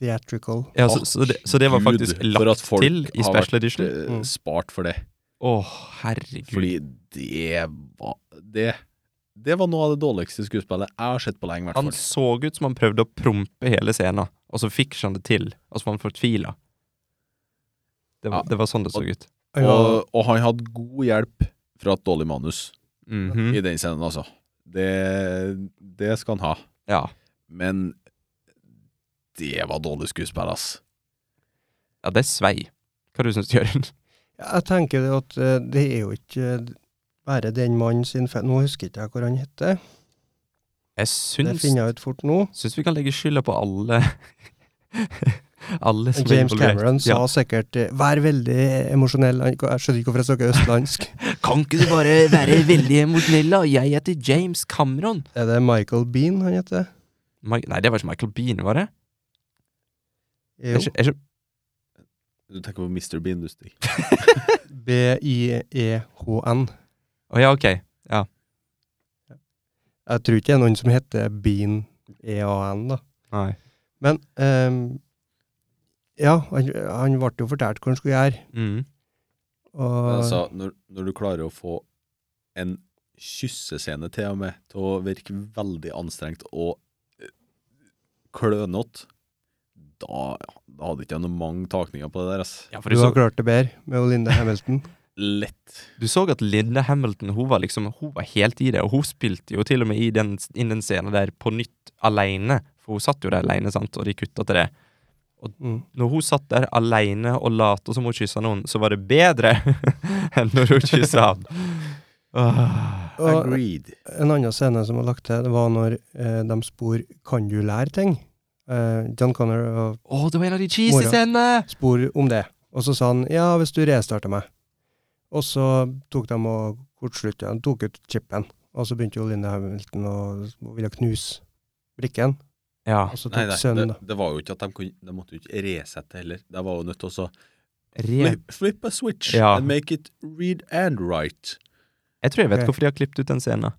[SPEAKER 1] theatrical.
[SPEAKER 2] ja så, så, det, så det var
[SPEAKER 3] Gud,
[SPEAKER 2] faktisk
[SPEAKER 3] for at
[SPEAKER 2] lagt
[SPEAKER 3] folk
[SPEAKER 2] til i
[SPEAKER 3] har
[SPEAKER 2] special
[SPEAKER 3] vært,
[SPEAKER 2] edition?
[SPEAKER 3] eh,
[SPEAKER 1] Mm.
[SPEAKER 3] Spart for det.
[SPEAKER 2] Å herregud.
[SPEAKER 3] Fordi det var Det, det var noe av det dårligste skuespillet jeg har sett på lenge, i hvert
[SPEAKER 2] han
[SPEAKER 3] fall.
[SPEAKER 2] så ut som han prøvde å prompe hele scenen, og så fikk han det til, og så var han fortvila. Det, var-
[SPEAKER 3] Ja.
[SPEAKER 2] det var sånn det så ut.
[SPEAKER 1] Han
[SPEAKER 3] Og,
[SPEAKER 1] var-
[SPEAKER 3] og han hadde god hjelp fra et dårlig manus
[SPEAKER 2] Mhm.
[SPEAKER 3] i den scenen, altså. Det, det skal han ha.
[SPEAKER 2] Ja.
[SPEAKER 3] Men det var dårlig skuespill, ass.
[SPEAKER 2] ja, det svei. Hva du syns du, Jørund?
[SPEAKER 1] Jeg tenker det at eh, det er jo ikke eh, bare den mannen sin fe- Nå husker ikke jeg hvor han heter. Det
[SPEAKER 2] Jeg syns,
[SPEAKER 1] finner jeg ut fort nå.
[SPEAKER 2] syns vi kan legge skylda på alle Alle som er
[SPEAKER 1] James
[SPEAKER 2] involvert.
[SPEAKER 1] Cameron sa
[SPEAKER 2] Ja.
[SPEAKER 1] sikkert eh, 'vær veldig emosjonell'. Han- Jeg skjønner ikke hvorfor jeg snakker østlandsk.
[SPEAKER 2] Kan ikke du bare være veldig emosjonell, da? Jeg heter James Cameron.
[SPEAKER 1] er det Michael Bean han heter?
[SPEAKER 2] Mi Nei, det var ikke Michael Bean, var det?
[SPEAKER 1] Jo.
[SPEAKER 2] Er ikke, er ikke,
[SPEAKER 3] Du tenker på Mr. Bean, du, Stig.
[SPEAKER 1] E B-i-e-h-n.
[SPEAKER 2] Å ja, ok.
[SPEAKER 1] Jeg tror ikke det er noen som heter Bean E-A-N, da.
[SPEAKER 2] Nei.
[SPEAKER 1] Men ehm, Ja, han, han ble jo fortalt hva han skulle gjøre.
[SPEAKER 2] Mm.
[SPEAKER 1] Og
[SPEAKER 3] Altså, når, når du klarer å få en kyssescene til og med til å virke veldig anstrengt og eh, klønete, da, da hadde ikke jeg noen mange takninger på det der, ass.
[SPEAKER 2] Ja, for
[SPEAKER 1] du
[SPEAKER 2] du,
[SPEAKER 1] har
[SPEAKER 2] så,
[SPEAKER 1] klart det bedre med Linda Hamilton.
[SPEAKER 3] Lett.
[SPEAKER 2] du så at Linda Hamilton hun var liksom Hun var helt i det, og hun spilte jo til og med i den, inn den scenen der på nytt aleine. For hun satt jo der aleine, sant, og de kutta til det.
[SPEAKER 1] Mm.
[SPEAKER 2] Når hun satt der aleine og lot som hun kyssa noen, så var det bedre enn når hun kyssa han. Åh.
[SPEAKER 1] Og
[SPEAKER 3] Agreed.
[SPEAKER 1] en annen scene som var lagt til, det var når eh, de spor 'Kan du lære ting?' Eh, John Connor og
[SPEAKER 2] Åh, det var en av de cheesy
[SPEAKER 1] Mora.
[SPEAKER 2] scenene!
[SPEAKER 1] spor om det. Og så sa han 'ja, hvis du restarter meg'. Og så tok de og kortslutta, de tok ut chipen. Og så begynte jo Linda Hamilton å å ville knuse brikken.
[SPEAKER 2] Ja.
[SPEAKER 1] Og så
[SPEAKER 3] Nei,
[SPEAKER 1] tok
[SPEAKER 3] nei,
[SPEAKER 1] sønnen,
[SPEAKER 3] det,
[SPEAKER 1] da.
[SPEAKER 3] det var jo ikke at de, kunne, de måtte jo ikke resette heller. De var jo nødt til å så
[SPEAKER 2] Re
[SPEAKER 3] flip, flip a switch
[SPEAKER 2] Ja.
[SPEAKER 3] and make it read and write.
[SPEAKER 2] jeg tror jeg vet
[SPEAKER 1] Ok.
[SPEAKER 2] hvorfor de har klippet ut den scenen.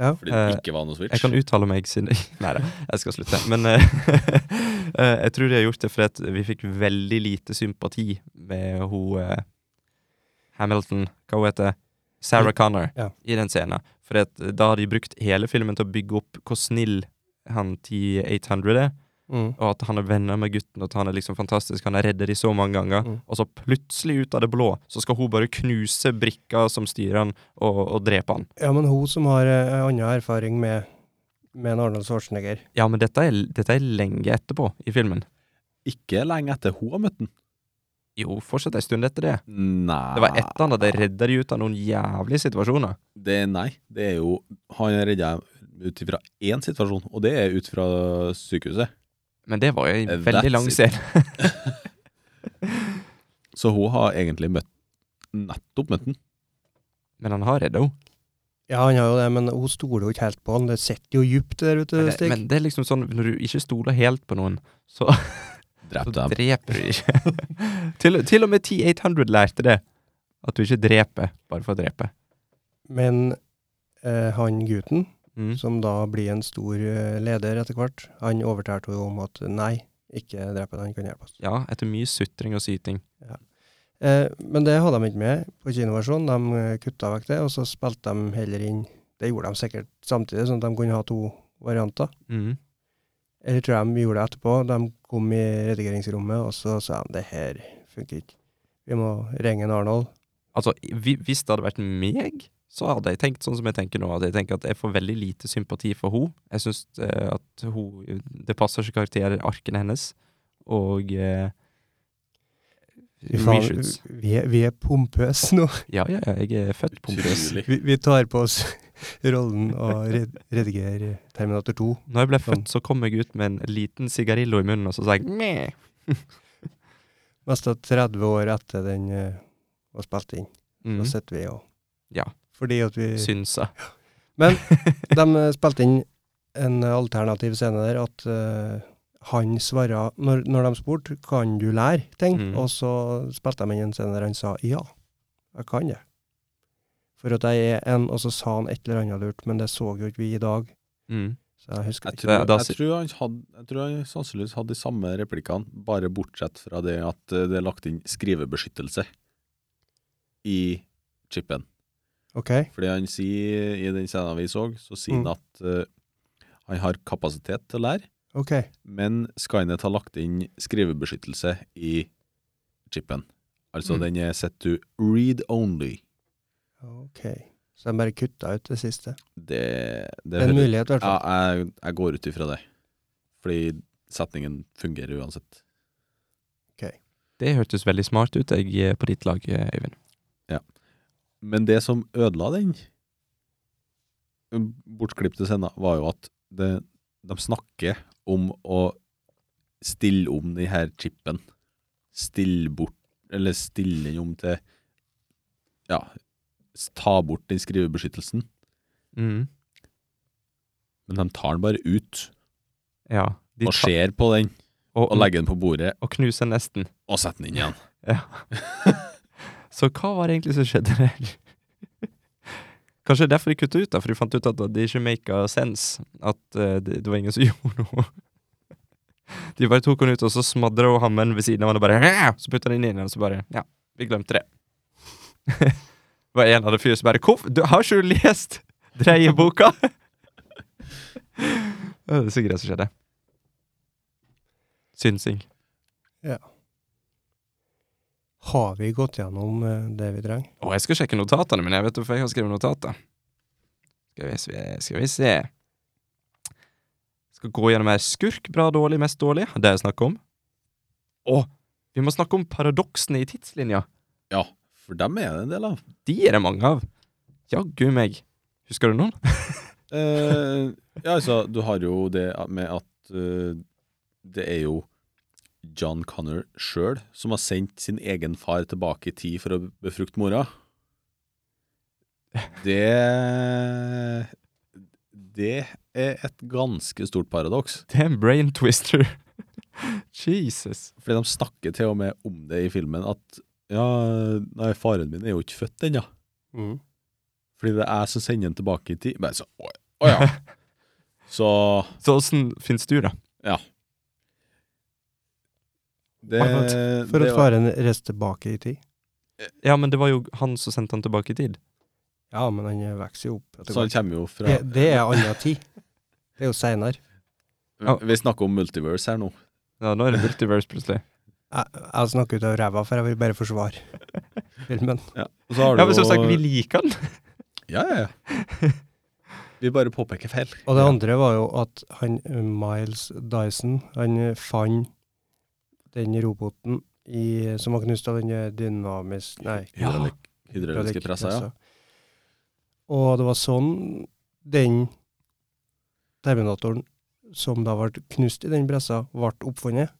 [SPEAKER 3] Fordi det
[SPEAKER 2] Eh,
[SPEAKER 3] ikke var noe switch.
[SPEAKER 2] Jeg kan uttale meg siden Nei da, jeg skal slutte. Men eh, eh, jeg tror de har gjort det fordi at vi fikk veldig lite sympati med hun eh, Hamilton Hva hun heter Sarah Connor
[SPEAKER 1] Ja.
[SPEAKER 2] i den scenen. For at da har de brukt hele filmen til å bygge opp hvor snill han T800 er,
[SPEAKER 1] Mm.
[SPEAKER 2] og at han er venner med gutten, og at han er liksom fantastisk, han har reddet de så mange ganger.
[SPEAKER 1] Mm.
[SPEAKER 2] Og så plutselig, ut av det blå, så skal hun bare knuse brikka som styrer han, og, og drepe han.
[SPEAKER 1] Ja, men hun som har eh, annen erfaring med, med en Arnold Schwarzenegger
[SPEAKER 2] Ja, men dette er, dette er lenge etterpå i filmen.
[SPEAKER 3] Ikke lenge etter hun har møtt den.
[SPEAKER 2] Jo, fortsatt ei stund etter det.
[SPEAKER 3] Nei
[SPEAKER 2] Det var etter han hadde redda de ut av noen jævlige situasjoner.
[SPEAKER 3] Det, nei, det er jo Han redda ut ifra én situasjon, og det er ut fra sykehuset.
[SPEAKER 2] Men det var jo
[SPEAKER 3] Eh,
[SPEAKER 2] en veldig lang
[SPEAKER 3] that's it.
[SPEAKER 2] scene.
[SPEAKER 3] Så hun har egentlig møtt nettopp møtt den.
[SPEAKER 2] Men han har redda henne.
[SPEAKER 1] Ja, han har jo det, men hun stoler jo ikke helt på han. Det sitter jo djupt der, vet du,
[SPEAKER 2] Men det-
[SPEAKER 1] Stig.
[SPEAKER 2] Men det er liksom sånn, når du ikke stoler helt på noen, så, så
[SPEAKER 3] Drept dem.
[SPEAKER 2] dreper du ikke. til, til og med T800 lærte det. At du ikke dreper bare for å drepe.
[SPEAKER 1] Men eh, han gutten,
[SPEAKER 2] Mm.
[SPEAKER 1] som da blir en stor eh, leder etter hvert, han overtalte henne om at nei, ikke drep han, han kan hjelpe oss.
[SPEAKER 2] Ja, etter mye sutring og syting.
[SPEAKER 1] Eh, men det hadde de ikke med på kinoversjonen. De eh, kutta vekk det, og så spilte de heller inn Det gjorde de sikkert samtidig, sånn at de kunne ha to varianter.
[SPEAKER 2] Mm.
[SPEAKER 1] Eller tror jeg de gjorde det etterpå. De kom i redigeringsrommet, og så sa de det her funker ikke. Vi må ringe en Arnold.
[SPEAKER 2] Altså, hvi- hvis det hadde vært meg, så hadde jeg tenkt sånn som jeg tenker nå. At jeg tenker at jeg får veldig lite sympati for henne. Jeg syns eh, at hun Det passer ikke karakteren, arken hennes. Og eh,
[SPEAKER 1] Fy faen,
[SPEAKER 2] Reshoots.
[SPEAKER 1] Vi, er- vi er pompøse nå.
[SPEAKER 2] Ja, ja, ja, jeg er født pompøs.
[SPEAKER 3] Utrolig.
[SPEAKER 1] Vi, vi tar på oss rollen å red, redigere Terminator 2.
[SPEAKER 2] Når jeg ble født,
[SPEAKER 1] Sånn.
[SPEAKER 2] så kom jeg ut med en liten sigarillo i munnen, og så sa jeg meh.
[SPEAKER 1] Mest av 30 år etter den eh, var spilt inn.
[SPEAKER 2] Mm,
[SPEAKER 1] Da sitter vi og
[SPEAKER 2] Ja.
[SPEAKER 1] Fordi at vi
[SPEAKER 2] synsa.
[SPEAKER 1] De eh, spilte inn en eh, alternativ scene der at eh, han svara når, når de spurte 'kan du lære ting',
[SPEAKER 2] Mm.
[SPEAKER 1] og så spilte de inn en scene der han sa 'ja, jeg kan det'. For at jeg er en, og så sa han et eller annet lurt, men det så jo ikke vi i dag.
[SPEAKER 2] Mm.
[SPEAKER 1] Så jeg husker
[SPEAKER 3] Jeg
[SPEAKER 1] ikke.
[SPEAKER 3] tror,
[SPEAKER 2] Da- da
[SPEAKER 3] jeg,
[SPEAKER 2] sy-
[SPEAKER 3] tror han hadde, jeg tror han sannsynligvis hadde de samme replikkene, bare bortsett fra det at eh, det er lagt inn skrivebeskyttelse i chipen.
[SPEAKER 1] Ok,
[SPEAKER 3] Fordi han sier i den scenen vi så, så sier
[SPEAKER 1] Mm.
[SPEAKER 3] han at eh, han har kapasitet til å lære,
[SPEAKER 1] ok.
[SPEAKER 3] men Skynet har lagt inn skrivebeskyttelse i chipen. Altså
[SPEAKER 2] Mm.
[SPEAKER 3] den er set to read only.
[SPEAKER 1] ok. Så de bare kutta ut det siste.
[SPEAKER 3] Det, det
[SPEAKER 1] Det er en
[SPEAKER 3] hører-
[SPEAKER 1] mulighet, i hvert fall.
[SPEAKER 3] Ja, jeg, jeg går ut ifra det. Fordi setningen fungerer uansett.
[SPEAKER 2] Det hørtes veldig smart ut, jeg er på ditt lag, eh, Øyvind.
[SPEAKER 3] Men det som ødela den eh, bortklipte scenen, var jo at det, de snakker om å stille om den her chipen. Stille bort Eller stille den om til Ja, s- ta bort den skrivebeskyttelsen.
[SPEAKER 2] Mm.
[SPEAKER 3] Men de tar den bare ut
[SPEAKER 2] Ja. De Mm.
[SPEAKER 3] og
[SPEAKER 2] ta-
[SPEAKER 3] ser på den,
[SPEAKER 2] og,
[SPEAKER 3] og legger den på bordet
[SPEAKER 2] og knuser nesten.
[SPEAKER 3] og setter den inn igjen.
[SPEAKER 2] Ja. Så hva var det egentlig som skjedde der? Kanskje det er derfor de kutta ut, da, for de fant ut at det ikke make sense. At eh, det, det var ingen som gjorde noe. De bare tok henne ut, og så smadra hun hammen ved siden av henne og bare «Hæ!» Så putta de den inn igjen, og så bare Ja, vi glemte det. det var en av de fyr som bare Hvorfor? Du har ikke du lest dreieboka? det er så greit som skjedde. Synsing.
[SPEAKER 1] Har vi gått gjennom eh, det vi trenger?
[SPEAKER 2] Å, jeg skal sjekke notatene mine. Jeg vet hvorfor jeg har skrevet notater. Skal vi se, skal vi se. Skal gå gjennom her. Skurk, bra, dårlig, mest dårlig. Det er det snakk om. Å, vi må snakke om paradoksene i tidslinja.
[SPEAKER 3] Ja, for dem er det en del av.
[SPEAKER 2] De er det mange av. Jaggu meg. Husker du noen?
[SPEAKER 3] Eh, ja, altså, du har jo det med at eh, det er jo John Connor sjøl som har sendt sin egen far tilbake i tid for å befrukte mora. Det Det er et ganske stort paradoks.
[SPEAKER 2] Det er en brain twister. Jesus.
[SPEAKER 3] Fordi de snakker til og med om det i filmen, at ja, nei, faren min er jo ikke født ennå. Mm. Fordi det er jeg som sender den tilbake i tid. Bare så, å, å ja. Så
[SPEAKER 2] Så åssen finnes du, da?
[SPEAKER 3] det,
[SPEAKER 2] For at-
[SPEAKER 1] For
[SPEAKER 3] det
[SPEAKER 1] at
[SPEAKER 3] var-
[SPEAKER 1] faren reiste tilbake i tid.
[SPEAKER 2] Ja, men det var jo han som sendte han tilbake i tid.
[SPEAKER 1] Ja, men han eh, vokser jo opp. etter
[SPEAKER 3] Så han
[SPEAKER 1] hvert.
[SPEAKER 3] kommer jo fra
[SPEAKER 1] Det, det er annen tid. Det er jo seinere.
[SPEAKER 2] Ja.
[SPEAKER 3] Vi snakker om multiverse her nå.
[SPEAKER 2] Ja, nå er det multiverse, plutselig.
[SPEAKER 1] Jeg, jeg snakker ut av ræva, for jeg vil bare forsvare filmen.
[SPEAKER 3] Og så har du
[SPEAKER 2] Ja, men som
[SPEAKER 3] jo-
[SPEAKER 2] sagt, vi liker han.
[SPEAKER 3] Ja, ja, ja. Vi bare påpeker feil.
[SPEAKER 1] Og det
[SPEAKER 3] Ja.
[SPEAKER 1] andre var jo at han eh, Miles Dyson, han eh, fant den roboten i, som var knust av den eh, dynamisk Nei.
[SPEAKER 2] Ja. altså.
[SPEAKER 3] Hydraulik- Hydrauliske presser, ja.
[SPEAKER 1] pressa. Og det var sånn den terminatoren som da ble knust i den pressa, ble oppfunnet,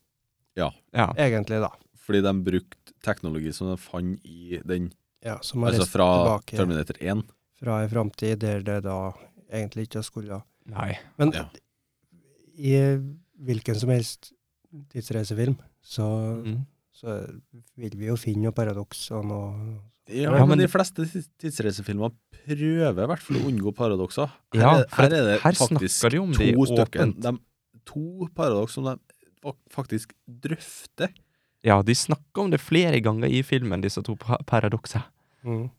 [SPEAKER 2] Ja.
[SPEAKER 1] egentlig, da.
[SPEAKER 3] Fordi de brukte teknologi som de fant i den
[SPEAKER 1] Ja, som har
[SPEAKER 3] Altså
[SPEAKER 1] reist
[SPEAKER 3] fra
[SPEAKER 1] tilbake
[SPEAKER 3] Terminator 1.
[SPEAKER 1] fra ei framtid der det da egentlig ikke skulle ha.
[SPEAKER 2] Nei.
[SPEAKER 1] Men
[SPEAKER 3] Ja.
[SPEAKER 1] i hvilken som helst tidsreisefilm, så,
[SPEAKER 2] Mm.
[SPEAKER 1] så vil vi jo finne noe paradoks og noe
[SPEAKER 3] Ja,
[SPEAKER 2] Ja, men-
[SPEAKER 3] men de fleste tids- tidsreisefilmer prøver i hvert fall å unngå paradokser. Her,
[SPEAKER 2] Ja,
[SPEAKER 3] er-
[SPEAKER 2] for
[SPEAKER 3] her er det
[SPEAKER 2] her
[SPEAKER 3] faktisk
[SPEAKER 2] snakker de om
[SPEAKER 3] to
[SPEAKER 2] det
[SPEAKER 3] stykker.
[SPEAKER 2] åpent.
[SPEAKER 3] De, to paradoks som de fa- faktisk drøfter.
[SPEAKER 2] Ja, de snakker om det flere ganger i filmen, disse to pa- paradokser.
[SPEAKER 1] mm.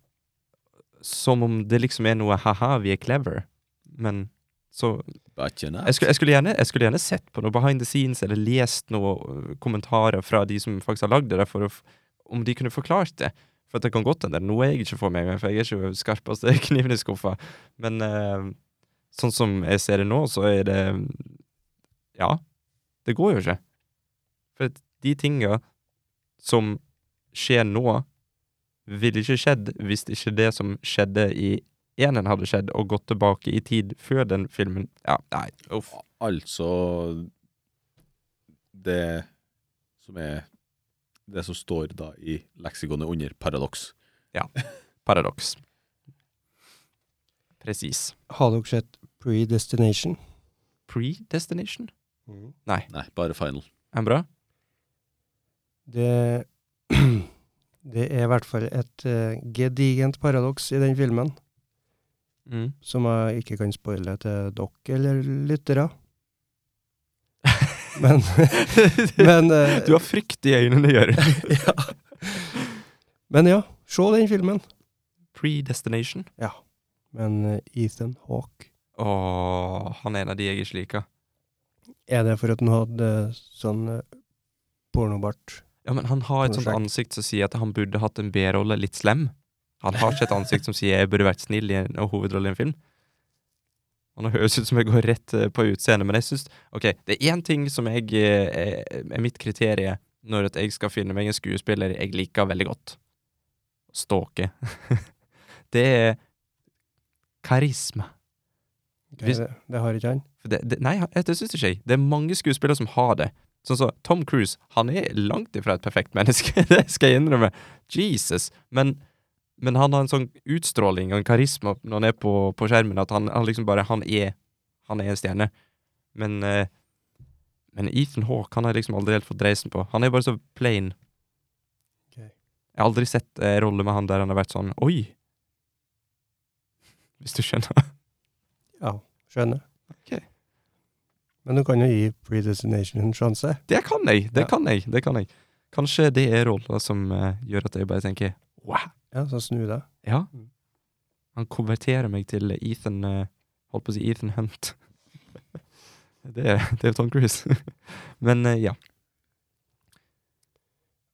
[SPEAKER 2] Som om det liksom er noe ha-ha, vi er clever. Men så
[SPEAKER 3] But you know.
[SPEAKER 2] jeg skulle, jeg, skulle gjerne, jeg skulle gjerne sett på noe behind the scenes, eller lest noen øh, kommentarer fra de som faktisk har lagd det, der for å, f- om de kunne forklart det. For at det kan godt hende det er noe jeg ikke får med meg, for jeg er ikke skarpeste kniven i skuffa. Men øh, sånn som jeg ser det nå, så er det Ja, det går jo ikke. For at de tinga som skjer nå, ville ikke skjedd hvis ikke det som skjedde i enen hadde skjedd, og gått tilbake i tid før den filmen Ja, nei, uff.
[SPEAKER 3] Altså Det som er Det som står da i leksikonet under paradoks.
[SPEAKER 2] Paradoks. Presis.
[SPEAKER 1] Har dere sett Predestination?
[SPEAKER 2] Predestination?
[SPEAKER 3] Nei, bare final.
[SPEAKER 2] Er den bra?
[SPEAKER 1] Det, det er i hvert fall et eh, gedigent paradoks i den filmen,
[SPEAKER 2] Mm.
[SPEAKER 1] som jeg ikke kan spoile til dere eller lyttere. Men, men, eh,
[SPEAKER 2] du har frykt i øynene, Jørund.
[SPEAKER 1] ja. men ja, se den filmen.
[SPEAKER 2] Predestination?
[SPEAKER 1] Men eh, Ethan Hawke
[SPEAKER 2] Åh, han er en av de jeg ikke liker.
[SPEAKER 1] Er det for at han hadde sånn eh, pornobart?
[SPEAKER 2] Ja, men han har et sånt
[SPEAKER 1] Prosjekt.
[SPEAKER 2] ansikt som sier at han burde hatt en B-rolle litt slem. Han har ikke et ansikt som sier jeg burde vært snill i en og hovedrolle i en film. Og nå høres det ut som jeg går rett eh, på utseendet, men jeg syns Ok, det er én ting som jeg eh, er er mitt kriterie når at jeg skal finne meg en skuespiller jeg liker veldig godt. Stalke. det er karisma.
[SPEAKER 1] Ok,
[SPEAKER 2] Hvis-
[SPEAKER 1] det, det har ikke han.
[SPEAKER 2] For Det, det, nei, han- det syns ikke jeg. Det er mange skuespillere som har det. Sånn som Tom Cruise. Han er langt ifra et perfekt menneske, det skal jeg innrømme. Jesus. Men, men han har en sånn utstråling og en karisma når han er på, på skjermen, at han, han liksom bare Han er Han er en stjerne. Men eh, Men Ethan Hawke han har jeg liksom aldri helt fått dreisen på. Han er bare så plain.
[SPEAKER 1] Ok.
[SPEAKER 2] Jeg har aldri sett en rolle med han der han har vært sånn Oi! Hvis du skjønner.
[SPEAKER 1] Ja, skjønner.
[SPEAKER 2] Ok.
[SPEAKER 1] Men du kan jo gi Predestination en sjanse.
[SPEAKER 2] Det kan jeg, det
[SPEAKER 1] Ja.
[SPEAKER 2] kan jeg, det kan jeg. Kanskje det er roller som eh, gjør at jeg bare tenker wow.
[SPEAKER 1] Ja, så snu deg.
[SPEAKER 2] Ja.
[SPEAKER 1] Mm.
[SPEAKER 2] Han konverterer meg til Ethan eh, Holdt på å si Ethan Hunt. det, er, det er Tom Cruise. Men eh, ja.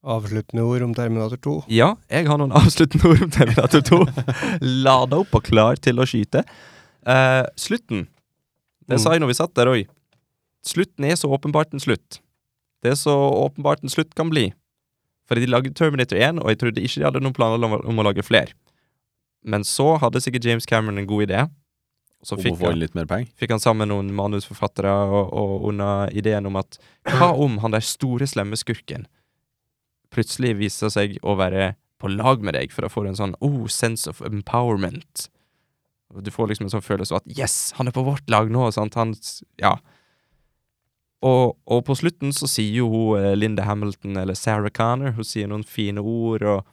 [SPEAKER 1] Avsluttende ord om Terminator 2.
[SPEAKER 2] Ja, jeg har noen avsluttende ord om Terminator 2. Lada opp og klar til å skyte. Eh, slutten. Det sa jeg når vi satt der òg. Slutten er så åpenbart en slutt. Det er så åpenbart en slutt kan bli. Fordi de lagde Terminator 1, og jeg trodde ikke de hadde noen planer om, å- om å lage flere. Men så hadde sikkert James Cameron en god idé. Så
[SPEAKER 3] Om å
[SPEAKER 2] fikk
[SPEAKER 3] få
[SPEAKER 2] han,
[SPEAKER 3] inn litt mer penger.
[SPEAKER 2] fikk han sammen noen manusforfattere og, og under ideen om at hva om han der store, slemme skurken plutselig viser seg å være på lag med deg for å få en sånn oh, sense of empowerment? Og Du får liksom en sånn følelse av at 'yes, han er på vårt lag nå'. Sant? Han, s- ja. og, og på slutten så sier jo hun eh, Linda Hamilton, eller Sarah Connor, hun sier noen fine ord, og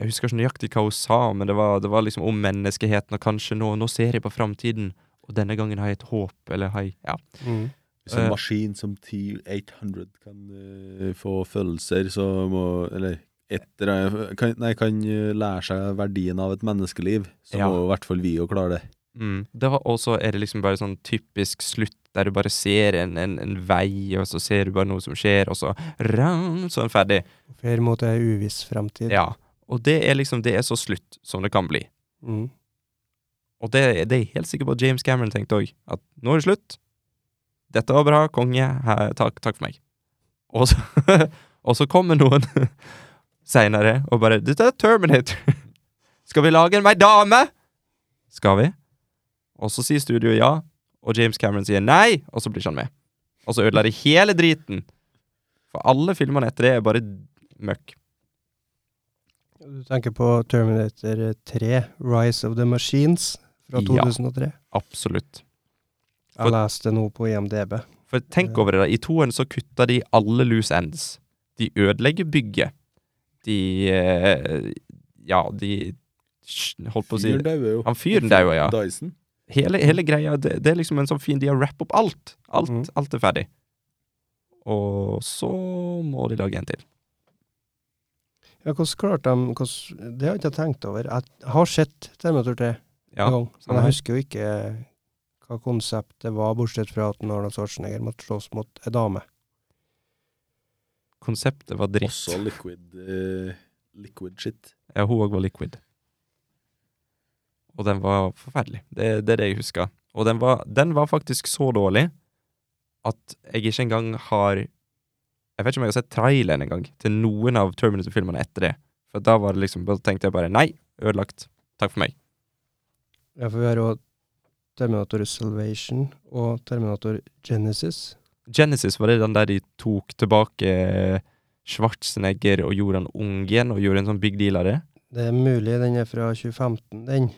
[SPEAKER 2] jeg husker ikke nøyaktig hva hun sa, men det var, det var liksom om menneskeheten, og kanskje nå, nå ser jeg på framtiden, og denne gangen har jeg et håp, eller har jeg Ja.
[SPEAKER 1] Mm.
[SPEAKER 3] Hvis en
[SPEAKER 2] Eh.
[SPEAKER 3] maskin som T800 kan eh, få følelser, så må Eller etter, kan, nei, kan eh, lære seg verdien av et menneskeliv, så
[SPEAKER 2] Ja.
[SPEAKER 3] må i hvert fall vi jo klare det.
[SPEAKER 2] Mm. Det var også, er det liksom bare sånn typisk slutt, der du bare ser en, en, en vei, og så ser du bare noe som skjer, og så ran, så er den ferdig.
[SPEAKER 1] Fer mot ei uviss framtid.
[SPEAKER 2] Ja. Og det er liksom, det er så slutt som det kan bli.
[SPEAKER 1] Mm.
[SPEAKER 2] Og det, det er jeg helt sikker på at James Cameron tenkte òg. At nå er det slutt. Dette var bra, konge. Her, takk, takk for meg. Og så, og så kommer noen seinere og bare 'Dette er Terminator'. Skal vi lage en meg dame? Skal vi? Og så sier studioet ja, og James Cameron sier nei, og så blir ikke han med. Og så ødela de hele driten. For alle filmene etter det er bare møkk.
[SPEAKER 1] Du tenker på Terminator 3, Rise of the Machines, fra
[SPEAKER 2] Ja.
[SPEAKER 1] 2003.
[SPEAKER 2] Absolutt. For-
[SPEAKER 1] Jeg leste nå på IMDb.
[SPEAKER 2] For tenk over det, da. I toeren så kutta de alle loose ends. De ødelegger bygget. De eh, Ja, de sj- Holdt på å si
[SPEAKER 3] Fyren dauer jo.
[SPEAKER 2] Han fyren dauer, ja.
[SPEAKER 3] Dyson.
[SPEAKER 2] Hele, hele greia, det, det er liksom en sånn fin De har wrappet opp alt. Alt,
[SPEAKER 1] Mhm.
[SPEAKER 2] alt er ferdig. Og så må de lage en til.
[SPEAKER 1] Ja, hvordan klarte de hvordan, Det har jeg ikke tenkt over. Jeg har sett Terminator 3
[SPEAKER 2] Ja,
[SPEAKER 1] en gang,
[SPEAKER 2] samme
[SPEAKER 1] men jeg
[SPEAKER 2] her.
[SPEAKER 1] husker jo ikke hva konseptet var, bortsett fra at Arnold Schwarzenegger måtte slåss mot ei dame.
[SPEAKER 2] Konseptet var dritt.
[SPEAKER 3] Også liquid, eh, liquid shit.
[SPEAKER 2] Ja, hun òg var liquid. Og den var forferdelig. Det, det er det jeg husker. Og den var, den var faktisk så dårlig at jeg ikke engang har Jeg vet ikke om jeg har sett traileren engang til noen av Terminator-filmene etter det. For da var det liksom, da tenkte jeg bare nei, ødelagt. Takk for meg.
[SPEAKER 1] Ja, for vi har jo Terminator Salvation og Terminator Genesis.
[SPEAKER 2] Genesis var det den der de tok tilbake eh, Schwarzenegger og gjorde han ung igjen, og gjorde en sånn big deal av det.
[SPEAKER 1] Det er mulig den er fra 2015, den.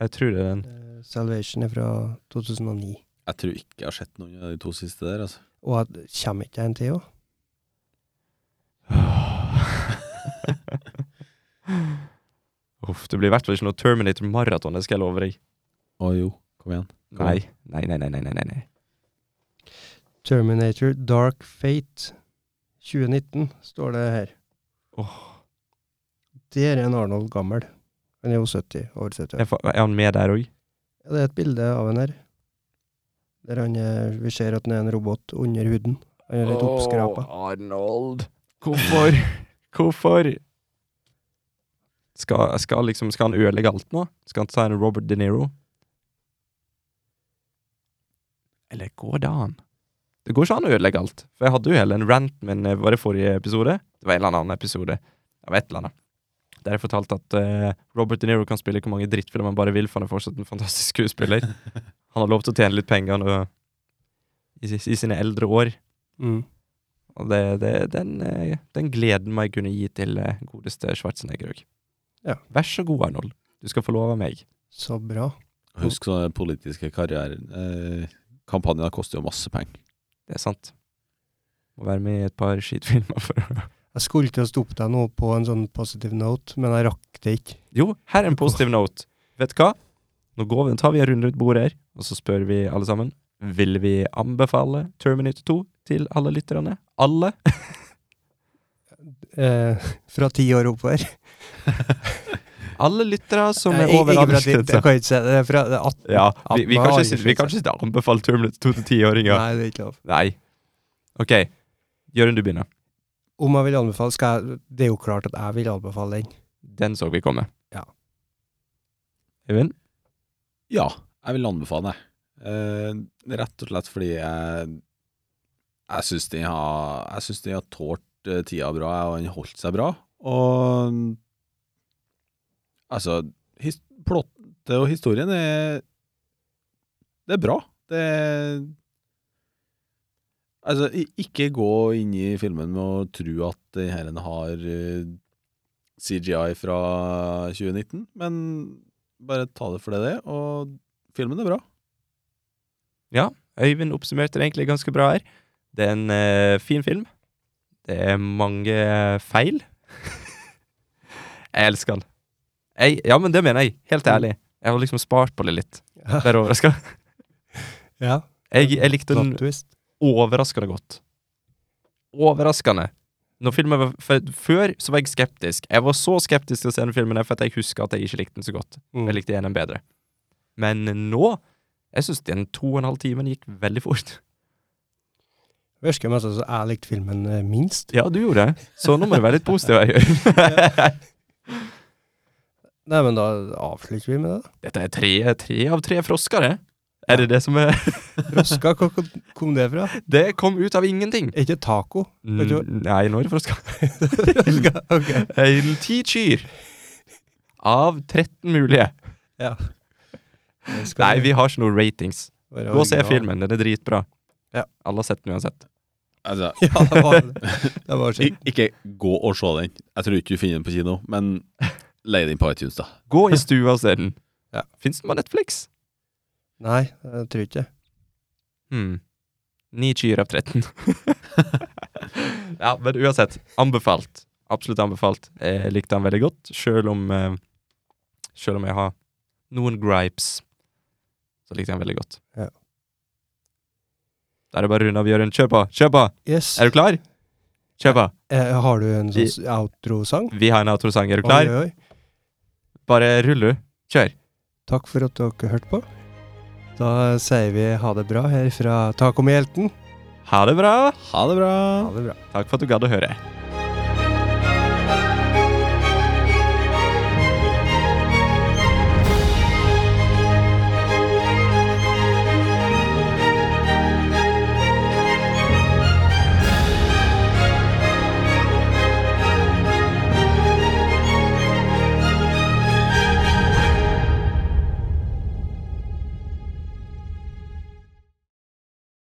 [SPEAKER 2] Jeg tror det er den.
[SPEAKER 1] Eh, Salvation er fra 2009.
[SPEAKER 3] Jeg tror ikke jeg har sett noen av de to siste der, altså.
[SPEAKER 1] Og at, kommer ikke en til òg?
[SPEAKER 2] Uff, det blir i hvert fall ikke noe Terminator-maraton, det skal jeg love deg.
[SPEAKER 3] Å jo, kom igjen. Kom
[SPEAKER 2] Nei, nei, nei, nei, nei, nei, nei.
[SPEAKER 1] Terminator Dark Fate 2019 står det her. Der er en Arnold gammel. Han er jo 70, over 70 år.
[SPEAKER 2] Er, fa- er han med der òg?
[SPEAKER 1] Ja, det er et bilde av han her. Der han er, vi ser at han er en robot under huden. Han er litt oppskrapa.
[SPEAKER 2] Arnold. Hvorfor? Hvorfor? Skal, skal, liksom, skal han ødelegge alt nå? Skal han ta en Robert De Niro? Eller går det an? Det går ikke an å ødelegge alt. For jeg hadde jo heller en rant, men eh, var det forrige episode? Det var en eller annen episode av et eller annet. Der jeg fortalte at eh, Robert De Niro kan spille hvor mange drittfilmer han bare vil, for han er fortsatt en fantastisk skuespiller. Han har lov til å tjene litt penger nå, i, i sine eldre år.
[SPEAKER 1] Mm.
[SPEAKER 2] Og det, det, den, eh, den gleden må jeg kunne gi til eh, godeste Schwarzenegger òg.
[SPEAKER 1] Ja.
[SPEAKER 2] Vær så god, Arnold. Du skal få lov av meg.
[SPEAKER 1] Så bra.
[SPEAKER 3] Husk sånne politiske karrierer. Eh, kampanjer koster jo masse penger.
[SPEAKER 2] Det er sant. Må være med i et par skitfilmer for å
[SPEAKER 1] Jeg skulle til å stoppe deg nå på en sånn positive note, men jeg rakk det ikke.
[SPEAKER 2] Jo, her er en positiv note. Vet du hva? Nå går vi, tar vi en runde rundt bordet her, og så spør vi alle sammen Vil vi anbefale Terminator 2 til alle lytterne. Alle?
[SPEAKER 1] Eh, fra ti år oppover.
[SPEAKER 2] Alle lyttere som
[SPEAKER 1] Nei,
[SPEAKER 2] er
[SPEAKER 1] ikke-
[SPEAKER 2] over
[SPEAKER 1] ikke fra ti-
[SPEAKER 2] aldersgrensa.
[SPEAKER 1] Jeg kan ikke si det. Det er fra det er 18.
[SPEAKER 2] Ja, vi, vi, kan ikke si- vi kan
[SPEAKER 1] aldersgrense.
[SPEAKER 2] ikke si anbefale Terminator 2 til tiåringer.
[SPEAKER 1] Nei, det er ikke lov.
[SPEAKER 2] Nei. OK. Jørund, du begynner.
[SPEAKER 1] Om jeg vil anbefale, skal jeg Det er jo klart at jeg vil anbefale den.
[SPEAKER 2] Den så vi komme.
[SPEAKER 1] Ja.
[SPEAKER 2] Eivind?
[SPEAKER 3] Ja, jeg vil anbefale det. Eh, rett og slett fordi jeg Jeg syns de har Jeg synes de har tålt eh, tida bra, og han holdt seg bra. Og Altså, his, plottet og historien er Det er bra. Det er Altså, i- ikke gå inn i filmen med å tro at den her har eh, CGI fra 2019, men Bare ta det for det det er, og filmen er bra.
[SPEAKER 2] Øyvind oppsummerte det egentlig ganske bra her. Det er en eh, fin film. Det er mange feil. jeg elsker den. Jeg, ja, men det mener jeg. Helt ærlig. Jeg har liksom spart på det litt.
[SPEAKER 1] Mm. Ja.
[SPEAKER 2] Være overraska.
[SPEAKER 1] ja.
[SPEAKER 2] Jeg, jeg likte den
[SPEAKER 1] Plot twist.
[SPEAKER 2] overraskende godt. Overraskende. Når filmen var, for, før så var jeg skeptisk. Jeg var så skeptisk til å se den filmen her, for at jeg husker at jeg ikke likte den så godt.
[SPEAKER 1] Mm.
[SPEAKER 2] Jeg likte igjen den bedre. Men nå Jeg syns den to og en halv timen gikk veldig fort.
[SPEAKER 1] Virker mest som jeg likte filmen eh, minst.
[SPEAKER 2] Ja, du gjorde det. Så nå må du være litt positiv. Øyvind.
[SPEAKER 1] Nei, men da avslutter vi med det. da.
[SPEAKER 2] Dette er tre, tre av tre frosker, det. Er det det som er
[SPEAKER 1] Froska, hvor kom- kom det fra?
[SPEAKER 2] Det kom ut av ingenting.
[SPEAKER 1] Er ikke taco? Vet du
[SPEAKER 2] Mm, Nei, nå er det frosker.
[SPEAKER 1] Froska, ok.
[SPEAKER 2] En ti kyr av 13 mulige.
[SPEAKER 1] Det skal
[SPEAKER 2] Nei, vi har ikke noe ratings.
[SPEAKER 1] være
[SPEAKER 2] Gå og se
[SPEAKER 1] original.
[SPEAKER 2] filmen, den er dritbra.
[SPEAKER 1] Ja.
[SPEAKER 2] Alle har sett den uansett.
[SPEAKER 3] Altså,
[SPEAKER 1] Ja, det var det. det var
[SPEAKER 3] ik
[SPEAKER 1] skjedd.
[SPEAKER 3] ikke gå og se den. Jeg tror ikke du finner den på kino, men leie den på iTunes, da.
[SPEAKER 2] Gå i stua og se den.
[SPEAKER 1] Ja.
[SPEAKER 2] Fins den på Netflix?
[SPEAKER 1] Nei, jeg tror ikke det.
[SPEAKER 2] Hmm. Ni kyr av 13. ja, men uansett. Anbefalt. Absolutt anbefalt. Eh, Jeg likte den veldig godt, sjøl om eh, Sjøl om jeg har noen gripes, så likte jeg den veldig godt.
[SPEAKER 1] Ja.
[SPEAKER 2] Da er det bare å runde av, Jørund. Kjør på! Kjør på!
[SPEAKER 1] Yes.
[SPEAKER 2] Er du klar? Kjør på!
[SPEAKER 1] Eh, har du en
[SPEAKER 2] Vi-
[SPEAKER 1] sånn s- outro-sang?
[SPEAKER 2] Vi har en outrosang. Er du klar?
[SPEAKER 1] Oi, oi.
[SPEAKER 2] Bare rull, du. Kjør.
[SPEAKER 1] Takk for at dere hørte på. Da sier vi ha det bra her fra Taco med hjelten.
[SPEAKER 2] Ha det bra!
[SPEAKER 3] Ha det bra!
[SPEAKER 1] det bra.
[SPEAKER 2] Takk for at du gadd å høre.